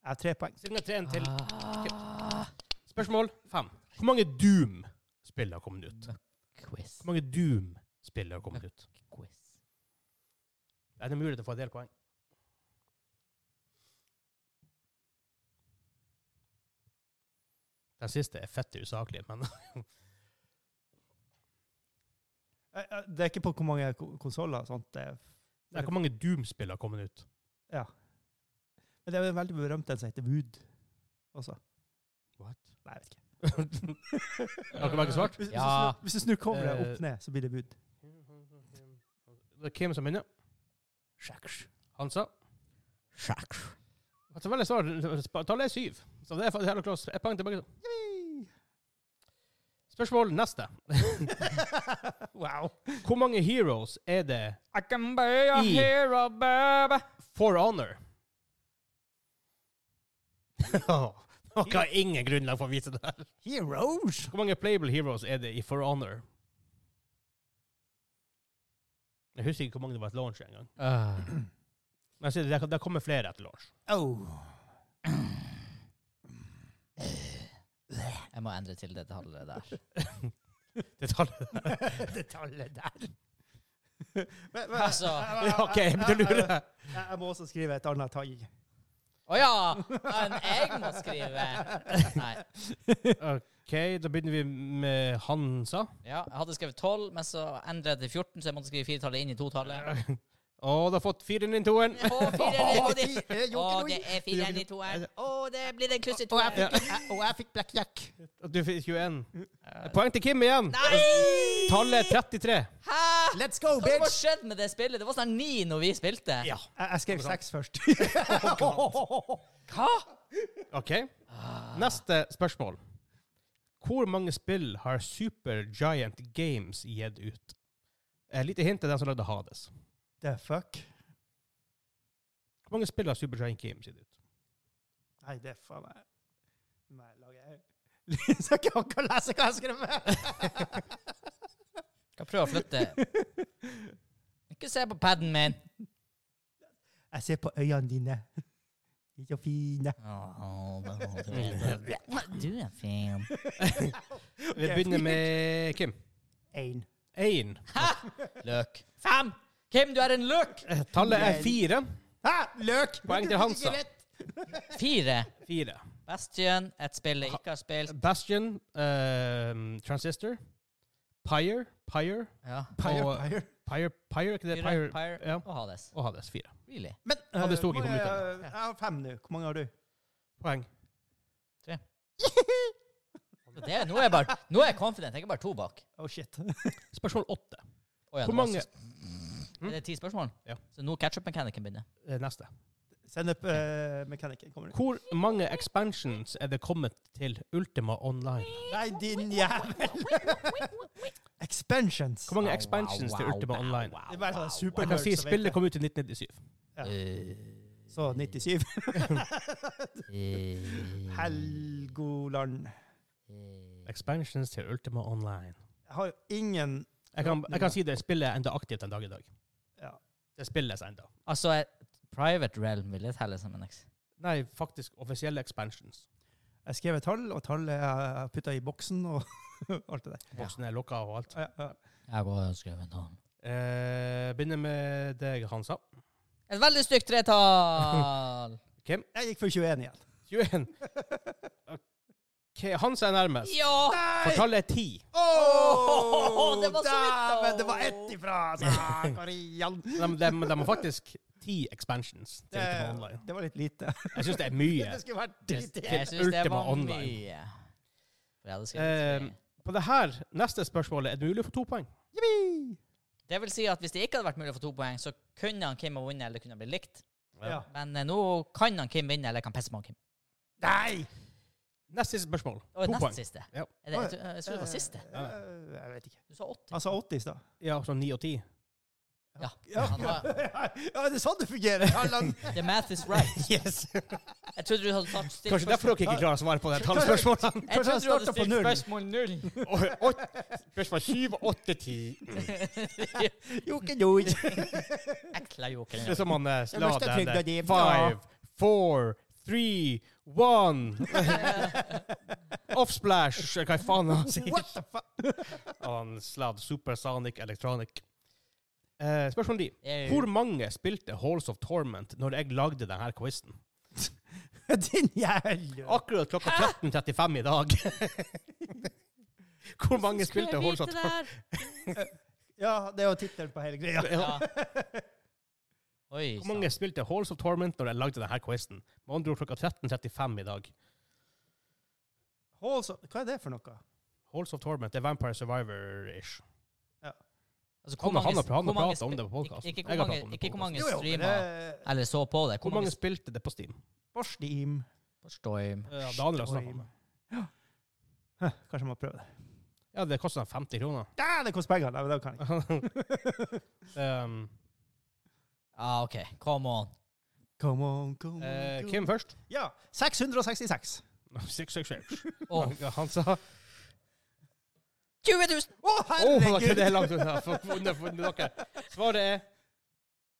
C: Jeg har tre poeng.
A: Siden det er 3-1 til
B: Ah,
A: Spørsmål fem. Hvor mange Doom-spill har kommet ut?
B: quiz.
A: Hvor mange Doom-spill har kommet ut?
B: quiz.
A: Er det mulig til å få en del poeng? Den siste er fett usaklig, men *laughs*
C: Eh, eh, Det er ikke på hvor mange ko- konsoller og sånt. det er-
A: Nei, hvor mange Doom-spill har kommet ut?
C: Men det er jo en veldig berømt en som heter Wood også.
A: What?
C: Nei, jeg vet ikke.
A: *laughs* Har dere begge svart?
C: Hvis,
B: Ja.
C: hvis, du snur, hvis du snur coveret
A: Ah. Eh.
C: opp ned, så blir det Wood.
A: Det er Kim som begynner.
C: Sjaks.
A: Hansa.
B: Sjakk.
A: Altså, veldig svar. Tallet er syv. Så det er faktisk jævla close. Ett poeng til begge to. Spørsmål neste.
B: *laughs*
C: wow.
A: Hvor mange heroes er det
B: I can be a
A: I.
B: hero, baby.
A: For
B: *laughs*
A: Honor. Dere har ingen grunnlag for å vite det her.
C: Heroes!
A: Hvor mange playable heroes er det i For Honor? Jeg husker ikke hvor mange det var et launch engang.
B: Ah.
A: Men jeg sier det, det- det kommer flere etter launch.
C: Oh. *laughs*
B: Jeg må endre til det tallet der.
A: Det tallet.
B: *laughs*
C: det tallet der. men,
B: Altså,
C: *laughs*
A: Ja, OK, jeg begynte å lure.
C: Jeg, jeg må også skrive et annet tall.
B: Å ja! Men jeg må skrive. Nei.
A: OK, da begynner vi med Hansa.
B: Ja, jeg hadde skrevet 12, men så endret jeg til 14, så jeg måtte skrive firetallet inn i
A: *laughs*
B: totallet.
A: Og du har fått fire inn i toeren.
B: Å, fire inn i to-
C: Jeg gjorde ikke
B: Å,
C: noe.
B: det er fire inn i toeren. Å, det blir en kluss i
C: Og jeg
B: toeren.
A: *laughs*
C: fikk, jeg, og jeg fikk blackjack.
A: Og du fikk 21. Poeng til Kim igjen.
B: Nei!
A: Tallet er 33.
B: Hæ?
C: Let's go,
B: Hva som
C: bitch!
B: skjedde med det spillet? Det var snart ni når vi spilte.
A: Ja.
C: Jeg, jeg skrev seks *laughs* først. *laughs*
B: Hva?
A: OK. Neste spørsmål. Hvor mange spill har Supergiant Games gitt ut? Et lite hint til den som lagde Hades.
C: The fuck?
A: Hvor mange spill har Supergiant Games gitt ut?
C: Nei, det er faen meg Nå må jeg lage *laughs* Så jeg kan ikke lese hva jeg har skrevet!
B: Skal prøve å flytte. Ikke se på padden min.
C: Jeg ser på øynene dine. De er så *laughs* fine.
B: Åh, du er- du er fin.
A: Vi begynner med Kim.
C: Én.
A: Én.
B: Løk. Fem! Kim, du er en løk!
A: Eh, Tallet er fire.
C: Hæ? Løk!
A: Poeng til Hansa.
B: Fire.
A: Fire.
B: Bastion, et spill jeg ikke har spilt.
A: Bastion, ehm, Transistor, Pyre, Pyre
B: Ja.
C: Pyre,
A: Og-
C: pyre.
A: Pyre, Pyre, ikke det?
B: Pyre,
A: Pyre,
B: Pyre
A: ja.
B: og Hades.
A: Og Hades. Fire.
B: Really?
C: Men eh,
A: Hadde sto ikke
C: hvor
A: kommet ut
C: mange- Jeg har fem nå. Hvor mange har du?
A: Poeng.
B: Det er, nå, er jeg bare, nå er jeg confident. Jeg er bare to bak.
C: Oh, shit. *laughs*
A: Spørsmål åtte.
B: Å ja,
A: Hvor
B: det var
A: mange- hm?
B: sist- Er det ti spørsmål?
A: Ja.
B: Så nå ketchup-mekanikken begynner.
A: Eh, Neste.
C: Send opp uh, mekanikken. Kommer du?
A: Hvor mange expansions er det kommet til Ultima Online?
C: Nei, din jævel! *laughs* Expansions.
A: Hvor mange expansions til Ultima Online?
C: Det er bare
A: Jeg kan
C: sånn supernerd
A: si
C: som vet
A: spillet
C: det.
A: kom ut i 1997.
C: Ja. Så 97. Helgoland.
B: Eh,
A: Expansions til Ultima Online.
C: Jeg har jo ingen
A: Jeg kan, jeg kan si det spillet er enda aktivt en dag i dag.
C: Ja.
A: Det spilles enda.
B: Altså, jeg Private Realm vil det telle som en eks.
A: Nei, faktisk offisielle expansions.
C: Jeg skrev et tall, og tallet jeg putta i boksen og *laughs* alt det der.
A: Boksen er lukka og alt.
C: Ja, ja.
B: Jeg går og skriver en annen.
A: Eh, begynner med deg, Hansa.
B: Et veldig stygt
A: *laughs*
B: tretall!
A: Kim?
C: Jeg gikk for 21 igjen.
A: 21. *laughs* OK, Hansa er nærmest.
B: ja!
A: For tallet er 10.
B: Åh, det var så vidt, da.
C: Dæven, det var ett ifra! *laughs* sa Karian.
A: De, de, de har faktisk 10 expansions til
C: Det,
A: Ultima Online.
C: det var litt *laughs* lite.
A: Jeg syns det er mye.
C: Det skulle vært
B: Jeg
C: dritt.
B: jeg synes det
A: Ultima
B: var
A: Online.
B: mye. For jeg hadde
A: Eh,
B: skrevet tre.
A: På det her neste spørsmålet er det mulig å få to poeng.
B: Det vil si at hvis det ikke hadde vært mulig å få to poeng, så kunne han Kim ha vunnet, eller kunne ha blitt likt.
C: Ja.
B: Men eh, nå kan han Kim vinne, eller jeg kan pisse på han Kim.
C: Nei!
A: Neste siste spørsmål.
B: Det var
A: to
B: nest
A: poeng.
B: siste.
A: Ja.
B: Er det, jeg, tror- jeg tror det var siste.
C: Eh, Jeg vet ikke.
B: Du sa åtte.
A: altså.
C: Han sa 80 i stad.
A: Ja, sånn 9 og 10.
B: Ja.
C: Ja.
B: Han
C: *laughs* ja,
B: var,
C: det er sånn det fungerer. Ja, lang-
B: the math is right.
A: *laughs* Yes.
B: Jeg trodde du hadde tatt stilt
A: Kanskje derfor dere ikke klarer å svare på det tallspørsmålet.
B: Jeg
C: Kanskje han
B: trodde du hadde
C: startet på
B: stilt
C: null.
B: spørsmål
A: *laughs*
B: null. *laughs*
C: *laughs*
A: Spørsmål 7, 8, 10
C: *laughs* Jo, ikke *laughs* jo. ikke.
B: Ekla joker.
A: Det er som han eh,
C: Jeg
A: la
C: må ikke
A: den
C: trygge
A: der.
C: de.
A: Five, four, three, one Offsplash! eller Hva faen han sier?
C: What the fuck?
A: Han sladd Supersonic Electronic. Eh, spørsmål 9.
B: Au.
A: Hvor mange spilte Halls of Torment når jeg lagde denne quizen?
C: Din jævla
A: Akkurat klokka 13.35 i dag. *laughs* Hvor mange spilte Halls of Torment?
C: Ja, det er jo tittelen på hele greia.
B: Ja. Oi, altså,
A: Hvor mange spilte Halls of Torment når jeg lagde denne quizen? Med andre ord klokka 13.35 i dag.
C: Halls of- Hva er det for noe?
A: Halls of Torment det er Vampire Survivor-ish.
B: altså,
A: Han, han, har-
B: sp-
A: han
B: hvor
A: har
B: mange
A: prata om
B: sp-
A: det på podkast.
B: Ikke, ikke hvor mange, ikke hvor mange
C: Jo, jo, men
B: streama
C: det
B: eller så på det.
A: Hvor mange spilte det på Steam?
C: På Steam.
B: Forstår jeg.
A: Ja, Daniel har snakket om det.
C: Steam. Hæ, Kanskje jeg må prøve det.
A: Ja, det koster sånn 50 *laughs* kroner.
C: Dæven, det koster penger! Nei, men det kan jeg ikke.
A: um,
B: Ah, OK. Come on.
C: Come on, come on.
A: eh,
C: come
A: Kim først. *laughs*
C: on. Ja. 666.
A: Six, six, six.
B: Åh,
A: Han sa
B: 20 000!
C: Å,
A: Å, det var ikke
C: herregud!
A: det er langt unna. For- for- for- for dere. Svaret er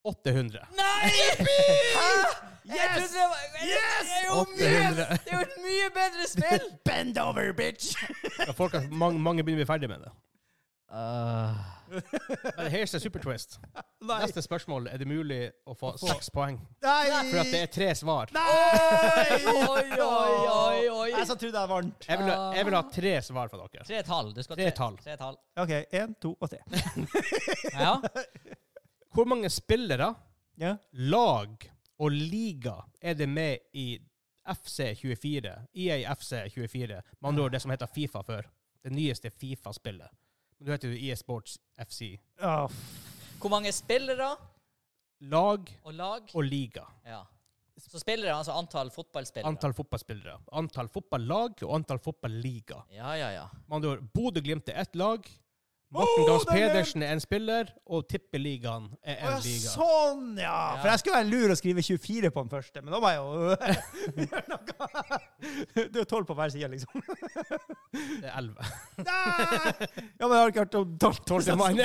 A: 800.
B: Nei!
C: Hæ?
B: Jeg trodde
C: Yes!
B: det var
C: Yes!
B: Det er jo mye-
A: 800.
B: det er jo et mye bedre spill!
C: Bend over, bitch!
A: Ja, folk har, mange, mange begynner å bli ferdig med det.
B: Ah.
A: Men here's the super twist.
C: Nei!
A: Neste spørsmål er det mulig å få
C: Få.
A: seks poeng.
C: Nei!
A: For at det er tre svar.
C: Nei!
B: *laughs* Oi, oi, oi, oi.
A: Altså-
C: Jeg som trodde jeg var varmt.
A: Jeg vil, ha- jeg vil ha tre svar fra dere.
B: Tre tall. Du skal
A: Tre tall.
B: Tre tall.
C: OK, én, to og tre.
B: Ja.
A: Hvor mange spillere,
C: Ja.
A: lag og liga er det med i FC24? EA FC24. Med andre ord det som heter Fifa før. Det nyeste Fifa-spillet. Men Du heter jo EA Sports FC.
C: Å, f-
B: Hvor mange spillere
A: Lag
B: og lag?
A: og liga.
B: Ja. Så spillere, altså antall fotballspillere.
A: Antall fotballspillere. Antall fotballag og antall fotballiga.
B: Ja, ja, ja.
A: Med andre ord, Bodø-Glimt er ett lag. Morten
C: Oh,
A: Gahns
C: det er det!
A: Pedersen er en spiller, og Tippeligaen er en
C: Å, ja,
A: liga.
C: sånn, ja!
B: Ja.
C: For jeg skulle være lur og skrive 24 på den første, men da må jeg jo *laughs* gjøre noe. Det er jo 12 på hver side, liksom.
A: Det er elleve. *laughs*
C: Nei! Ja, men jeg har ikke hørt om 12
A: Tolv til mann.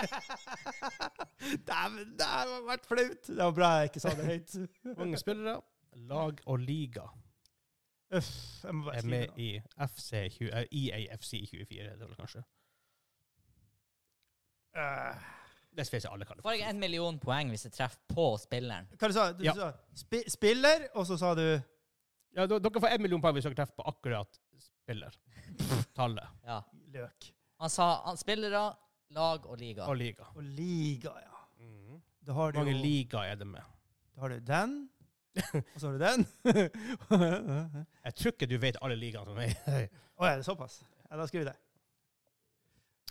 A: *laughs*
C: *laughs* Dæven, det har vært flaut. Det var bra jeg ikke sa det høyt.
A: Mange spillere, lag og liga
C: Uff, jeg må bare
A: er
C: skrive
A: med
C: det.
A: i FC, eh, EAFC 24, heter det vel kanskje.
C: Eh,
A: Det spiller alle kaller
B: Får jeg en million poeng hvis jeg treffer på spilleren?
C: Hva du sa du?
A: Ja.
C: sa spi spiller, og så sa du
A: Ja, d- dere får én million poeng hvis dere treffer på akkurat
C: *laughs*
A: spiller. Tallet.
B: Ja.
C: løk.
B: Han sa han, spillere, lag og liga.
A: Og liga.
C: Og liga, ja.
A: Mhm.
C: Da har
A: Hvor
C: du,
A: mange
C: jo,
A: liga er det med?
C: da har du den, og så har du den.
A: *laughs* Jeg tror ikke du vet alle ligaene som er *laughs*
C: Å ja, det er såpass. Ja, da skriver vi det.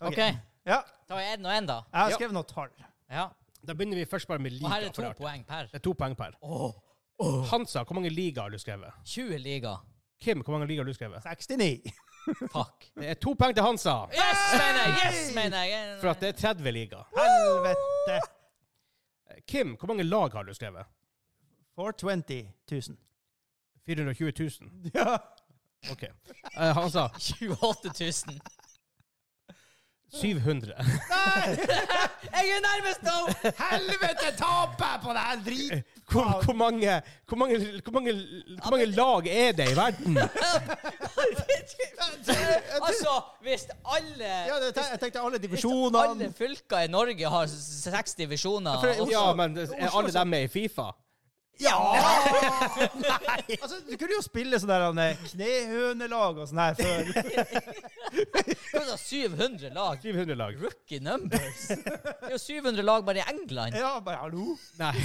B: OK.
C: Ja,
B: Da er det nå en, da.
C: jeg har
A: Ja.
C: skrevet noen tall.
B: Ja.
A: Da begynner vi først bare med liga.
B: Og her er
A: for
B: to
A: det artig.
B: poeng per.
A: Det er to poeng per.
B: Åh,
A: Hansa, hvor mange ligaer har du skrevet?
B: 20 liga.
A: Kim, hvor mange ligaer har du skrevet?
C: 69.
B: Fuck.
A: Det er to poeng til Hansa,
B: *laughs* Yes, mener jeg! Yes, mener jeg!
A: for at det er 30 ligaer.
C: Helvete!
A: Kim, hvor mange lag har du skrevet?
C: 420 000.
A: 420 000.
C: Ja.
A: OK. Eh, Hansa,
B: 28 000.
A: 700.
B: Jeg er nærmest
A: *laughs*
B: nå!
A: Helvete, taper jeg på det her drit! *laughs* Hvor, hvor, mange, hvor, mange, hvor, mange, hvor mange lag er det i verden?
B: altså, hvis alle
A: Ja, det, jeg tenkte alle
B: Hvis
A: divisjonene
B: alle fylker i Norge har s- seks divisjoner
A: For-
B: også-
A: Ja, men er alle dem med i Fifa?
C: Ja! *laughs* altså, du kunne jo spille sånn der eh, knehønelag og sånn her
B: *laughs*
C: før.
B: Hun har 700 lag.
A: 700 lag.
B: Rookie numbers. Det er jo 700 lag bare i England.
C: Ja, bare hallo.
A: Nei.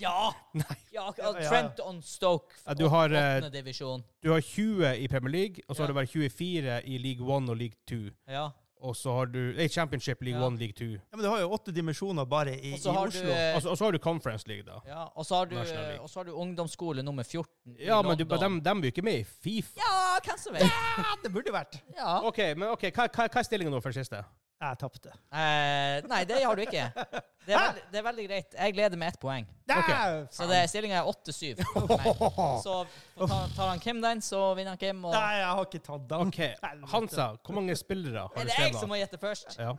B: Ja! ja og
C: Ja, ja, ja.
B: Trent on Stoke.
A: Ja, du har, eh,
B: åttende divisjon.
A: Du har 20 i Premier League, og så har
B: Ja.
A: du bare 24 i League 1 og League 2.
B: Ja.
A: Og så har du Nei, Championship, League
B: Ja.
A: 1, League 2.
C: Ja, men du har jo åtte dimensjoner bare i,
B: Og
C: i
B: så har du
C: Oslo.
B: eh,
A: Og så- og så har du Conference League, da.
B: ja, og så har du,
A: National League.
B: og så har du ungdomsskole nummer 14 i
A: Ja, men du,
B: London.
A: dem, dem er jo ikke med i Fifa.
B: Ja, hvem som vet?
C: Ja, det burde vært.
B: Ja.
A: OK, men ok, hva, hva, hva er stillinga nå for siste?
C: Jeg tapte.
B: Eh, nei, det har du ikke. Det er, veldig, det er veldig greit. Jeg leder med ett poeng.
C: Der!
B: Så det stillinga er
A: *laughs*
B: 8-7. for meg. Så tar, tar han Kim den, så vinner han Kim. Og
C: *laughs* Nei, jeg har ikke tatt
A: *laughs*
C: den.
A: OK, Hansa, hvor mange spillere har
B: er
A: du
B: det jeg som
A: skrevet?
B: må gjette først?
A: Ja.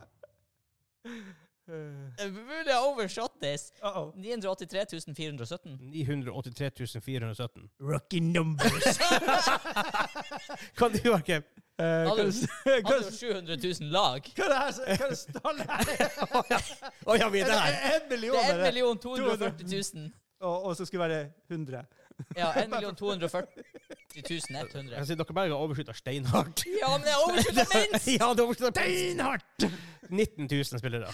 C: Uh
B: Det er Mulig jeg overshot this.
C: -oh.
B: 983
A: *laughs*
B: 417.
A: 983 417.
C: Rookie
B: *laughs*
C: numbers.
A: Hva du har Kim?
C: Eh, hva
B: Hadde
C: er
B: du-
C: det- hva er
B: Han har jo
C: det-
B: 700 000 lag.
C: hva er det her som- hva er det stallet
B: *laughs*
C: her?
A: Å ja, vi
C: Er
A: er der!
C: det en million?
B: Det er
C: er
B: 1
C: det?
B: 240 000.
C: Og, og så skulle det være 100.
B: Ja, 1 240 100.
A: *laughs* Jeg sier, dere bare har overskytta steinhardt.
B: Ja, men jeg
A: *laughs*
B: overskyter minst!
A: ja, det overskytta
C: Steinhardt!
A: 19 000 spillere.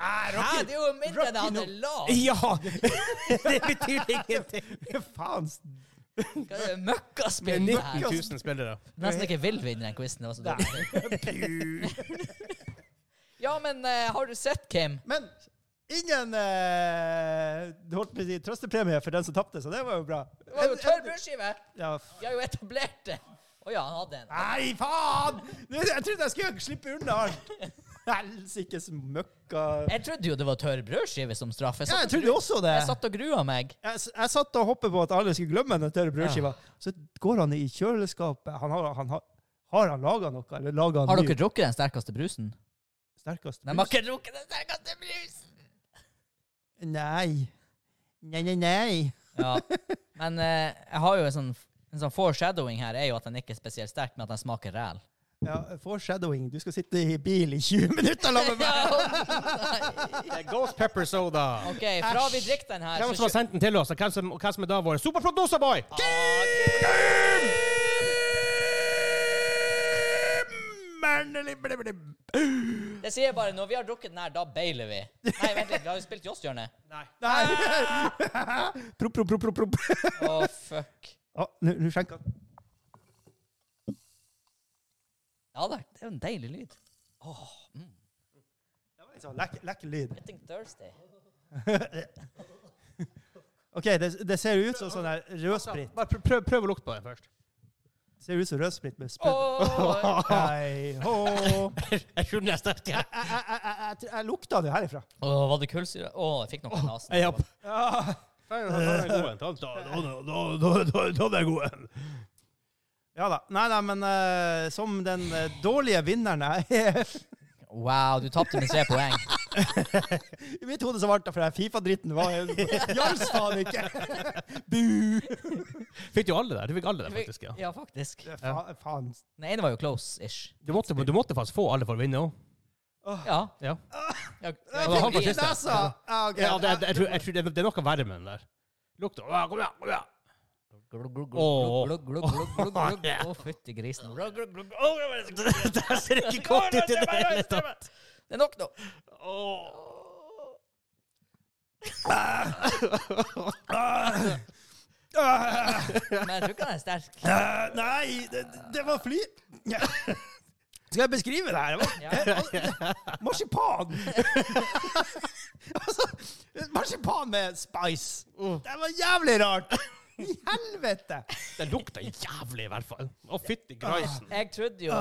B: Hæ, det er jo mindre enn jeg hadde lag.
A: Ja! *laughs* det betyr ingenting.
C: *laughs* Faen.
B: Hva er det møkkaspill
A: Det
B: det
A: er
B: her?
A: 19 000 spillere.
B: Nesten ikke vil vinne den quizen. Ja, men eh, har du sett, Kim?
C: Men ingen eh, du holdt på å si trøstepremie for den som tapte, så det var jo bra.
B: Det var jo tørr brødskive!
C: Ja, f-
B: Vi har jo etablert det. Å ja, han hadde en.
C: Nei, faen! Jeg trodde jeg skulle slippe unna alt. Helsikes møkka.
B: Jeg trodde jo det var tørr brødskive som straff. Jeg
C: Ja,
B: satt,
C: jeg trodde også det.
B: jeg satt og grua meg.
C: Jeg, s- jeg satt og hoppet på at alle skulle glemme den tørre brødskiva. Så går han i kjøleskapet. Han har, han har, har han laga noe, eller laga han
B: Har
C: ny?
B: dere drukket den sterkeste brusen?
C: sterkest
B: De har ikke drukket den sterkeste brusen!
C: Nei. Nei, nei, nei.
B: Ja. Men eh, jeg har jo en sånn, en sånn foreshadowing her, er jo at den ikke er spesielt sterk, men at den smaker ræl.
C: Ja, foreshadowing. Du skal sitte i bil i 20 minutter, la meg
B: *laughs*
C: være!
A: Det er Ghost Pepper Soda.
B: OK, fra vi drikker den her
A: Hvem som har sendt den til oss, og hvem som, og hvem som er da vår superproducer-boy?
B: Ah, Det sier bare når vi har drukket den her, da bailer vi. Nei, vent litt, vi har jo spilt Joss-hjørnet.
C: Nei! Prop, prop, prop, prop, prop.
B: Å, fuck.
C: Ja, Nå nå skjenker han.
B: Ja da, det er jo en deilig lyd.
C: Det var litt sånn lekker lekker lyd.
B: I think Thursday.
C: OK, det, det ser jo ut som sånn her rødsprit.
A: Bare pr- prøv, prøv å lukte på den først.
C: Ser ut som rødsprit med spøtt.
B: Åh,
C: Hei, hå.
A: *laughs* Jeg tror den er sterk.
C: Jeg, jeg, jeg, jeg, jeg, tror- jeg lukta det herifra.
B: Åh, var det kullsyre? Åh, jeg fikk noe i nesen.
A: Ja.
C: Ja.
A: Ta den gode. Ta- ta- ta- ta- ta- ta- ta den gode.
C: Ja da. Nei, nei, men eh, som den eh, dårlige vinneren jeg er
B: Wow, du tapte med tre poeng.
C: I mitt hode så ble det for den Fifa-dritten var Jals faen ikke!
A: Fikk du alle der? Du fikk alle der, faktisk. ja.
B: Ja, faktisk.
C: Fa, faen.
B: Den ene var jo close-ish.
A: Du måtte, du måtte faktisk få alle for å vinne òg.
B: Ja.
A: Ja.
B: Ja,
A: det var han på
B: vi-
A: siste.
C: Nesa! altså. Ja, ok.
A: Ja, det, jeg, jeg, tror, jeg tror det, det er noe verre med den der. Lukta. Å, Kom igjen, kom igjen. *laughs*
B: Glugg, glugg,
A: Åh.
B: glugg, glugg, glugg, glugg, glugg. Å, fytti grisen. Glugg, glugg, glugg. Åh,
A: Det her ser ikke godt ut i det hele tatt.
B: Det er nok nå. Men jeg tror ikke den er sterk.
A: *laughs*
C: Eh, nei, det, det var fly... Ja. Skal jeg beskrive det her? Det var-
B: Ja.
C: Marsipan! altså, marsipan med spice.
A: Mm.
C: Det var jævlig rart. I helvete!
A: Det lukter jævlig, i hvert fall. Å, fytti grisen.
B: Jeg trodde jo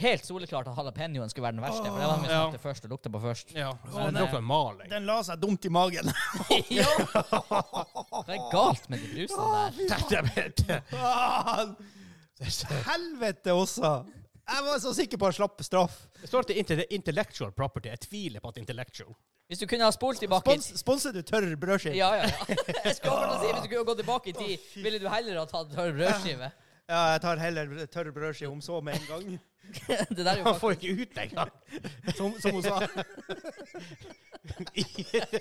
B: helt soleklart at jalapeñoen skulle være den verste, for det var den vi
A: Ja.
B: smakte først og lukta på først.
A: Ja, det lukter maling.
C: eh,
A: *laughs*
C: Den la seg dumt i magen.
B: *laughs* Ja! Hva er galt med de brusene der?
A: Det
C: Faen! Helvete også. Jeg var så sikker på at han slapp straff.
A: Det står at det er inte- intellectual property. Jeg tviler på at det er intellectual.
B: Hvis du kunne ha spolt tilbake i
C: Spons, sponser du tørr brødskive?
B: Ja, ja, *laughs* ja. Jeg skal bare si, Hvis du kunne gå tilbake i tid, ville du heller ha tatt tørr brødskive?
C: Ja, jeg tar heller tørr brødskive om så med en gang.
B: *laughs* Det der er jo
A: Han får ikke ut det engang.
C: Som, som hun sa.
B: faktisk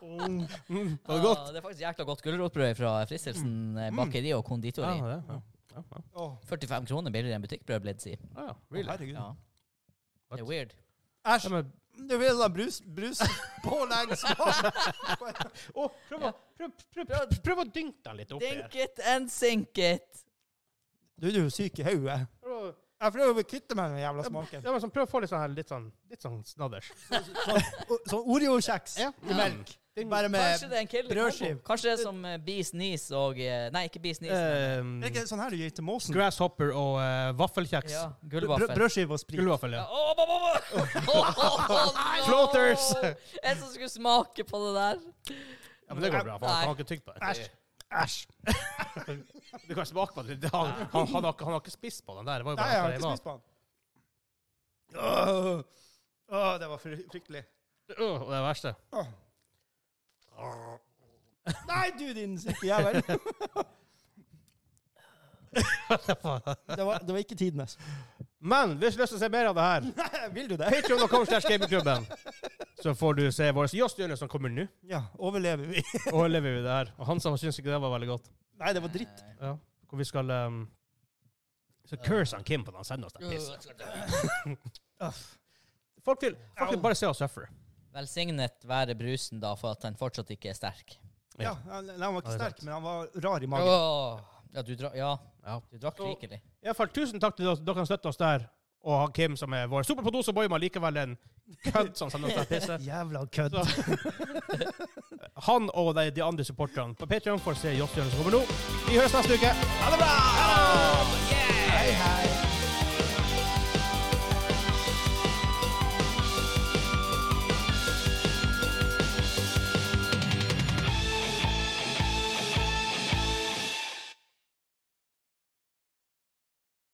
A: Mm, det var godt. Mm.
B: Ja, det er faktisk jækla godt gulrotbrød fra Fristelsen eh, bakeri og konditori.
A: Ja, det, ja. Ja, ja.
B: 45 kroner billigere enn butikkbrød, ble det si.
A: Ah, ja.
C: Å,
A: Really?
C: herregud.
B: Ja. Det er weird.
A: Ja,
C: Æsj.
A: men,
C: Du vil ha brus, brus pålegg smak.
A: å, prøv, å, prøv, prøv, prøv å dynke den litt oppi her.
B: Think it and sink it.
C: Du du er jo syk i hodet.
A: Prøv å-
C: Jeg prøver å kvitte meg med den jævla smaken.
A: Ja, men sånn, prøv å få litt sånn, her, litt sånn, litt sånn snadders.
C: Og- Sånn Oreo-kjeks
A: Ja.
C: i melk.
A: Ding.
C: Bare med
B: Kanskje det er en killer
C: brødskiv.
B: kombo. Kanskje det er som eh, Bees Knees og eh, Nei, ikke Bees Knees. men-
A: Ehm,
C: Er det ikke sånn her du gir til måsen?
A: grasshopper og eh, vaffelkjeks.
B: Ja,
C: Brø-
B: Gullvaffel.
C: Brødskive og sprit.
A: Gullvaffel,
B: Ja,
A: ja.
B: å, ba, ba, ba. Å, no!
A: Floaters!
B: En som skulle smake på det der.
A: ja. Men det går bra, for han,
B: Nei.
A: han har ikke tygd på det.
C: Æsj. Æsj.
A: Du kan smake på det. det han, han, han, har, ikke- han har ikke spist på den der. Det var jo
C: Nei,
A: bare
C: jeg har
A: det
C: ikke
A: var.
C: spist på den. Åh, Åh, det var fry- fryktelig.
A: Øh, og det er det verste.
C: Åh. Nei, du din syke *laughs* jævel. Det var, det var ikke altså. tidenes.
A: Men hvis du har lyst til å se mer av det her,
C: Vil du det?
A: patreon.com slash gamingklubben, så får du se vår joss som kommer nå.
C: Ja, overlever vi?
A: Og lever vi det her. Og han sa han syntes ikke det var veldig godt.
C: Nei, det var dritt.
A: Ja. Hvor vi skal um, Så curse han Kim på at han sender oss den
B: Øh.
A: pissen. Folk vil, folk vil bare se oss suffer.
B: Velsignet være brusen, da, for at den fortsatt ikke er sterk.
C: Ja, han, nei, han
A: Ja,
C: var ikke
A: det er
C: sterk,
A: sant.
C: men han var rar i magen.
B: Åh. Ja, du, dra ja,
A: Ja.
B: du drakk
A: Så-
B: rikelig.
A: I hvert fall tusen takk til dere dere som støtter oss der. Og han Kim, som er vår superproducer, boy, men likevel en kødd som sender oss den *laughs* pissen.
C: Jævla kødd.
A: Han og de, de andre supporterne på Patreon får se Joss Jørgen som kommer nå. Vi høres neste uke. Ha det bra!
C: Hei, hei.